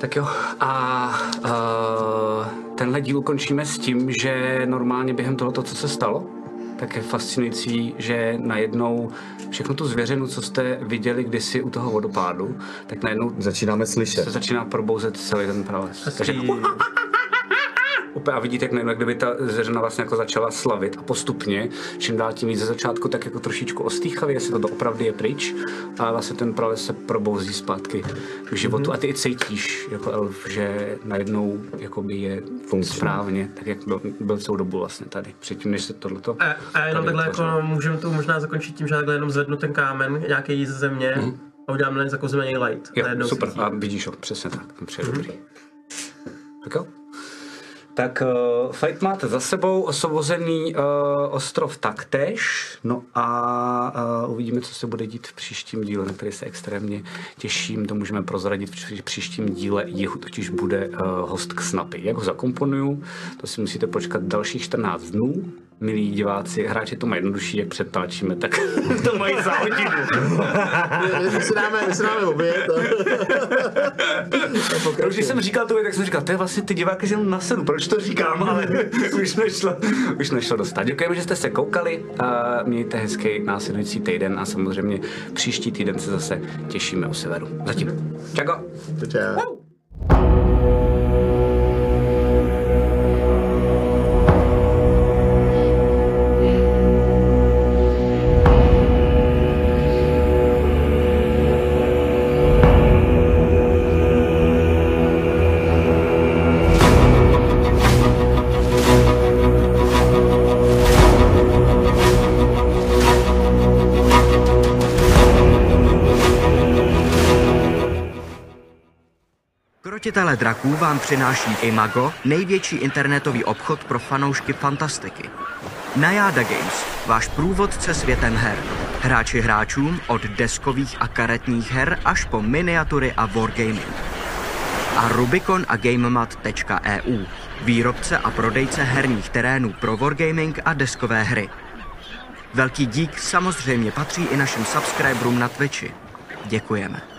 Tak jo, a uh, tenhle díl končíme s tím, že normálně během tohoto, co se stalo, tak je fascinující, že najednou všechno tu zvěřinu, co jste viděli kdysi u toho vodopádu, tak najednou
Začínáme
se
slyšet.
začíná probouzet celý ten prales. Takže úplně a vidíte, jak najednou, jak kdyby ta zvěřina vlastně jako začala slavit a postupně, čím dál tím víc ze začátku, tak jako trošičku ostýchavě, jestli to doopravdy je pryč, a vlastně ten prales se probouzí zpátky k životu a ty i cítíš jako elf, že najednou jakoby je
Funkční.
správně, tak jak byl, byl celou dobu vlastně tady, předtím, než se tohleto...
A, a jenom
tady
takhle
vytvořilo.
jako můžeme to možná zakončit tím, že já takhle jenom zvednu ten kámen, nějaký ze země a udělám na něj jako zmeněný light.
Mhm. Jo,
Najednou
super,
svítí.
a vidíš ho, přesně tak, ten přijde dobrý. Tak jo. Tak uh, fight máte za sebou, osvobozený uh, ostrov taktéž, no a uh, uvidíme, co se bude dít v příštím díle, na který se extrémně těším, to můžeme prozradit v při- příštím díle, jihu totiž bude uh, host k snapy. Jak ho zakomponuju, to si musíte počkat dalších 14 dnů, milí diváci, hráči to mají jednodušší, jak přetáčíme, tak to mají za hodinu.
My- My si dáme, my si dáme oběd a,
Proč když jsem říkal to, tak jsem říkal, to je vlastně ty diváky jsem na sedu, proč to říkám, ale už nešlo, už nešlo dostat. Děkujeme, že jste se koukali, a mějte hezký následující týden a samozřejmě příští týden se zase těšíme u severu. Zatím. Čako.
čau.
Krotitele draků vám přináší Imago, největší internetový obchod pro fanoušky fantastiky. Najada Games, váš průvodce světem her. Hráči hráčům od deskových a karetních her až po miniatury a wargaming. A Rubicon a GameMat.eu, výrobce a prodejce herních terénů pro wargaming a deskové hry. Velký dík samozřejmě patří i našim subscriberům na Twitchi. Děkujeme.